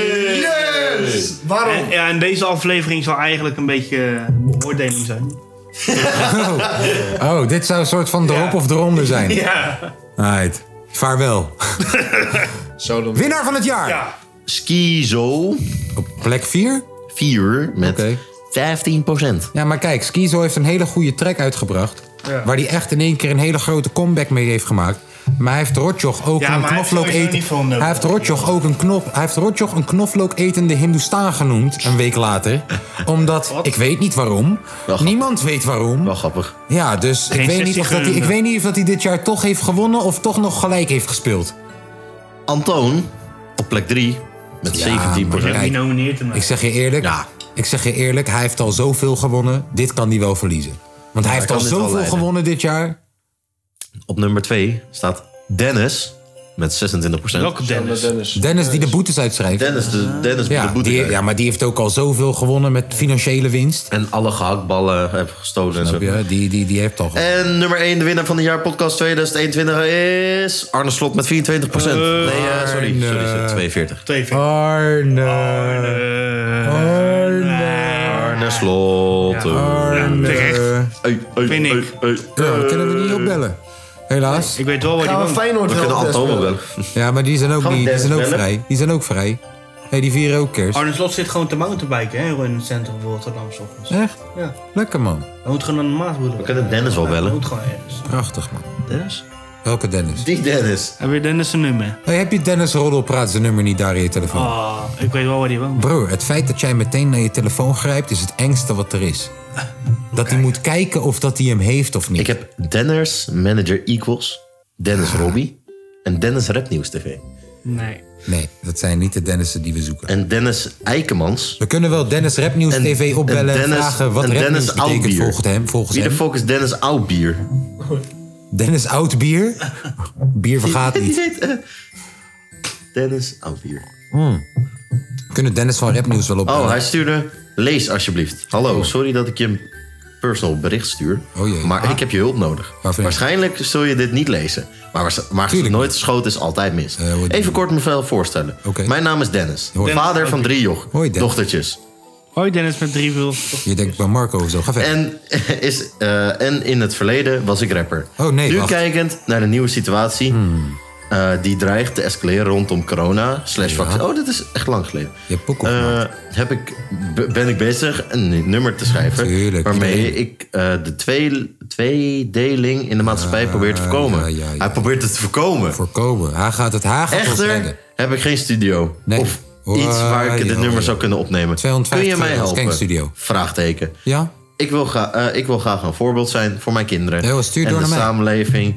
Yes! Waarom? En, ja, en deze aflevering zal eigenlijk een beetje eh, beoordeling zijn. Oh, dit zou een soort van erop of eronder zijn. Right. Vaarwel. Winnaar van het jaar. Skizo. Op plek 4? 4 met 15%. Ja, maar kijk, Skizo heeft een hele goede track uitgebracht. Ja. Waar hij echt in één keer een hele grote comeback mee heeft gemaakt. Maar hij heeft Rotjoch ook Ja, een maar hij heeft knoflook sowieso niet veel nodig. Hij heeft Rotjoch ook een knop. Hij heeft Rotjoch een knoflook etende Hindoestaan genoemd een week later. Omdat ik weet niet waarom. Niemand weet waarom. Wel grappig. Ja, dus ik Geen weet, niet of dat hij, ik zestigunde. weet niet of dat hij dit jaar toch heeft gewonnen of toch nog gelijk heeft gespeeld. Antoon op plek 3 met Ja, 17%. maar kijk, Ik zeg je eerlijk, ik zeg je eerlijk, hij heeft al zoveel gewonnen. Dit kan hij wel verliezen. Want hij Hij heeft kan al dit wel zoveel leiden. gewonnen dit jaar. Op nummer 2 staat Dennis met 26%. Welke Dennis? Dennis die de boetes uitschrijft. Dennis, de, Dennis ja, de boete die, krijgt. ja, maar die heeft ook al zoveel gewonnen met financiële winst. En alle gehaktballen heb gestolen. Snap je? Die, die, die Eh, heeft al gewonnen. En nummer 1, de winnaar van de jaar podcast 2021 is Arne Slot met 24%. nee, eh, sorry, sorry, sorry, 42. Arne. Arne Slot. Arne. Vind ik. Ja, dat kunnen we niet opbellen. Helaas. Ik weet wel wat Gaan we Feyenoord We kunnen wel Antoon wel bellen. Ja, maar die zijn ook, Gaan we niet, die zijn Dennis ook bellen? vrij. Die zijn ook vrij. hey, die vieren ook kerst. Arne Slot zit gewoon te mountainbiken hè, in het centrum van Rotterdam. 's ochtends. Echt? Ja. Lekker man. Hij moet gewoon aan de Maasboerderij. We kunnen Dennis wel bellen. Hij moet gewoon ergens. Prachtig man. Dennis? Welke Dennis? Die Dennis. Heb je Dennis zijn nummer? Hey, heb je Dennis Roddelpraat zijn nummer niet daar in je telefoon? Ah, ik weet wel waar hij woont. Broer, het feit dat jij meteen naar je telefoon grijpt is het engste wat er is. Dat hij moet kijken of dat hij hem heeft of niet. Ik heb Dennis Manager Oh, Equals, Dennis Robbie en Dennis Rapnieuws TV. Nee. Nee, dat zijn niet de Dennissen die we zoeken. En Dennis Eikemans. We kunnen wel Dennis Rapnieuws En- TV opbellen en, en Dennis- vragen wat en Rapnieuws Dennis betekent Oudbier. volgens hem. Volgens Wie de hem. fuck is Dennis Oudbier? Dennis Oudbier? Bier vergaat niet. Dennis Oudbier. Hmm. We kunnen Dennis van Rapnieuws wel Oh. opbellen. Oh, hij stuurde. Lees alsjeblieft. Hallo, sorry dat ik je een personal bericht stuur. Oh Maar Ah. ik heb je hulp nodig. Waarschijnlijk zul je dit niet lezen. Maar, waarsch- maar nooit schoot is altijd mis. Eh, Even kort mezelf voorstellen. Mijn naam is Dennis. Vader van drie joch, dochtertjes. Hoi Dennis met drie wils. Je denkt bij Marco of zo. Ga verder. En, is, eh, en in het verleden was ik rapper. Oh, nee, nu wacht. kijkend naar de nieuwe situatie... Hmm. eh, die dreigt te escaleren rondom corona slash vaccin. Oh, dat is echt lang geleden. Je Eh, heb ik, b- ben ik bezig een nummer te schrijven... waarmee iedereen. ik eh, de twee, tweedeling in de maatschappij probeer te voorkomen. Hij probeert het te voorkomen. Voorkomen. Hij gaat het hagen Echter heb ik geen studio. Of iets waar ik dit joh, nummer zou kunnen opnemen. Kun je mij euro is helpen? geen studio. Vraagteken. Ja? Ik wil, gra- eh, ik wil graag een voorbeeld zijn voor mijn kinderen. Heel, stuur en door de naar mij. samenleving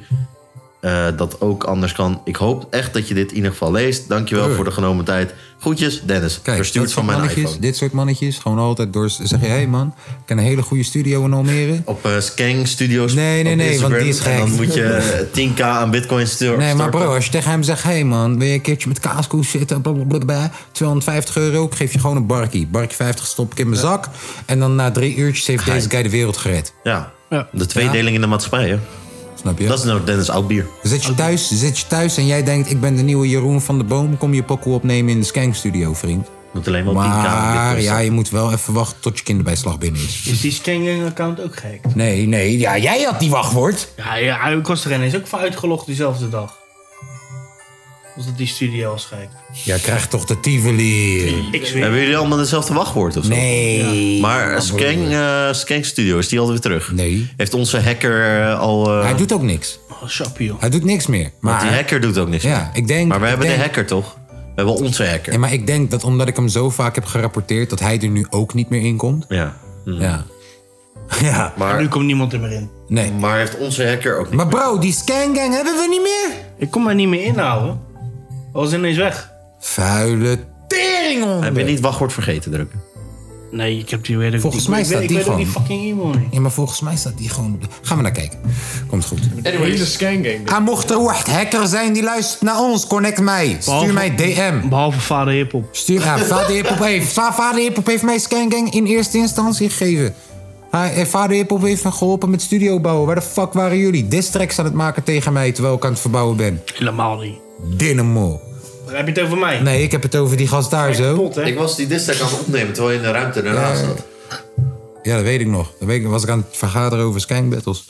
eh, dat ook anders kan. Ik hoop echt dat je dit in ieder geval leest. Dankjewel Tuurlijk. voor de genomen tijd. Groetjes, Dennis. Dit verstuurd soort van mijn mannetjes, iPhone. Dit soort mannetjes, gewoon altijd door. Zeg je, hé hey man, ik ken een hele goede studio in Almere. Op eh Skang Studios. Nee, nee, op nee, want Instagram. die is gek. En dan moet je eh, 10k aan bitcoin sturen. Nee, maar bro, als je tegen hem zegt, hé hey man, wil je een keertje met kaaskoes zitten? Blablabla, 250 euro, ik geef je gewoon een barkie. Barkie 50 stop ik in mijn zak. En dan na drie uurtjes heeft deze guy de wereld gered. Ja, Ja. de tweedeling in de maatschappij. Hè? Snap je? Dat is nou Dennis Oudbier. Zit je, thuis, zit je thuis en jij denkt, ik ben de nieuwe Jeroen van de Boom. Kom je pokoe opnemen in de Skank Studio, vriend. Moet alleen wel 10k aan Maar bitcoin ja, sturen. je moet wel even wachten tot je kinderbijslag binnen is. Is die Schengen-account ook gek? Nee, nee, ja, jij had die wachtwoord. Ja, ja, hij kost er ineens ook van uitgelogd diezelfde dag. Was dat die studio was gek? Jij krijgt toch de Tivoli. Ik zweer. Hebben jullie allemaal dezelfde wachtwoord of zo? Nee. Maar Skank, eh, Skank Studio, is die alweer terug? Nee. Heeft onze hacker eh, al... eh, Hij doet ook niks. Oh, sappie, joh. Hij doet niks meer. Want Maar die hacker doet ook niks. Ja, ik denk. Maar we hebben ik de denk- hacker toch? We hebben onze hacker. Ja, maar ik denk dat omdat ik hem zo vaak heb gerapporteerd, dat hij er nu ook niet meer in komt. Ja. Ja. Ja. Maar nu komt niemand er meer in. Nee. Maar heeft onze hacker ook niet Maar bro, die scangang hebben we niet meer. Ik kon mij niet meer inhouden. Hij was ineens weg. Vuile tering Heb je niet wachtwoord vergeten drukken? Nee, ik heb die weer... Volgens ik- mij ik weet- staat die Ik weet ook gewoon. die fucking e-mail niet. Ja, maar volgens mij staat die gewoon. Gaan we naar kijken. Komt goed. Hele scangang. Ah, mocht er echt hacker zijn die luistert naar ons, connect mij. Stuur Behalve- mij DM. Behalve vader hiphop. Stuur ja, vader Hiphop heeft. va- Vader Hiphop heeft mij Scangang in eerste instantie gegeven. Hij, eh, vader Hiphop heeft me geholpen met studio bouwen. Waar de fuck waren jullie? Distracts aan het maken tegen mij terwijl ik aan het verbouwen ben. Helemaal niet. Dynamo. Heb je het over mij? Nee, ik heb het over die gast daar zo. Eh, Ik was die distrack aan het opnemen terwijl je in de ruimte ernaast zat. Ja, dat weet ik nog. Dat weet ik, was ik aan het vergaderen over Skank Battles.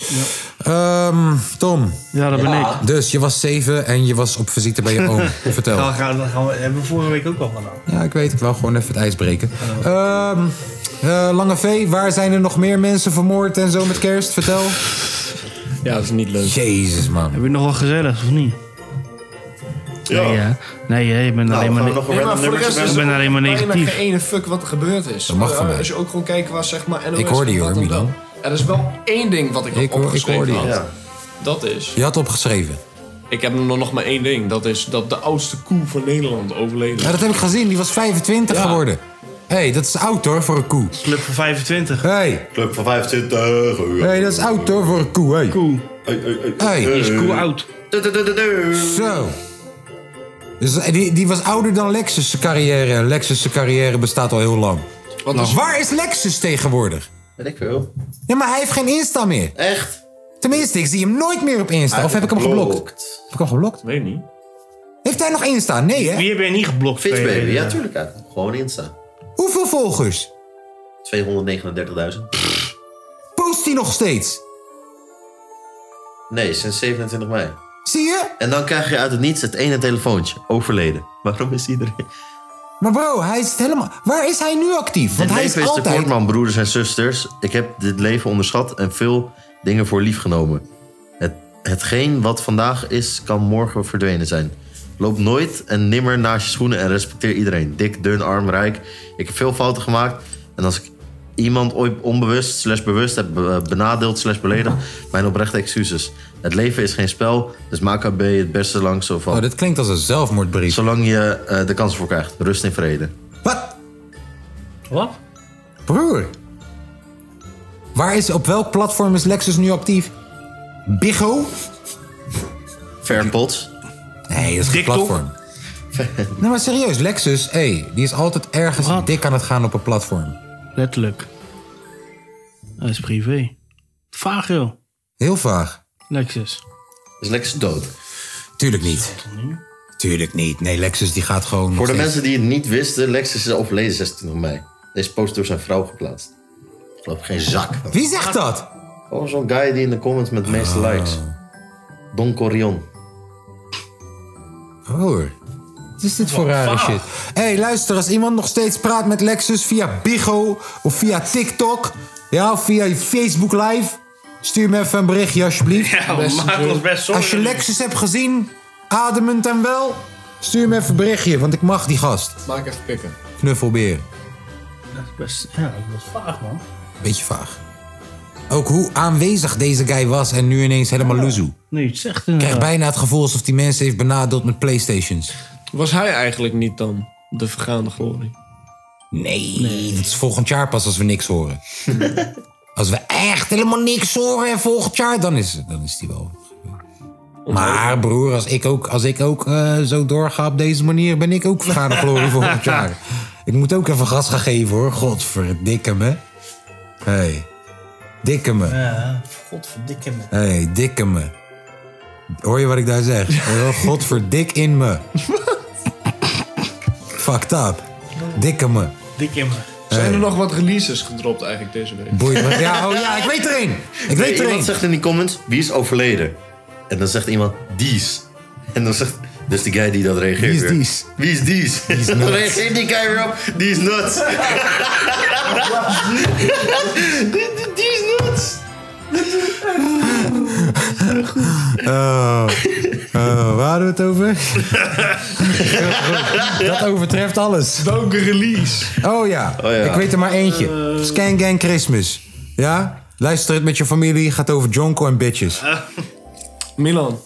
Ehm, Tom. Ja, dat ben Ja. ik. Dus je was zeven en je was op visite bij je oom. Vertel. Dat gaan, we- gaan we, hebben we vorige week ook al gedaan. Ja, ik weet. Ik wou gewoon even het ijs breken. Ehm, eh, Lange V, waar zijn er nog meer mensen vermoord en zo met kerst? Vertel. Ja, dat is niet leuk. Jezus, man. Heb je nog wel gezellig, of niet? Ja. Nee, hè? nee hè, je bent Nou, alleen maar... ne- Nee, maar voor de rest is Ik ben er alleen maar bijna negatief. geen ene fuck wat er gebeurd is. Eh, Dat mag van mij. Als je ook gewoon kijkt waar zeg maar... NOS Ik hoorde je, wat hoor, dan Milan. wel. Er is wel één ding wat ik, Ik ik hoor- ik opgeschreven hoorde je. had. Ja. Dat is... Je had opgeschreven. Ik heb nog nog maar één ding. Dat is dat de oudste koe van Nederland overleden is. Ja, dat heb ik gezien. Die was 25 geworden. Hé, hey, dat is oud hoor voor een koe. Club van 25. Hey. Club van 25. Hé, hey, dat is oud hoor voor een koe. Hey. Koe. Hey. Die is koe oud. Zo. Dus die, die was ouder dan Lexus' carrière. En Lexus' carrière bestaat al heel lang. Wat is- Waar is Lexus tegenwoordig? Weet ik veel. Ja, maar hij heeft geen Insta meer. Echt? Tenminste, ik zie hem nooit meer op Insta. Hij of heb ik hem geblokt. geblokt? Heb ik hem geblokt? Weet niet. Heeft hij nog Insta? Nee, hè? Wie heb jij niet geblokt? Fitchbaby, Tweede, ja eh, tuurlijk. ja. Gewoon Insta. Hoeveel volgers? 239.000. Post hij nog steeds? Nee, sinds 27 mei. Zie je? En dan krijg je uit het niets het ene telefoontje. Overleden. Waarom is iedereen... Maar bro, hij is het helemaal... Waar is hij nu actief? Want Dit hij is leven is te altijd... kort, man, broeders en zusters. Ik heb dit leven onderschat en veel dingen voor lief genomen. Het, hetgeen wat vandaag is, kan morgen verdwenen zijn. Loop nooit en nimmer naast je schoenen en respecteer iedereen. Dik, dun, arm, rijk. Ik heb veel fouten gemaakt. En als ik iemand ooit onbewust slash bewust heb eh, benadeeld slash beledigd... mijn oprechte excuses. Het leven is geen spel, dus maak er bij het beste langs zo van. Oh, dit klinkt als een zelfmoordbrief. Zolang je eh, de kans voor krijgt. Rust in vrede. Wat? Broer. Waar is... Op welk platform is Lexus nu actief? Biggo? Fairpods. Nee, dat is geen platform. Nee, maar serieus. Lexus, hey, die is altijd ergens dik aan het gaan op een platform. Letterlijk. Dat is privé. Vaag, joh. Heel vaag. Lexus. Is Lexus dood? Tuurlijk niet. Tuurlijk niet. Nee, Lexus die gaat gewoon... Voor de nog steeds- mensen die het niet wisten, Lexus is overleden 26 mei. Deze post door zijn vrouw geplaatst. Ik geloof geen zak. Wie zegt dat? Ah. Oh, zo'n guy die in de comments met de meeste likes. Don Corion. Broer. Oh. Wat is dit voor rare shit? Hé, hey, luister, als iemand nog steeds praat met Lexus via Bigo of via TikTok, ja, of via je Facebook Live, stuur me even een berichtje alsjeblieft. Ja, we maken ons best zorgen. Als je Lexus hebt gezien, ademend en wel, stuur me even een berichtje, want ik mag die gast. Maak even pikken. Knuffelbeer. Dat is best, ja, dat is vaag, man. Beetje vaag. Ook hoe aanwezig deze guy was en nu ineens helemaal loezoe. Nee, het zegt Ik inderdaad. krijg bijna het gevoel alsof die mensen heeft benadeeld met Playstations. Was hij eigenlijk niet dan de vergaande glorie? Nee, dat is volgend jaar pas als we niks horen. als we echt helemaal niks horen en volgend jaar, dan is, dan is die wel. Maar broer, als ik ook, als ik ook eh, zo doorga op deze manier, ben ik ook vergaande glorie volgend jaar. Ik moet ook even gas gaan geven hoor. Godverdikke me. Hé, hey. dikke me. Ja, godverdikke Hé, me. hey, dikke me. Hoor je wat ik daar zeg? Hoor je wel? Godverdik in me. Fucked up. Dikke me. Dik in me. Zijn er nog wat releases gedropt eigenlijk deze week? Boeit me. Ja, oh ja, ik weet er één. Ik Nee, weet er één. iemand zegt in die comments, wie is overleden? En dan zegt iemand, dies. En dan zegt, dus die guy die dat reageert Wie is weer. dies? Wie is dies? is Dan nuts. reageert die guy weer op, die is nuts. Die is nuts. Oh. Oh, waar hadden we het over? Dat overtreft alles. Welke release? Oh ja. Oh ja. ik weet er maar Eh, eentje. Scan Gang Christmas. Ja? Luister het met je familie. Gaat over Jonko en bitches. Milan.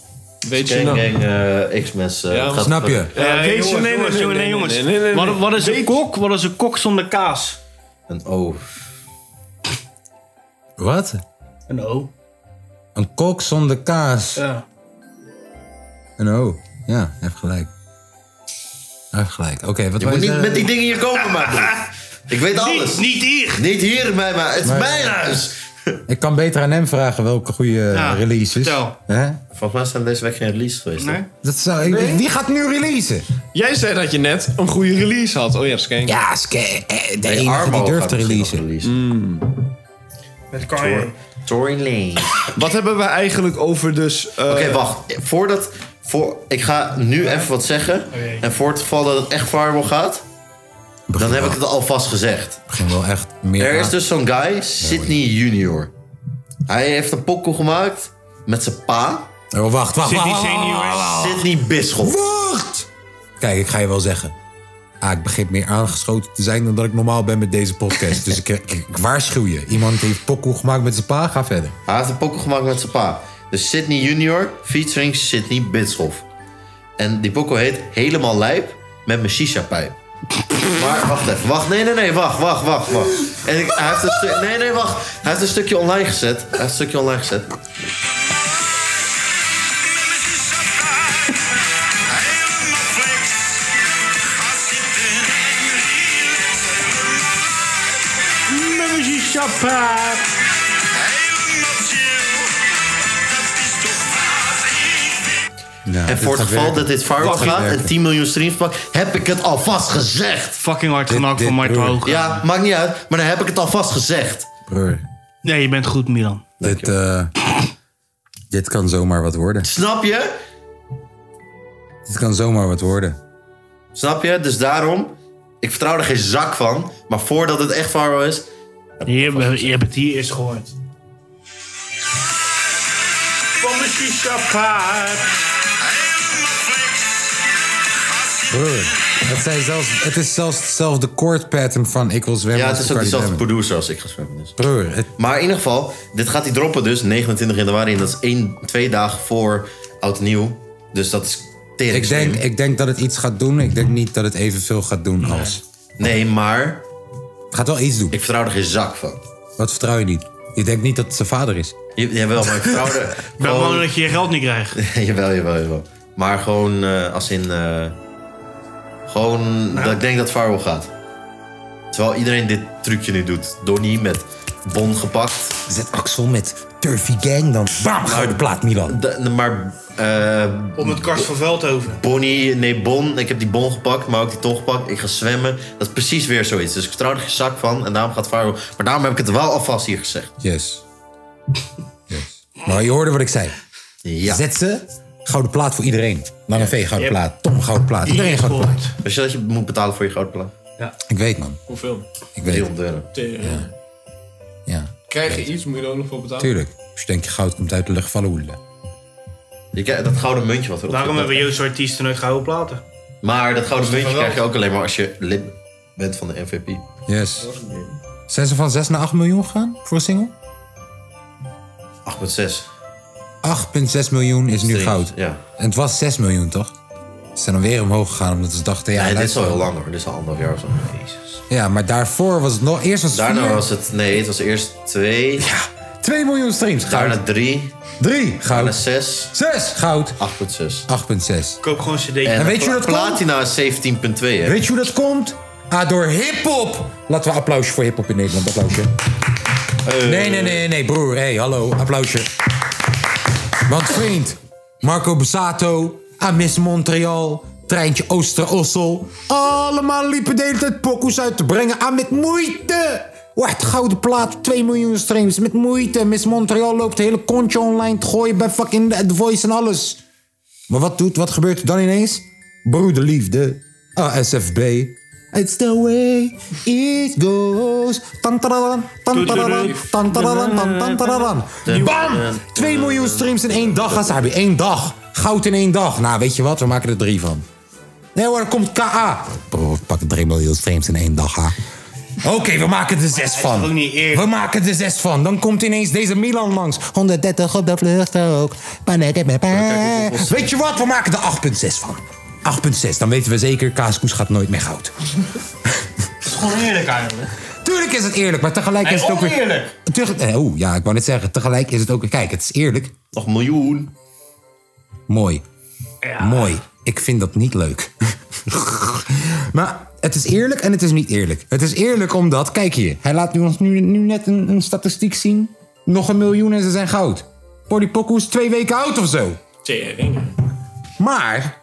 Weet je nou? Gang, eh, X-Mens. eh, Ja, gaat- snap je? Ja, nee, jongens, nee, jongens, jongens, nee, jongens. Wat, wat is een kok? Wat is een kok zonder kaas? Een O. Wat? Een O. Een kok zonder kaas. Ja. En oh, ja, hij heeft gelijk. Hij heeft gelijk. Oké, wat Je moet wij Ah. niet zeggen- met die dingen hier komen, maar. Ik weet alles. Niet hier. Niet hier bij mij. Het is Maar- mijn huis. Ik kan beter aan hem vragen welke goede eh, Ja, releases. vertel. Hè? Volgens mij zijn deze week geen release geweest. Nee. Dat zou, ik- Nee? Wie gaat nu releasen? Jij zei dat je net een goede release had. Oh ja, Skank. Ja, Skank. eh, De enige die durft te releasen. Mm. Met Kanye. Tory Lane. Wat hebben we eigenlijk over dus... eh, Oké, wacht. Voordat. Voor, ik ga nu even wat zeggen. Oh, En voor het geval dat het echt viral gaat. Dan heb ik het alvast gezegd. Begin wel echt meer. er is aan- dus zo'n guy, Sydney Junior. Hij heeft een pokkel gemaakt met zijn pa. Oh, wacht, wacht, wacht, wacht, wacht, wacht. Sydney Bisschop. Wacht! Kijk, ik ga je wel zeggen. Ah, ik begin meer aangeschoten te zijn dan dat ik normaal ben met deze podcast. dus ik, ik, ik waarschuw je. Iemand heeft pokkel gemaakt met zijn pa, ga verder. Hij heeft een pokkel gemaakt met zijn pa. Dus Sydney Junior featuring Sydney Bisschop. En die pokkel heet Helemaal Lijp met mijn shisha-pijp. Maar wacht even, wacht. Nee, nee, nee, wacht, wacht, wacht, wacht. En ik, hij heeft een stuk. Nee, nee, wacht. Hij heeft een stukje online gezet. Hij heeft een stukje online gezet. Membership en voor het geval dat dit viral gaat en 10 miljoen streams pakt, heb ik het alvast gezegd. Fucking hard gemaakt van Mike Hoog. Ja, maakt niet uit, maar dan heb ik het alvast gezegd. Nee, je bent goed, Milan. Dit, eh, dit kan zomaar wat worden. Snap je? Dit kan zomaar wat worden. Snap je? Dus daarom, Ik vertrouw er geen zak van. Maar voordat het echt Faro is... Je, hebt- je hebt het hier eerst gehoord. Van de shisha paard. Broer, het, zijn zelfs, het is zelfs hetzelfde chord pattern van ik wil zwemmen. Ja, als het is ook Cardi dezelfde Lemon. producer als ik ga zwemmen. Dus. Broer, Maar in ieder geval, dit gaat hij droppen dus 29 januari. En dat is één, twee dagen voor Oud en Nieuw. Dus dat is tering Ik denk, slim. ik denk dat het iets gaat doen. Ik denk niet dat het evenveel gaat doen als. Nee, maar... Het gaat wel iets doen. Ik vertrouw er geen zak van. Wat vertrouw je niet? Je denkt niet dat het zijn vader is. Je- Jawel, maar ik vertrouw er... Ik ben bang dat je je geld niet krijgt. jawel, jawel, jawel. Maar gewoon eh, als in... eh, gewoon Nou. dat ik denk dat Farwell gaat. Terwijl iedereen dit trucje nu doet. Donnie met Bon gepakt. Nou, Zet Axel met Turfy Gang dan. Bam, gouden plaat Milan. maar... eh, Om het kast van Veldhoven. Bonnie, nee Bon. Ik heb die Bon gepakt, maar ook die Ton gepakt. Ik ga zwemmen. Dat is precies weer zoiets. Dus ik vertrouw er geen zak van. En daarom gaat Farwell... Maar daarom heb ik het wel alvast hier gezegd. Yes. yes. Maar je hoorde wat ik zei. Zet ze. Gouden plaat voor iedereen. Lange V, gouden Yep. plaat. Tom, gouden plaat. Iedereen gouden plaat. Weet je dat je moet betalen voor je goudplaat? Ja. Ik weet, man. Hoeveel? Ik weet. 300 euro. Ja. Ja. Krijg je iets, moet je er ook nog voor betalen? Tuurlijk. Als je denkt, goud komt uit de lucht vallen hoelen. dat gouden muntje wat Daarom hebben Joost artiesten nooit gouden platen. Maar dat gouden Dat is muntje toch wel- krijg je ook alleen maar als je lid bent van de MVP. Yes. Zijn ze van 6 naar 8 miljoen gegaan voor een single? 8,6. 8,6 miljoen is nu Streams, goud. ja. En het was 6 miljoen, toch? Ze zijn dan weer omhoog gegaan omdat ze dachten... Ja, nee, dit is luister. al heel lang hoor. Dit is al anderhalf jaar of zo. Ja, maar daarvoor was het nog... Eerst was het Daarna vier. was het... Nee, het was eerst 2. 2 miljoen streams. Goud. Daarna 3. 3. Goud. Daarna 6. 6. Goud. 8,6. 8,6. Koop gewoon cd. En weet je hoe dat komt? Platina is 17,2 hè. Weet je hoe dat komt? Ah, door hip-hop. Laten we applausje voor hip-hop in Nederland. Applausje. Eh. Nee, nee, nee, nee, broer. Hé, hey, hallo. Applausje. Want vriend, Marco Bassato, Amis Montreal, Treintje Oosterossel. Allemaal liepen de hele tijd pokoes uit te brengen. Ah, met moeite. Wacht, gouden plaat, 2 miljoen streams. Met moeite. Miss Montreal loopt de hele kontje online te gooien bij fucking The Voice en alles. Maar wat doet, wat gebeurt er dan ineens? Broederliefde, ASFB. It's the way it goes. Tantararan, tantararan, tantararan, tantararan. Bam! 2 miljoen streams in één dag, Asabi. Eén dag. Goud in één dag. Nou, weet je wat? We maken er drie van. Nee hoor, er komt KA. Bro, we pakken 3 miljoen streams in één dag, ha. Oké, we maken er zes van. We maken er zes van. Dan komt ineens deze Milan langs. 130 op de vlucht ook. Maar net heb ik- Weet je wat? We maken er 8,6 van. 8,6. Dan weten we zeker, Kaaskoes gaat nooit meer goud. Het is gewoon eerlijk eigenlijk. Tuurlijk is het eerlijk, maar tegelijk is het ook weer... oneerlijk. Teg- eh, Oeh, ja, ik wou net zeggen. Tegelijk is het ook weer... Kijk, het is eerlijk. Nog miljoen. Mooi. Mooi. Ik vind dat niet leuk. maar het is eerlijk en het is niet eerlijk. Het is eerlijk omdat... Kijk hier. Hij laat nu ons nu, nu net een, een statistiek zien. Nog een miljoen en ze zijn goud. Voor die pokoe is twee weken oud of zo. Tering. Maar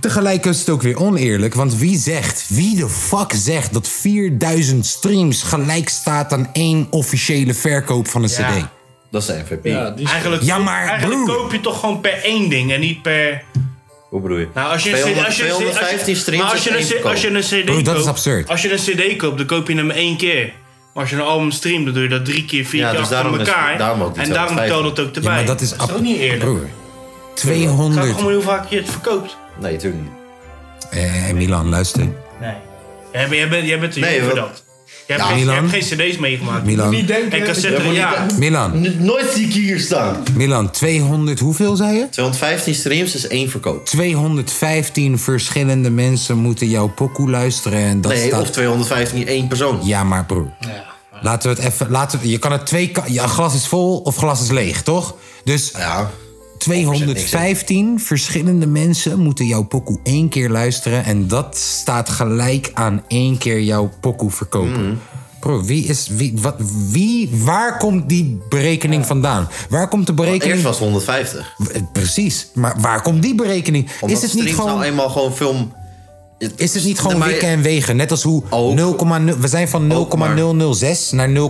tegelijk is het ook weer oneerlijk. Want wie zegt, wie de fuck zegt dat 4000 streams gelijk staat aan één officiële verkoop van een CD? Dat is de MVP. eigenlijk, ja, maar eigenlijk koop je toch gewoon per één ding en niet per... Hoe bedoel je? Nou, als je een 200 cd, als je een cd, als 215 je, streams maar als is je een één cd, verkoop. als je een cd Broer, dat is koopt- absurd. Als je een cd koopt, dan koop je hem één keer. Maar als je een album streamt, dan doe je dat drie keer, vier Ja, keer dus achter daarom is- elkaar. daarom ook die en daarom 250. telt dat ook erbij. Ja, maar dat is ook niet eerlijk. Broer. Het gaat 200. toch om hoe vaak je het verkoopt. Nee, natuurlijk niet. Eh, Milan, luister. Nee. Jij, bent- jij bent, jij bent te jong Nee, voor wat- dat. Jij hebt, Ja, geen, jij Milan. hebt geen cd's meegemaakt. Milan. Niet En cassette, ja. Milan. Nooit zie ik hier staan. Milan, 200, hoeveel zei je? 215 streams is één verkoop. 215 verschillende mensen moeten jouw pokoe luisteren. En dat nee, staat... of 215 één persoon. Ja, maar broer. Laten we het even. Laten we, je kan het twee. ka- Ja, glas is vol of glas is leeg, toch? Dus. 215 verschillende mensen moeten jouw pokoe één keer luisteren. En dat staat gelijk aan één keer jouw pokoe verkopen. Mm. Bro, wie is. Wie, wat, wie, waar komt die berekening vandaan? Waar komt de berekening. Eerst was het 150. Eh, Precies. Maar waar komt die berekening? Omdat is het niet streams gewoon. nou eenmaal gewoon film... Is het niet gewoon Maar- wikken en wegen? Net als hoe 0,0 we zijn van 0,006 naar 0,00003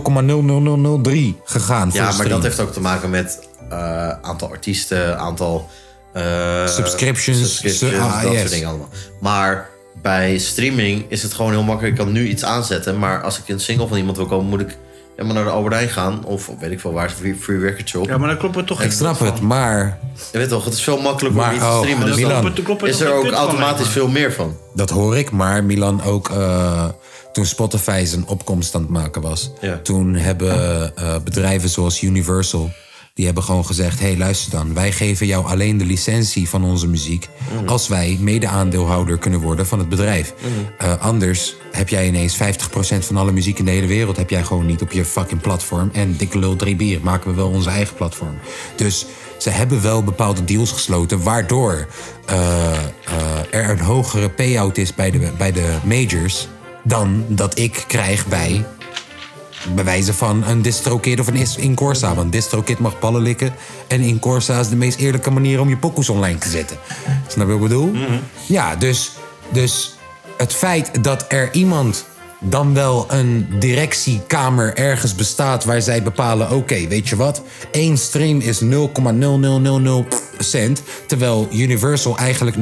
gegaan. voor Ja, maar stream. dat heeft ook te maken met eh, aantal artiesten, aantal... eh, Subscriptions, subscriptions, su- ah, dat yes. soort dingen allemaal. Maar bij streaming is het gewoon heel makkelijk. Ik kan nu iets aanzetten, maar als ik een single van iemand wil komen, moet ik helemaal naar de Albert Heijn gaan. Of weet ik veel waar, free, free record shop. Ja, maar dan klopt het toch Ik snap het, maar... Je weet toch, het is veel makkelijker Maar- om iets te oh, streamen. Dus Milan. dan Klopt het- klopt het is toch er geen ook kut van, automatisch maar. veel meer van. Dat hoor ik, maar Milan ook eh, toen Spotify zijn opkomst aan het maken was. Toen hebben eh, bedrijven zoals Universal, die hebben gewoon gezegd... hé hey, luister dan, wij geven jou alleen de licentie van onze muziek... Mm. als wij mede-aandeelhouder kunnen worden van het bedrijf. Eh, anders heb jij ineens 50% van alle muziek in de hele wereld... heb jij gewoon niet op je fucking platform. En dikke lul drie bier maken we wel onze eigen platform. Dus ze hebben wel bepaalde deals gesloten... waardoor eh, eh, er een hogere payout is bij de, bij de majors... dan dat ik krijg bij bewijzen van een distrokid of een is- Incorsa. Want distrokid mag ballen likken. En Incorsa is de meest eerlijke manier om je pokoes online te zetten. Snap je wat ik bedoel? Ja, dus, dus het feit dat er iemand dan wel een directiekamer ergens bestaat... waar zij bepalen, oké, weet je wat? Eén stream is 0,0000 cent... terwijl Universal eigenlijk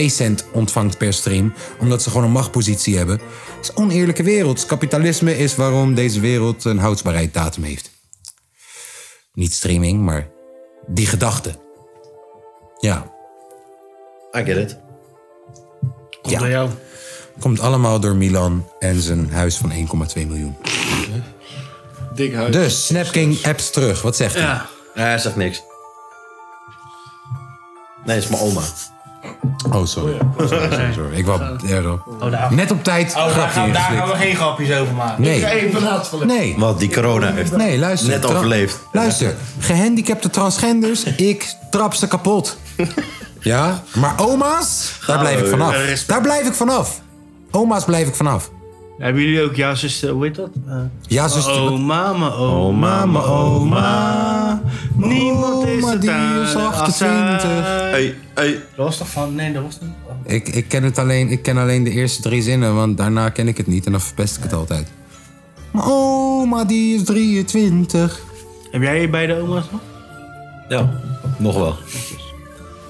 0,02 cent ontvangt per stream... omdat ze gewoon een machtpositie hebben. Het is een oneerlijke wereld. Kapitalisme is waarom deze wereld een houdbaarheidsdatum heeft. Niet streaming, maar die gedachte. Ja. I get it. Komt door jou. Komt allemaal door Milan en zijn huis van 1,2 miljoen. Dik huis. Dus Snapking apps terug. Wat zegt hij? Ja. Nee, hij zegt niks. Nee, het is mijn oma. Oh, sorry. Sorry, sorry, sorry. Ik wou eerder. Net op tijd Oh, daar grapje gaan, daar gaan we ingeslikt. geen grapjes over maken. Nee. Nee. Want die corona heeft Nee, luister. net tra- overleefd. Luister, gehandicapte transgenders, ik trap ze kapot. Ja? Maar oma's, daar blijf eh, ik vanaf. Daar blijf ik vanaf. Oma's blijf ik vanaf. Hebben jullie ook ja zuster, hoe heet dat? Eh, Ja, zuster. Oh mama, oh mama, oh mama. Niemand is het die aan is de 28. afzijn. Hey, hey. Dat was toch van, nee dat was niet. Oh. Ik, ik, ken het alleen, ik ken alleen de eerste drie zinnen, want daarna ken ik het niet en dan verpest ik het altijd. Maar oma, die is 23. Heb jij je beide oma's nog? Ja, nog wel.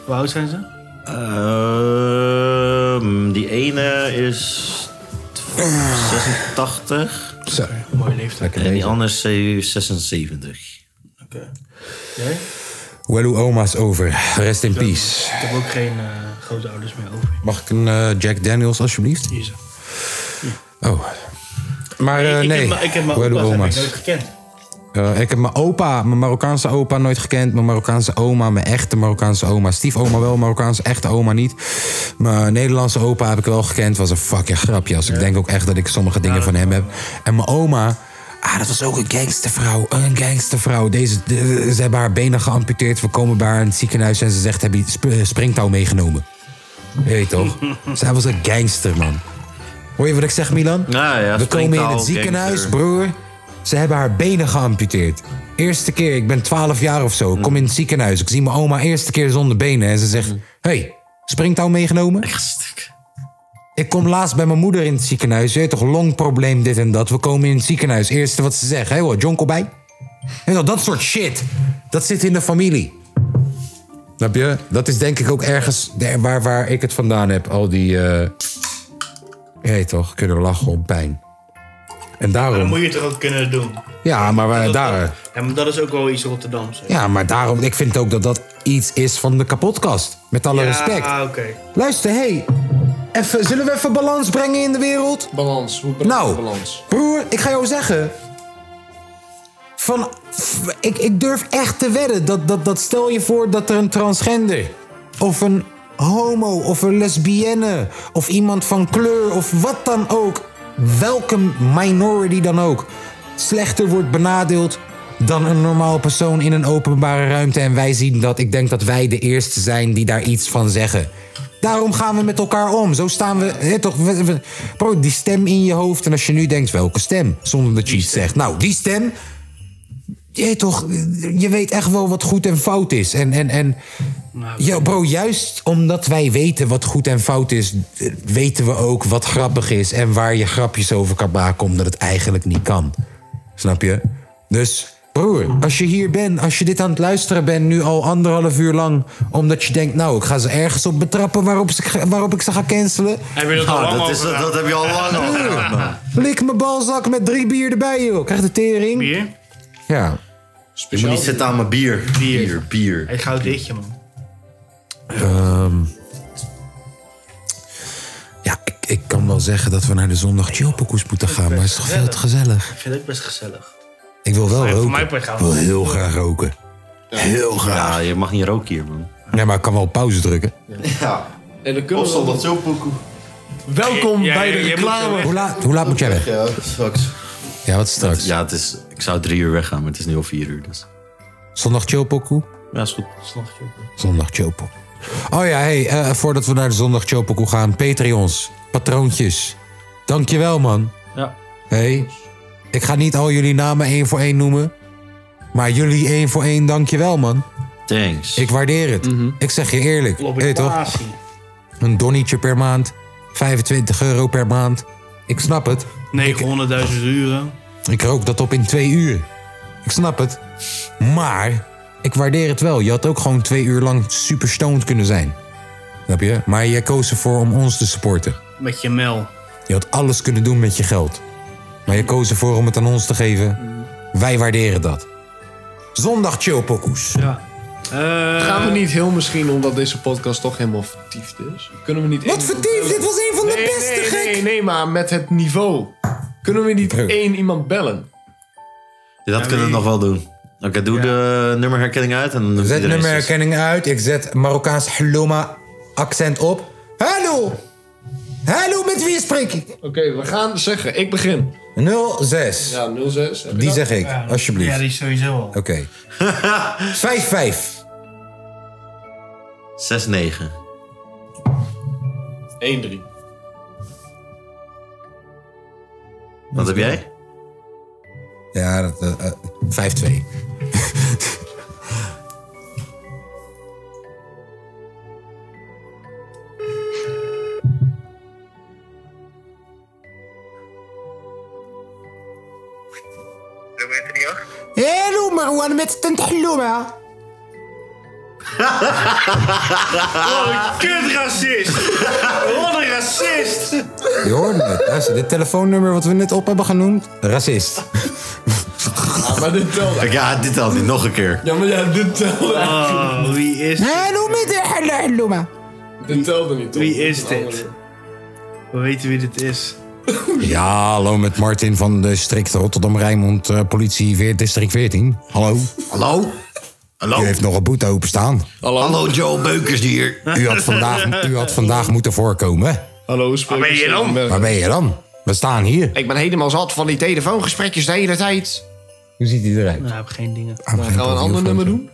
Hoe oud zijn ze? Ehm, die ene is 86. Sorry, mooie leeftijd. En die andere is eh, 76. Jij? Well, uw oma's over. Rest in peace. Ik heb ook geen eh, grote ouders meer over. Mag ik een eh, Jack Daniels, alsjeblieft? Oh. Maar eh, ik, nee, heb, mijn- ik heb mijn Hoe opa's, doen heb ik oma's? nooit gekend. Eh, ik heb mijn opa, mijn Marokkaanse opa nooit gekend. Mijn Marokkaanse oma, mijn echte Marokkaanse oma. Stiefoma wel, Marokkaanse echte oma niet. Mijn Nederlandse opa heb ik wel gekend. Was een fucking grapje. Als ik denk ook echt dat ik sommige dingen van hem heb. En mijn oma... Ah, dat was ook een gangstervrouw. Een gangstervrouw. Deze, de- ze hebben haar benen geamputeerd. We komen bij haar in het ziekenhuis en ze zegt... heb je sp- eh, springtouw meegenomen? Je weet toch? Zij was een gangster, man. Hoor je wat ik zeg, Milan? Ja, ja, We komen in springtaal, het ziekenhuis, gangster. broer. Ze hebben haar benen geamputeerd. Eerste keer, ik ben 12 jaar of zo. Ik kom in het ziekenhuis. Ik zie mijn oma eerste keer zonder benen. En ze zegt: hey, springtouw meegenomen? Ik kom laatst bij mijn moeder in het ziekenhuis. Je weet toch, longprobleem, dit en dat. We komen in het ziekenhuis. Eerste wat ze zegt: Hé, hoor, John, kom bij. Weet je wel, dat soort shit. Dat zit in de familie. Snap je? Dat is denk ik ook ergens de- waar, waar ik het vandaan heb. Al die. eh je weet toch, kunnen lachen om pijn. En Dan daarom. moet je het toch ook kunnen doen. Ja, maar wij- daar. eh. Ja, maar dat is ook wel iets Rotterdams. hè. Ja, maar daarom. Ik vind ook dat dat iets is van de kapotkast. Met alle Ja, respect. oké. Luister, hé. Even, zullen we even balans brengen in de wereld? Balans. Hoe breng je Nou, balans? broer, ik ga jou zeggen. Van, f- ik, ik durf echt te wedden dat, dat, dat stel je voor dat er een transgender. Of een homo, of een lesbienne. Of iemand van kleur, of wat dan ook. Welke minority dan ook. Slechter wordt benadeeld dan een normaal persoon in een openbare ruimte. En wij zien dat. Ik denk dat wij de eerste zijn die daar iets van zeggen. Daarom gaan we met elkaar om. Zo staan we, hè, toch? we- we- bro, die stem in je hoofd. En als je nu denkt, welke stem? Zonder dat je iets zegt. Nou, die stem. Je, toch, je weet echt wel wat goed en fout is. En, en, en ja, bro, juist omdat wij weten wat goed en fout is... eh, weten we ook wat grappig is... en waar je grapjes over kan maken, omdat het eigenlijk niet kan. Snap je? Dus Broer, als je hier bent, als je dit aan het luisteren bent nu al anderhalf uur lang... omdat je denkt, nou, ik ga ze ergens op betrappen waarop, ze, waarop ik ze ga cancelen... Heb je dat al lang dat, is, dat, dat heb je al lang al gedaan. man. Lik mijn balzak met drie bier erbij, joh. Krijg de tering. Bier? Ja. Je moet niet zitten aan mijn bier. Bier, bier. Ik ga het ditje, man. Ehm, ja, ik, ik kan wel zeggen dat we naar de zondag chillpokoes moeten gaan, maar het is toch veel te gezellig. Ik vind het ook best gezellig. Ik wil wel Voor- roken. voor mijn part gaan ik we wil wel. heel graag roken. Heel graag. Ja, je mag niet roken hier, man. Ja, maar ik kan wel op pauze drukken. Ja. En dan kunnen we dat zo poekoe. Welkom Ja, ja, bij de ja, je moet reclame. zo weg. Hoe laat, hoe laat moet jij weg? Ja, straks. Ja, wat straks? Ja, het is, ik zou drie uur weggaan, maar het is nu al vier uur. Dus. Zondag chillpokoe? Ja, is goed. Zondag chillpokoe. Oh ja, hey, eh, voordat we naar de zondag chillpokoe gaan, Patreons, patroontjes. Dankjewel, man. Ja. Hey, ik ga niet al jullie namen één voor één noemen. Maar jullie één voor één, dankjewel man. Thanks. Ik waardeer het. Ik zeg je eerlijk. Hey, toch? Een donnietje per maand. 25 euro per maand. Ik snap het. 900.000 uren. Ik rook dat op in twee uur. Ik snap het. Maar ik waardeer het wel. Je had ook gewoon twee uur lang super stoned kunnen zijn. Snap je? Maar jij koos ervoor om ons te supporten. Met je mel. Je had alles kunnen doen met je geld. Maar je koos ervoor om het aan ons te geven. Wij waarderen dat. Zondag chillpokoes. Ja. Eh. Gaan we niet heel misschien, omdat deze podcast toch helemaal vertiefd is? Kunnen we niet Wat één- vertiefd? Dit was een van de Nee, beste, nee, gek! Nee, nee, maar met het niveau. Kunnen we niet één iemand bellen? Dat kunnen we nog wel doen. Oké, doe de nummerherkenning uit en dan doet Zet iedereen zes. nummerherkenning uit. Ik zet Marokkaans haloma accent op. Hallo! Hallo, met wie spreek ik? Oké, we gaan zeggen. Ik begin. 06. Ja, 06. heb je Die dat? zeg ik, alsjeblieft. Ja, die is sowieso al. Oké. 5-5. 6-9. 1-3. Wat heb jij? Ja, dat, eh, eh, 5-2. Hallo Marwan met tent Haloma. Oh, kutracist! Wat een racist! Je hoorde het. Luister, dit telefoonnummer wat we net op hebben genoemd. Racist. Ah, Ja, maar dit telt. Ja, dit telt niet. Nog een keer. Ja, maar ja, dit telde Oh, wie is dit? Hallo met de Haloma. Dit telde niet, toch? Wie is dit? We weten wie dit is. Ja, hallo met Martin van de strikt Rotterdam-Rijnmond eh, politie veer- district 14. Hallo. Hallo. Hallo. U heeft nog een boete openstaan. Hallo, Joe Beukers hier. U had vandaag, u had vandaag moeten voorkomen. Hallo, spreek Waar ben je dan? Waar ben je dan? We staan hier. Ik ben helemaal zat van die telefoongesprekjes de hele tijd. Hoe ziet hij eruit? Nou, ik heb geen dingen. Nou, gaan we een ander nummer doen?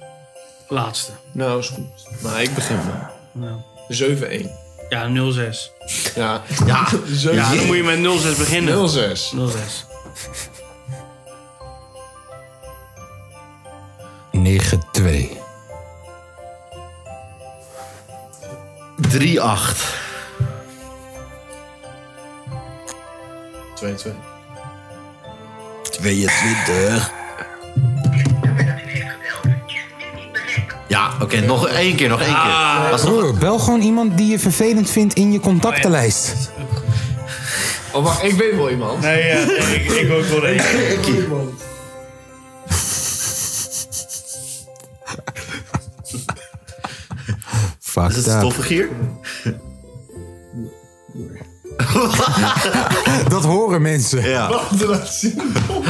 Laatste. Nou, is goed. Nou, ik begin wel. 7-1. Ja, 06. Ja. Ja. Ja, dan moet je met 06 beginnen. 06. 06. 9-2. 3-8. 22. 22. Ja, oké, nog één keer, nog één keer. Ah. Als- Broer, bel gewoon iemand die je vervelend vindt in je contactenlijst. Oh, wacht, ik weet wel iemand. Nee, ja, ik, ik ook wel één. Fuck Is het stoffig hier? Dat horen mensen. Ja. Wat een symbol.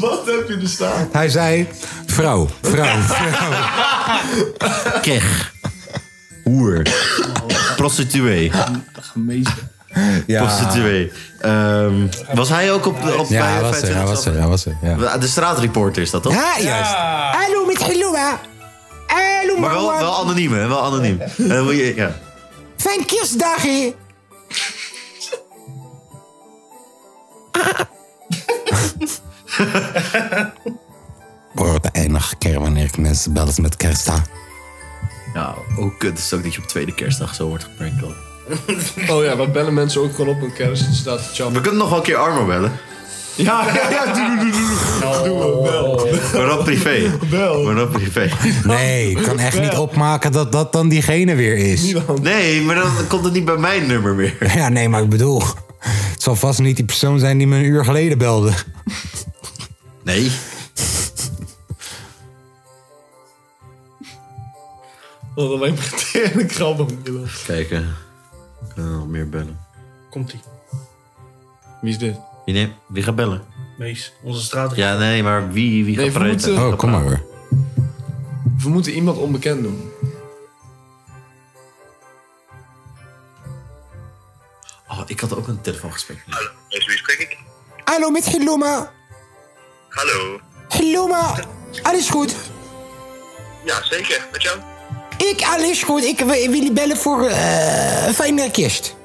Wat heb je er staan? Hij zei, vrouw, vrouw, vrouw. Keg. Hoer. Prostituee. Ja. Prostituee. Ehm, was hij ook op, op Ja, bij hij was er, hij was er, hij was er. Ja. De straatreporter is dat toch? Ja, juist. Hallo met Haloma. Hallo Maar wel, wel Marwan. anoniem, hè? Wel anoniem. En dan moet je- ja. Fijn kerstdagje. Wordt de enige keer wanneer ik mensen bel is met kerst. hè. ja, ook kut is het ook dat je op tweede kerstdag zo wordt geprankt. hoor. Oh ja, we bellen mensen ook gewoon op een kerst. Staat We kunnen nog wel een keer Armo bellen. Ja, ja, ja. Doe, doe, doe, Oh, doe. Doe me, bel. Maar dat privé. Bel. Maar dat privé. Nee, ik kan echt niet opmaken dat dat dan diegene weer is. Nee, maar dan komt het niet bij mijn nummer meer. Ja, nee, maar ik bedoel... Het zal vast niet die persoon zijn die me een uur geleden belde. Nee. Oh, Dat alleen maar tering grappig. Kijken. Kunnen we nog meer bellen? Komt-ie. Wie is dit? Wie, neemt- wie gaat bellen? Mees, onze straat. Ja, nee, maar wie, wie gaat Nee, we praten? moeten- Oh, kom maar hoor. We moeten iemand onbekend doen. Oh, ik had ook een telefoongesprek. Hallo, met Hiloma. Hallo. Hiloma, alles goed? Ja, zeker. Met jou? Ik, alles goed. Ik wil jullie bellen voor eh, een fijne kerst.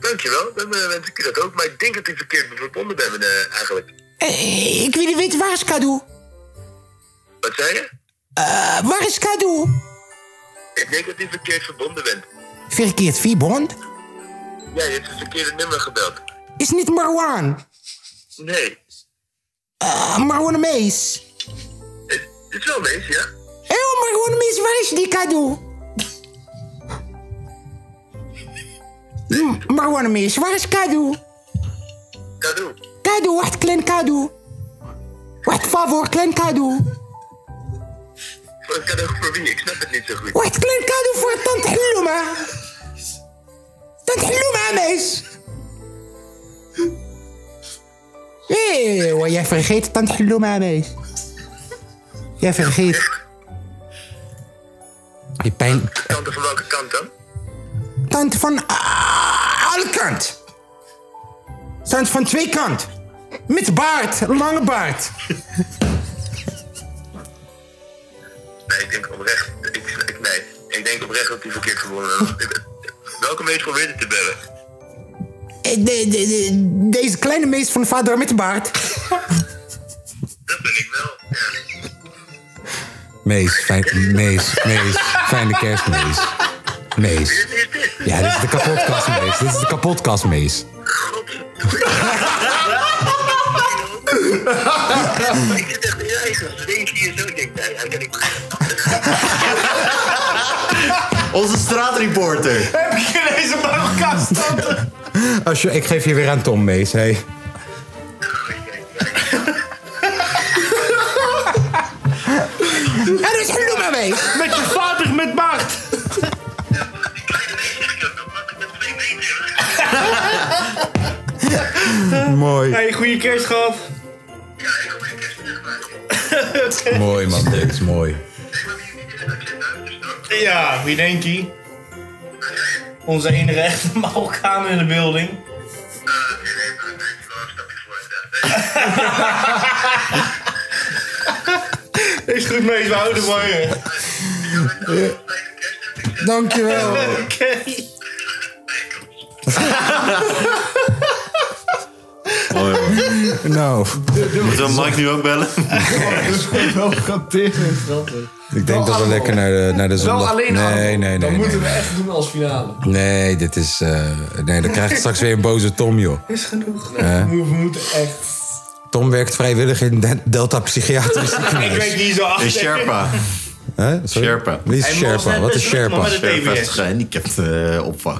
Dankjewel. Dan eh, wens ik je dat ook. Maar ik denk dat ik verkeerd verbonden ben eh, eigenlijk. Eh. ik wil weten waar is cadeau? Wat zei je? waar is cadeau? Ik denk dat je verkeerd verbonden bent. Verkeerd, Vibond. Ja, je hebt het verkeerde nummer gebeld. Is niet Marwan. Nee. Eh, Marwan Mees. Het is wel mees, ja? Hé, oh, Marwan Mees, waar is die cadeau? M- Marwan Hmm, Mees, waar is cadeau? Cadeau. Cadeau, wacht, klein cadeau. Wacht, favor, klein cadeau. Voor een cadeau voor wie? Ik snap het niet zo goed. Wacht, klein cadeau voor tante Hiloma. Tante Hiloma, meis. Hé, oh, jij vergeet tante Hiloma, meis. Jij vergeet. Je pijn. Tante van welke kant dan? Tante van ah, alle kant. Tante van twee kant. Met baard, lange baard. Nee, ik denk oprecht. Ik, ik, nee, ik denk oprecht dat je verkeerd verbonden bent. Ik- eh, Welke mees probeerde te bellen? Eh, de- de- de- deze kleine mees van vader met baard. Mees, fijn, mees, mees, fijne kerst, mees. Mees. Ja, dit is de kapotkast, mees. Dit is de kapotkast, mees. ik zit echt in je eigen zweetje hier zo. Ik denk, nee, hij kan niet. Onze straatreporter. Heb je deze marokkaanse tante? Als je, ik geef je weer aan Tom, mees. Hey. Er is Hiloma, mees. Met je vader met baard. Mooi. Hey, goede kerst gehad. Mooi, man, dit is mooi. Ja, wie denk je? Onze enige echte Marokkaan in de building. Is goed, mees. We houden van je. Dankjewel. Oké. Nou. Moeten we Mike nu ook bellen? Dat is gewoon wel grappig. Ik denk dat we lekker naar de, naar de zondag... Wel alleen nee, Arno. nee, nee, Dat nee, moeten nee. we echt doen als finale. Nee, dit is... eh, nee, dan krijg je straks weer een boze Tom, joh. Is genoeg. Ja. We moeten echt. Tom werkt vrijwillig in de Delta Psychiatrisch ziekenhuis. Ik weet wie zo achter Hey, Sherpa. Hè? Sorry? Sherpa. Wie is Sherpa? Wat is Sherpa? Sherpa is gehandicapt eh, opvang.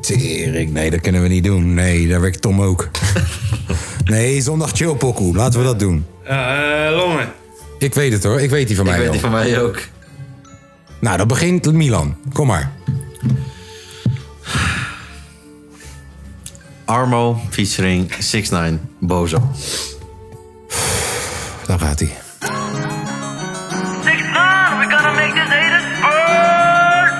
Tering, nee, dat kunnen we niet doen. Nee, daar werkt Tom ook. nee, zondag chill pokoe. Laten we dat doen. Eh, Longe. Ik weet het hoor, ik weet die van Ik mij weet wel. die van mij ook. Nou, dan begint Milan. Kom maar. Armo featuring 6 9 Bozo. Daar gaat hij. Six nine, we're gonna make this haters burn.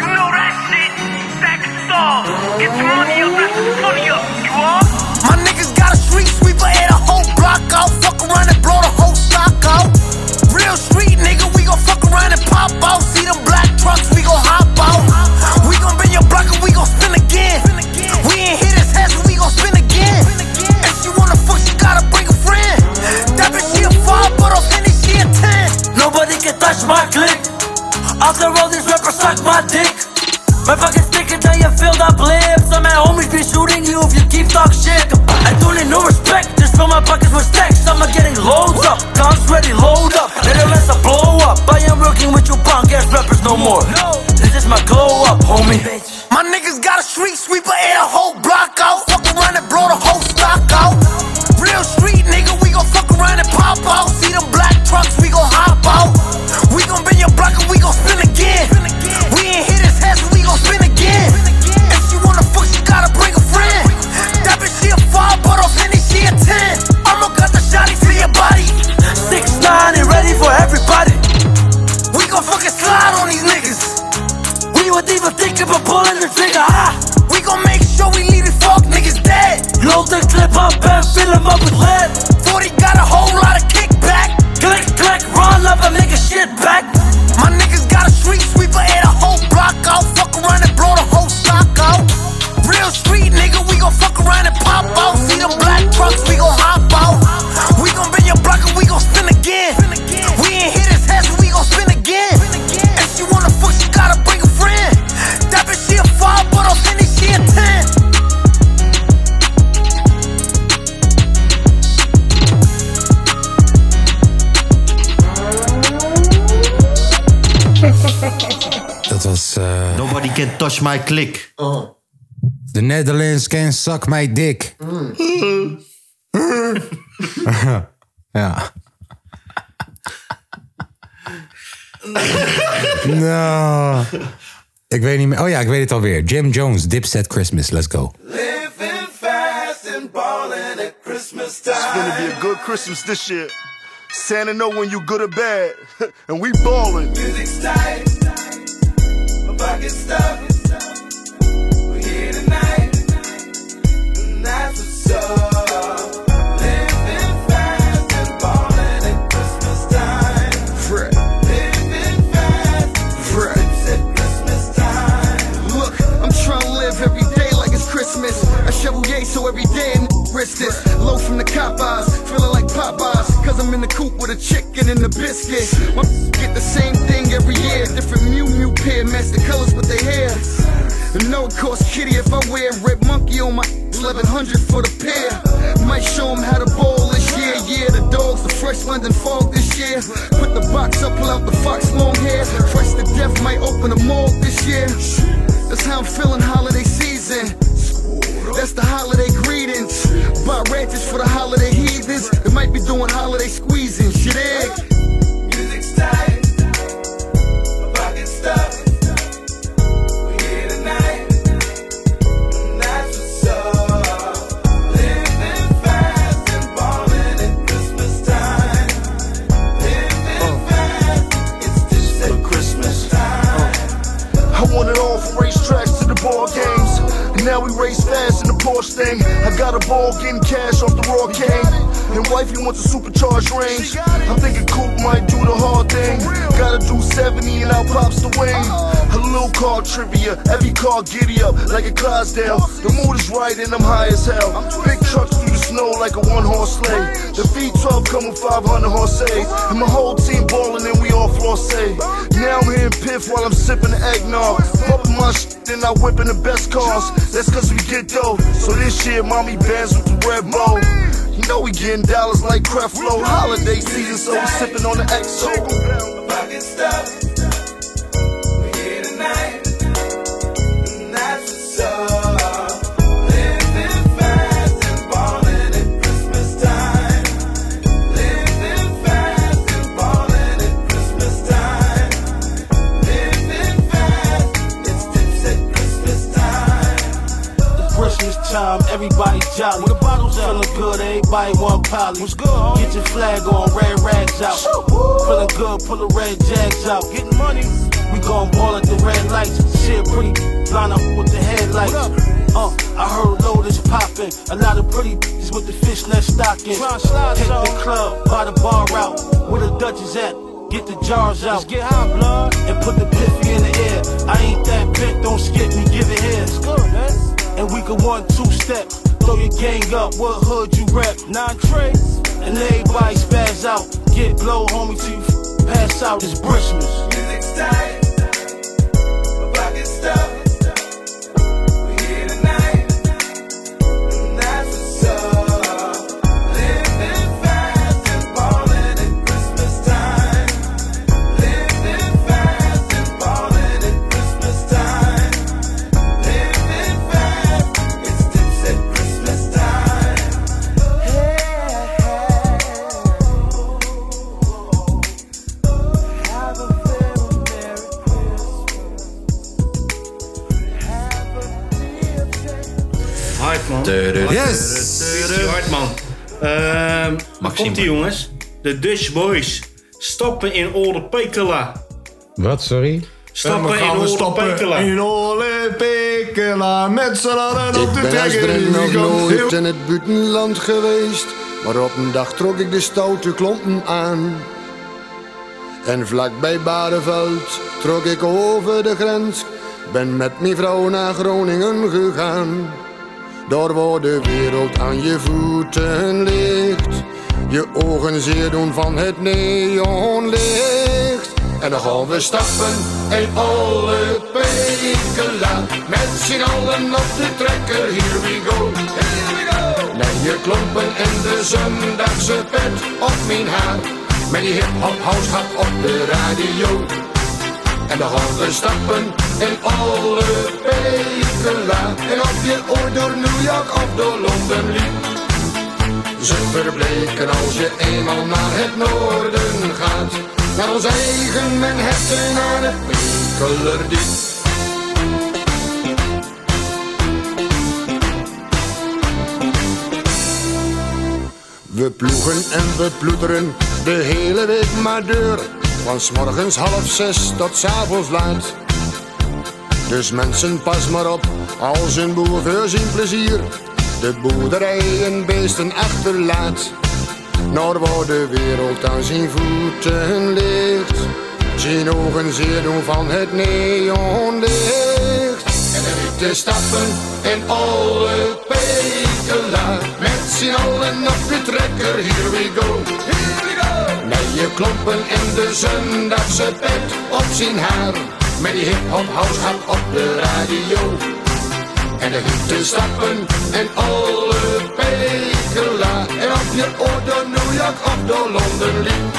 You know that shit, stack star. Get your money up, that's the money up. You are. My niggas got a street sweeper and a whole block out. Fuck around and blow the whole stock out. Real street nigga, we gon' fuck around and pop out. See them black trucks, we gon' hop out. We gon' bend your block and we gon' spin again. We ain't hit his head, so we gon' spin again. If she wanna fuck, she gotta bring a friend. That bitch, she a five street, nigga. We gon' fuck around and pop out. See them black trucks, we gon' hop out. We gon' bend your block and we gon' spin again. We ain't hit his head, so we gon' spin again. If she wanna fuck, she gotta bring a friend. That bitch, she a five, but on finish, she a ten. I'ma cut the shotty for your body. Six nine and ready for everybody. We gon' fucking slide on these niggas. We would even think about pulling the trigger. Ah, we gon' make sure we leave these fuck niggas dead. Load the clip up and fill 'em up with lead. 40 got a whole lot of kickback. Click, click, run up and make a shit back. My niggas got a street sweeper and a whole block out. Fuck around and blow the whole stock out. Real street nigga, we gon' fuck around and pop out. See them black trucks, we gon' hop out. We gon' bend your block and we gon' spin again. We ain't hit his head, so we gon' spin again. If she wanna fuck, she gotta bring a friend. That bitch, she a five, but on finish, she a ten. Dat was... eh, Nobody can touch my click. The Netherlands can suck my dick. ja. no. Nou. Ik weet niet meer. Oh ja, ik weet het alweer. Jim Jones, Dipset Christmas. Let's go. Living fast and ballin' at Christmas time. It's gonna be a good Christmas this year. Santa know when you good or bad, and we ballin'. Music's tight, my pocket stuff. We're here tonight, and that's what's up. Living fast and ballin' at Christmas time. Living fast, trips at Christmas time. Look, I'm tryna live every day like it's Christmas. I shovel yay so every day and risk this. Low from the cop eyes, feeling like Popeyes. Cause I'm in the coop with a chicken and a biscuit. My get the same thing every year. Different Mew Mew pair, match the colors with their hair. And no, it costs kitty if I wear red monkey on my 1100 for the pair. Might show 'em how to bowl this year. Yeah, the dogs, the fresh London fog this year. Put the box up, pull out the fox long hair. Fresh to death might open a mall this year. That's how I'm feeling holiday season. That's the holiday greetings. Buy ratchets for the holiday heathens. They might be doing holiday squeezing. Shit, eh? egg. Music's tight. Pocket stuff. I want it all from racetracks to the ball games. And now we race fast in the Porsche thing. I got a ball getting cash off the raw cane. And wifey wants a supercharged range. I'm thinking Coop might do the hard thing. Gotta do 70 and out pops the wing. A little car trivia, every car giddy up like a Clydesdale. The mood is right and I'm high as hell. Big trucks through the snow like a one horse sleigh. The V12 come with 500 horses. And my whole team ballin' and we all flossay. Now I'm here in Piff while I'm sippin' the eggnog. Bumpin' my shit, then I whippin' the best cars. That's cause we get dough. So this year, mommy bands with the red bow. You know we gettin' dollars like Creflo. Holiday season, so we sippin' on the XO. Pocket stuff. Christmas time, everybody jolly. When the bottles feeling good, everybody want poly. What's good? Get your flag on, red rags out. Feeling good, pull the red jags out. Getting money, we gon' ball at the red lights. Shit, pretty line up with the headlights. Uh, I heard load is poppin'. A lot of pretty bitches with the fishnet stocking. Take the club by the bar out. Where the Dutch is at? Get the jars out. get high, blood. And put the piffy in the air. I ain't that bent, don't skip me, give it here. It's good, man and we can one two step. Throw your gang up, what hood you rep? Nine trades, and everybody spaz out. Get blow, homie, till you f- pass out. It's Christmas. Music's tight, pocket stuff. Christmas time. Ehm komt ie jongens. De Dutch Boys stappen in Olde Pekela. Wat, sorry? Stappen in Olde Pekela. in Ole Pekela. Met z'n allen op Ik de ben als trekker. Bren nog Die kant nooit in het buitenland geweest, maar op een dag trok ik de stoute klompen aan. En vlak bij Bareveld trok ik over de grens, ben met mijn vrouw naar Groningen gegaan. Daar waar de wereld aan je voeten ligt, je ogen zeer doen van het neonlicht. En dan gaan we stappen En alle pekela met z'n allen op de trekker. Here we go. Here we go. naar je klompen en de zondagse pet op mijn haar. Met die hip-hop house gaat op de radio. En dan gaan we stappen en alle pekela. En of je ooit door New York of door Londen liep. Ze verbleken als je eenmaal naar het noorden gaat. Naar ons eigen Manhattan aan het Pekelerdiep. We ploegen en we ploeteren de hele week maar deur. Van 's morgens half zes tot 's avonds laat. Dus mensen, pas maar op, als een boer voor zijn plezier de boerderijen beesten achterlaat. Naar waar de wereld aan zijn voeten ligt, zijn ogen zeer doen van het neonlicht. En dan ik de stappen en alle pekela. Met z'n allen op de trekker, here we go. Here we go. Naar je klompen en de zondagse pet op zijn haar. Met die hip-hop house gaat op de radio. En de hitte stappen en alle pekela. En op je oor door New York of door Londen liep.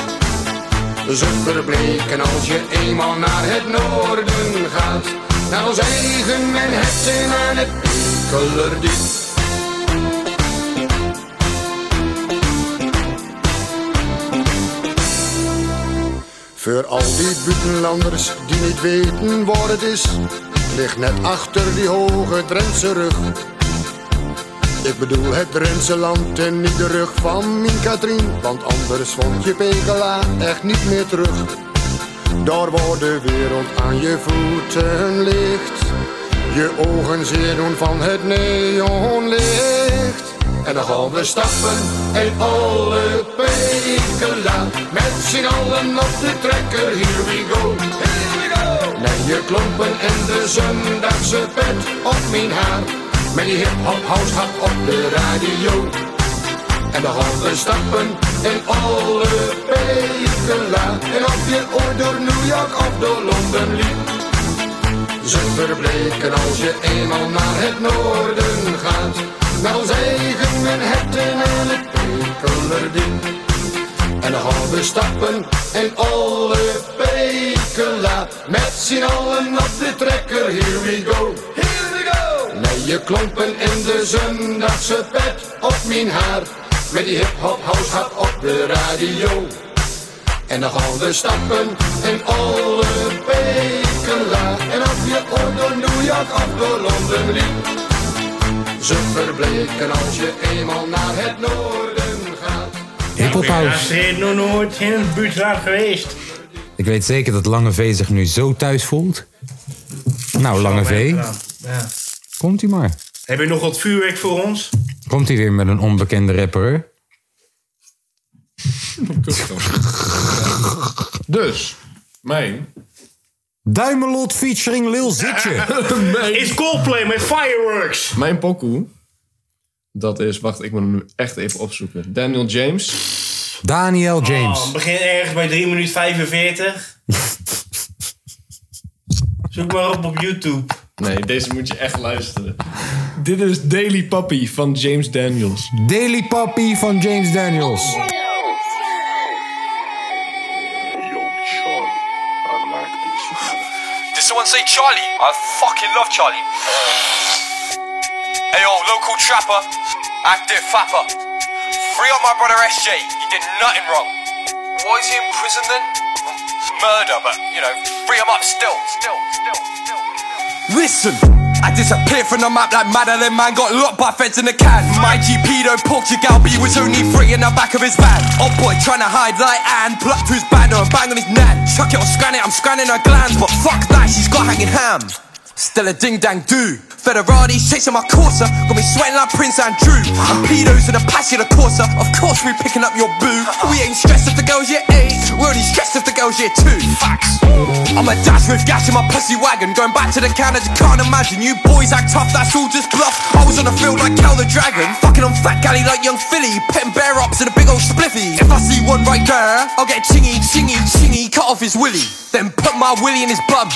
Ze verbleken als je eenmaal naar het noorden gaat. Naar ons eigen Manhattan aan het Pekelerdiep. Voor al die buitenlanders die niet weten waar het is, ligt net achter die hoge Drentse rug. Ik bedoel het Drentse land en niet de rug van Mien Katrien, want anders vond je Pekela echt niet meer terug. Daar waar de wereld aan je voeten ligt, je ogen zeer doen van het neonlicht. En dan gaan we stappen en alle pekela. Met z'n allen op de trekker, here we go. Here we go. Naar je klompen en de zondagse pet op mijn haar. Met die hip-hop house gaat op de radio. En dan gaan we stappen en alle pekela. En op je oor door New York of door Londen liep. Ze verbleken als je eenmaal naar het noorden gaat. Naar ons eigen Manhattan en het Pekelerdiep. En dan gaan we stappen en alle Pekela. Met z'n allen op de trekker, here we go. Here we go. Naar je klompen en de zondagse pet op mijn haar. Met die hip-hop house gaat op de radio. En dan gaan we stappen en alle Pekela. En op je oor door New York of door Londen liep. Ze verbleken er als je eenmaal naar het noorden gaat. Ja, ze is nog nooit in het buitenland geweest. Ik weet zeker dat Lange V zich nu zo thuis voelt. Nou, Lange V, Ja. komt ie maar. Heb je nog wat vuurwerk voor ons? Komt hij weer met een onbekende rapper? hè? Dus, mijn. Duimelot featuring Lil Zitje. Is Coldplay met fireworks. Mijn pokoe. Dat is, wacht, ik moet hem nu echt even opzoeken. Daniel James. Daniel James. Oh, begin ergens bij 3 minuten 45. Zoek maar op op YouTube. Nee, deze moet je echt luisteren. Dit is Daily Puppy van James Daniels. Daily Papi van James Daniels. Did someone say Charlie? I fucking love Charlie. Hey yo, local trapper, active fapper. Free up my brother SJ. He did nothing wrong. Why is he in prison then? Murder, but you know, free him up still, still, still, still. Listen, I disappear from the map like Madeline Man Got locked by feds in the can My GP though Portugal But he was only free in the back of his van Old boy trying to hide like Anne Plucked to his banner and bang on his nan Chuck it or scan it, I'm scanning her glands But fuck that, she's got hanging hams Still a ding dang do. Federati's chasing my Corsa, got me sweating like Prince Andrew. And pedos in a passion of Corsa, of course we picking up your boo. We ain't stressed if the girls year eight, we're only stressed if the girls year two. Facts. I'm a dash with gas in my pussy wagon, going back to the counter, you can't imagine. You boys act tough, that's all just bluff. I was on the field like Cal the Dragon, fucking on Fat Galley like Young Philly, petting bear ups in a big old spliffy. If I see one right there, I'll get chingy, chingy, chingy, cut off his willy. Then put my willy in his bum.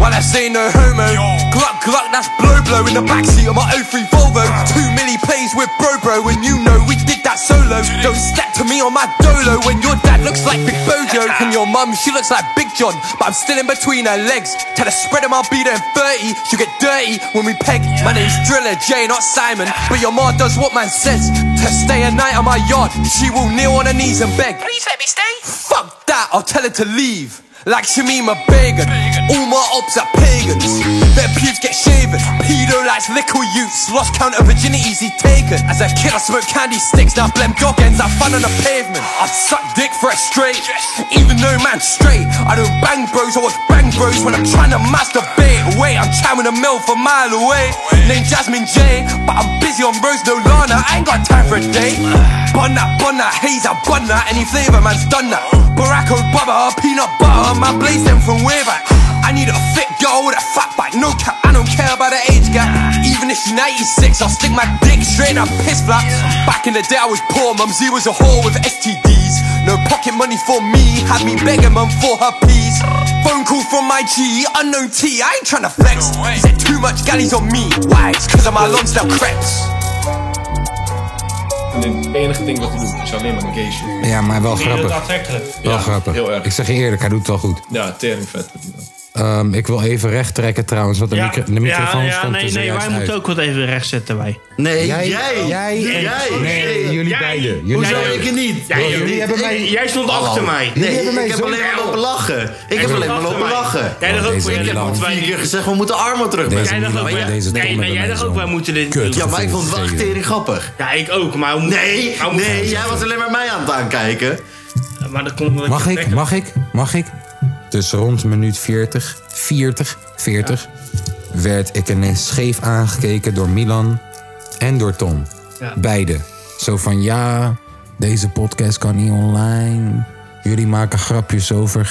While I say no homo, gluck gluck, that's blow blow in the backseat of my 03 Volvo. Two milli plays with bro bro, and you know we did that solo. Don't step to me on my dolo when your dad looks like Big Bojo and your mum she looks like Big John, but I'm still in between her legs. Tell her spread 'em, I'll be there in 30. She'll get dirty when we peg. My name's Driller J, not Simon, but your ma does what man says. To stay a night on my yard, she will kneel on her knees and beg. Please let me stay. Fuck that, I'll tell her to leave. Like Shamima Bagan, all my ops are pagans. Their pubes get shaven. Pedo likes liquor youths. Lost count of virginities he taken. As a kid, I smoked candy sticks. Now blem dog ends. I fun on the pavement. I suck dick for a straight. Even though man's straight, I don't bang bros. I watch bang bros when I'm trying to masturbate. Wait, I'm chowing a mill for a mile away. Named Jasmine J, but I'm busy on Rose Lana. I ain't got time for a date. Bun that, bun that, haze, I bun that. Any flavor, man's done that. Barack Obama, peanut butter, man blaze them from way back. I need a fit girl with a fat back, no cap. I don't care about the age gap. Even if she's 96, I'll stick my dick straight in her piss flaps. Back in the day, I was poor. Mumsy was a whore with STDs. No pocket money for me. Had me begging mum for her peas. Phone call from my G, unknown T. I ain't tryna flex. He said too much galleys on me. Why? It's cause of my Lonsdale crepes. En het enige ding wat hij doet is alleen maar een gay shit. Ja, maar wel grappig. aantrekkelijk. Wel grappig. Heel erg. Ik zeg je eerlijk, hij doet het wel goed. Ja, tering vet. Ehm, ik wil even recht trekken trouwens, want de, micro- de microfoon ja, stond nee, er nee, zojuist wij moeten uit. ook wat even recht zetten, wij. Nee, Jij- jij. jij en- Jij. Nee, jullie beiden. Jullie Hoezo beiden. ik het niet? Jij- jullie hebben mij- jij stond achter mij. Nee, Jullie hebben mij ik heb zo- alleen maar lopen lachen. Ik heb stond alleen maar achter lopen mij. lachen. Jij dacht ook, Deze ik heb lang. vier keer gezegd, we moeten armen terugbrengen. Jij dacht ook, wij- nee, nee, jij dacht ook, wij moeten dit Kut. doen. Ja, maar ik vond het wel echt tering grappig. Ja, ik ook, maar... Nee, nee, jij was alleen maar mij aan het aankijken. Maar dat komt Mag ik? Mag ik? Mag ik? Dus rond minuut 40, 40, 40 werd ik ineens scheef aangekeken door Milan en door Tom. Ja. Beide. Zo van ja, deze podcast kan niet online. Jullie maken grapjes over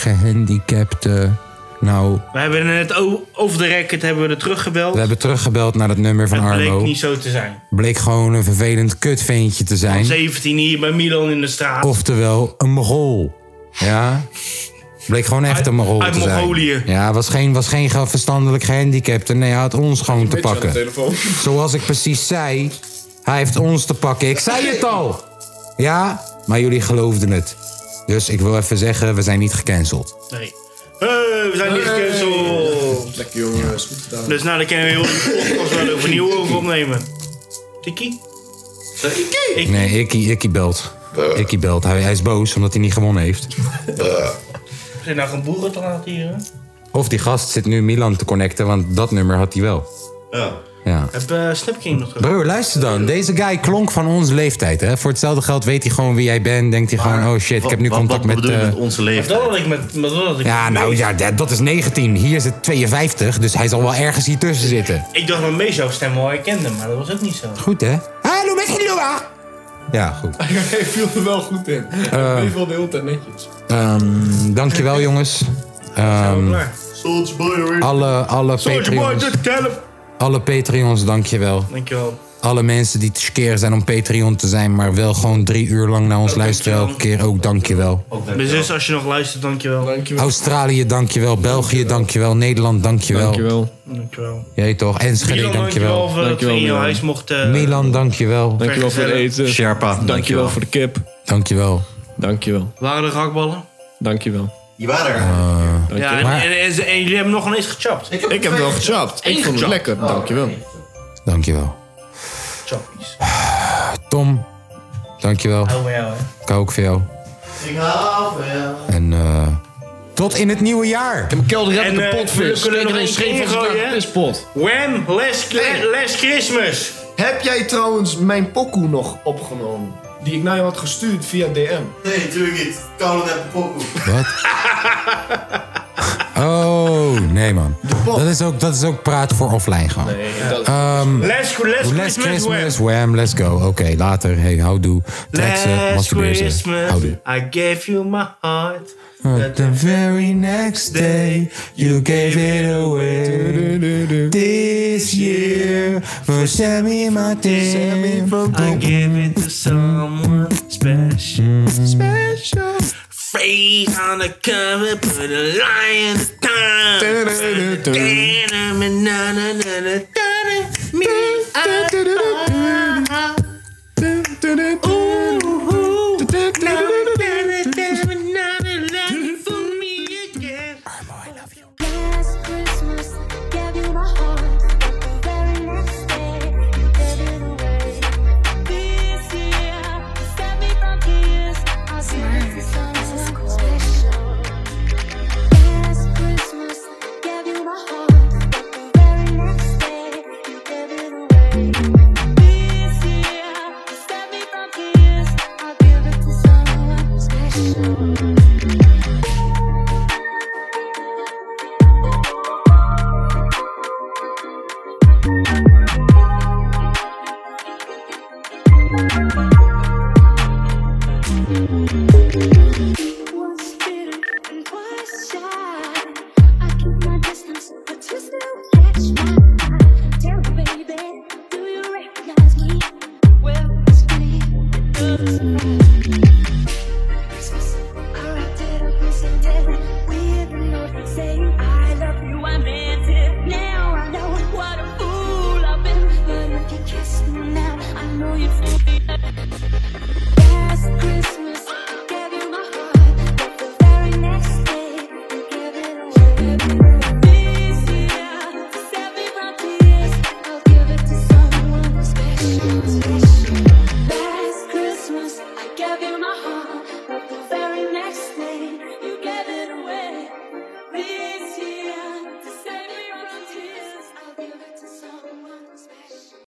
gehandicapten. Nou, We hebben het o- over de record hebben we er teruggebeld. we hebben teruggebeld naar het nummer van Het bleek Arno. niet zo te zijn. Bleek gewoon een vervelend kutveentje te zijn. 17 hier bij Milan in de straat. Oftewel, een Mogol. Ja? Bleek gewoon echt een Mogol uit te zijn. Mongolië. Ja, was geen, was geen ge- verstandelijk gehandicapte. Nee, hij had ons gewoon te beetje aan de pakken. telefoon. Zoals ik precies zei, hij heeft ons te pakken. Ik zei het al! Ja, maar jullie geloofden het. Dus ik wil even zeggen, we zijn niet gecanceld. Nee. Hey, we zijn niet gecanceld. Lekker jongens, goed gedaan. Dus nou, dan kunnen we heel de podcast wel overnieuw over opnemen. Tikkie? Ik- Nee, Ikkie, Ikkie belt. Ikkie belt. Hij, hij is boos omdat hij niet gewonnen heeft. We zijn nou geen boeren te laten hier, hè? Of die gast zit nu Milan te connecten, want dat nummer had hij wel. Ja. Ja. Heb eh Snapking nog terug? Broer, luister dan. Deze guy klonk van onze leeftijd, hè? Voor hetzelfde geld weet hij gewoon wie jij bent. Denkt hij gewoon, oh shit, ik heb nu contact met... eh, onze Dat had ik met... Dat had ik ja, nou ja, dat, dat is 19. Hier is het 52, dus hij zal wel ergens hier tussen zitten. Ik dacht dat mee zou stemmen wel herkende, maar dat was ook niet zo. Goed, hè? Hallo, met Hilua! Ja, goed. Hij viel er wel goed in. Eh. Hij viel de hele tijd netjes. Ehm, dankjewel, jongens. Ehm, Soldier Boy, hoor. alle, alle Soldier Boy, Patreons, dit kelp. alle Patreons, dankjewel. Dankjewel. Alle mensen die te skeer zijn om Patreon te zijn, maar wel gewoon drie uur lang naar ons luisteren elke keer, ook dankjewel. Mijn zus, dus als je nog luistert, dankjewel. Dankjewel. Australië, dankjewel. België, dankjewel. Nederland, dankjewel. Dankjewel. Dankjewel. Jij toch? Enschede, Milan, dankjewel. dankjewel voor dat we in jouw huis mochten... Milan, dankjewel. Dankjewel voor het eten. Sherpa, dankjewel. voor de kip. Dankjewel. Dankjewel. Waren er gehaktballen? Dankjewel. Die waren Ah. er. Ja, en, en, en- en jullie hebben nog ineens gechapt. Oh, Ik heb, wel gechapt. Ik vond het lekker, dankjewel. Dankjewel. Chappies. Tom, dankjewel. Hou van jou, hè. Ik hou ook van jou. Ik hou van jou. En eh, Tot in het nieuwe jaar. Ik heb een kelder En, eh, we kunnen er nog eens ingooien. hè? Wham, last, cli- last Christmas. Heb jij trouwens mijn pokoe nog opgenomen? Die ik naar je had gestuurd via DM. Nee, natuurlijk niet. Koude net pokoe. Oh, nee man. Dat is ook, dat is ook praat voor offline gewoon. Ehm, Last- last Christmas, wham. let's go. Oké, later. Hey, houdoe. Trek ze, Last masturbeer ze. Christmas, Houdoe. I gave you my heart. But the very next day, you gave it away. This year, for Sammy Martin. I give it to someone special. Special. Free on the cover, put a lion down. Special.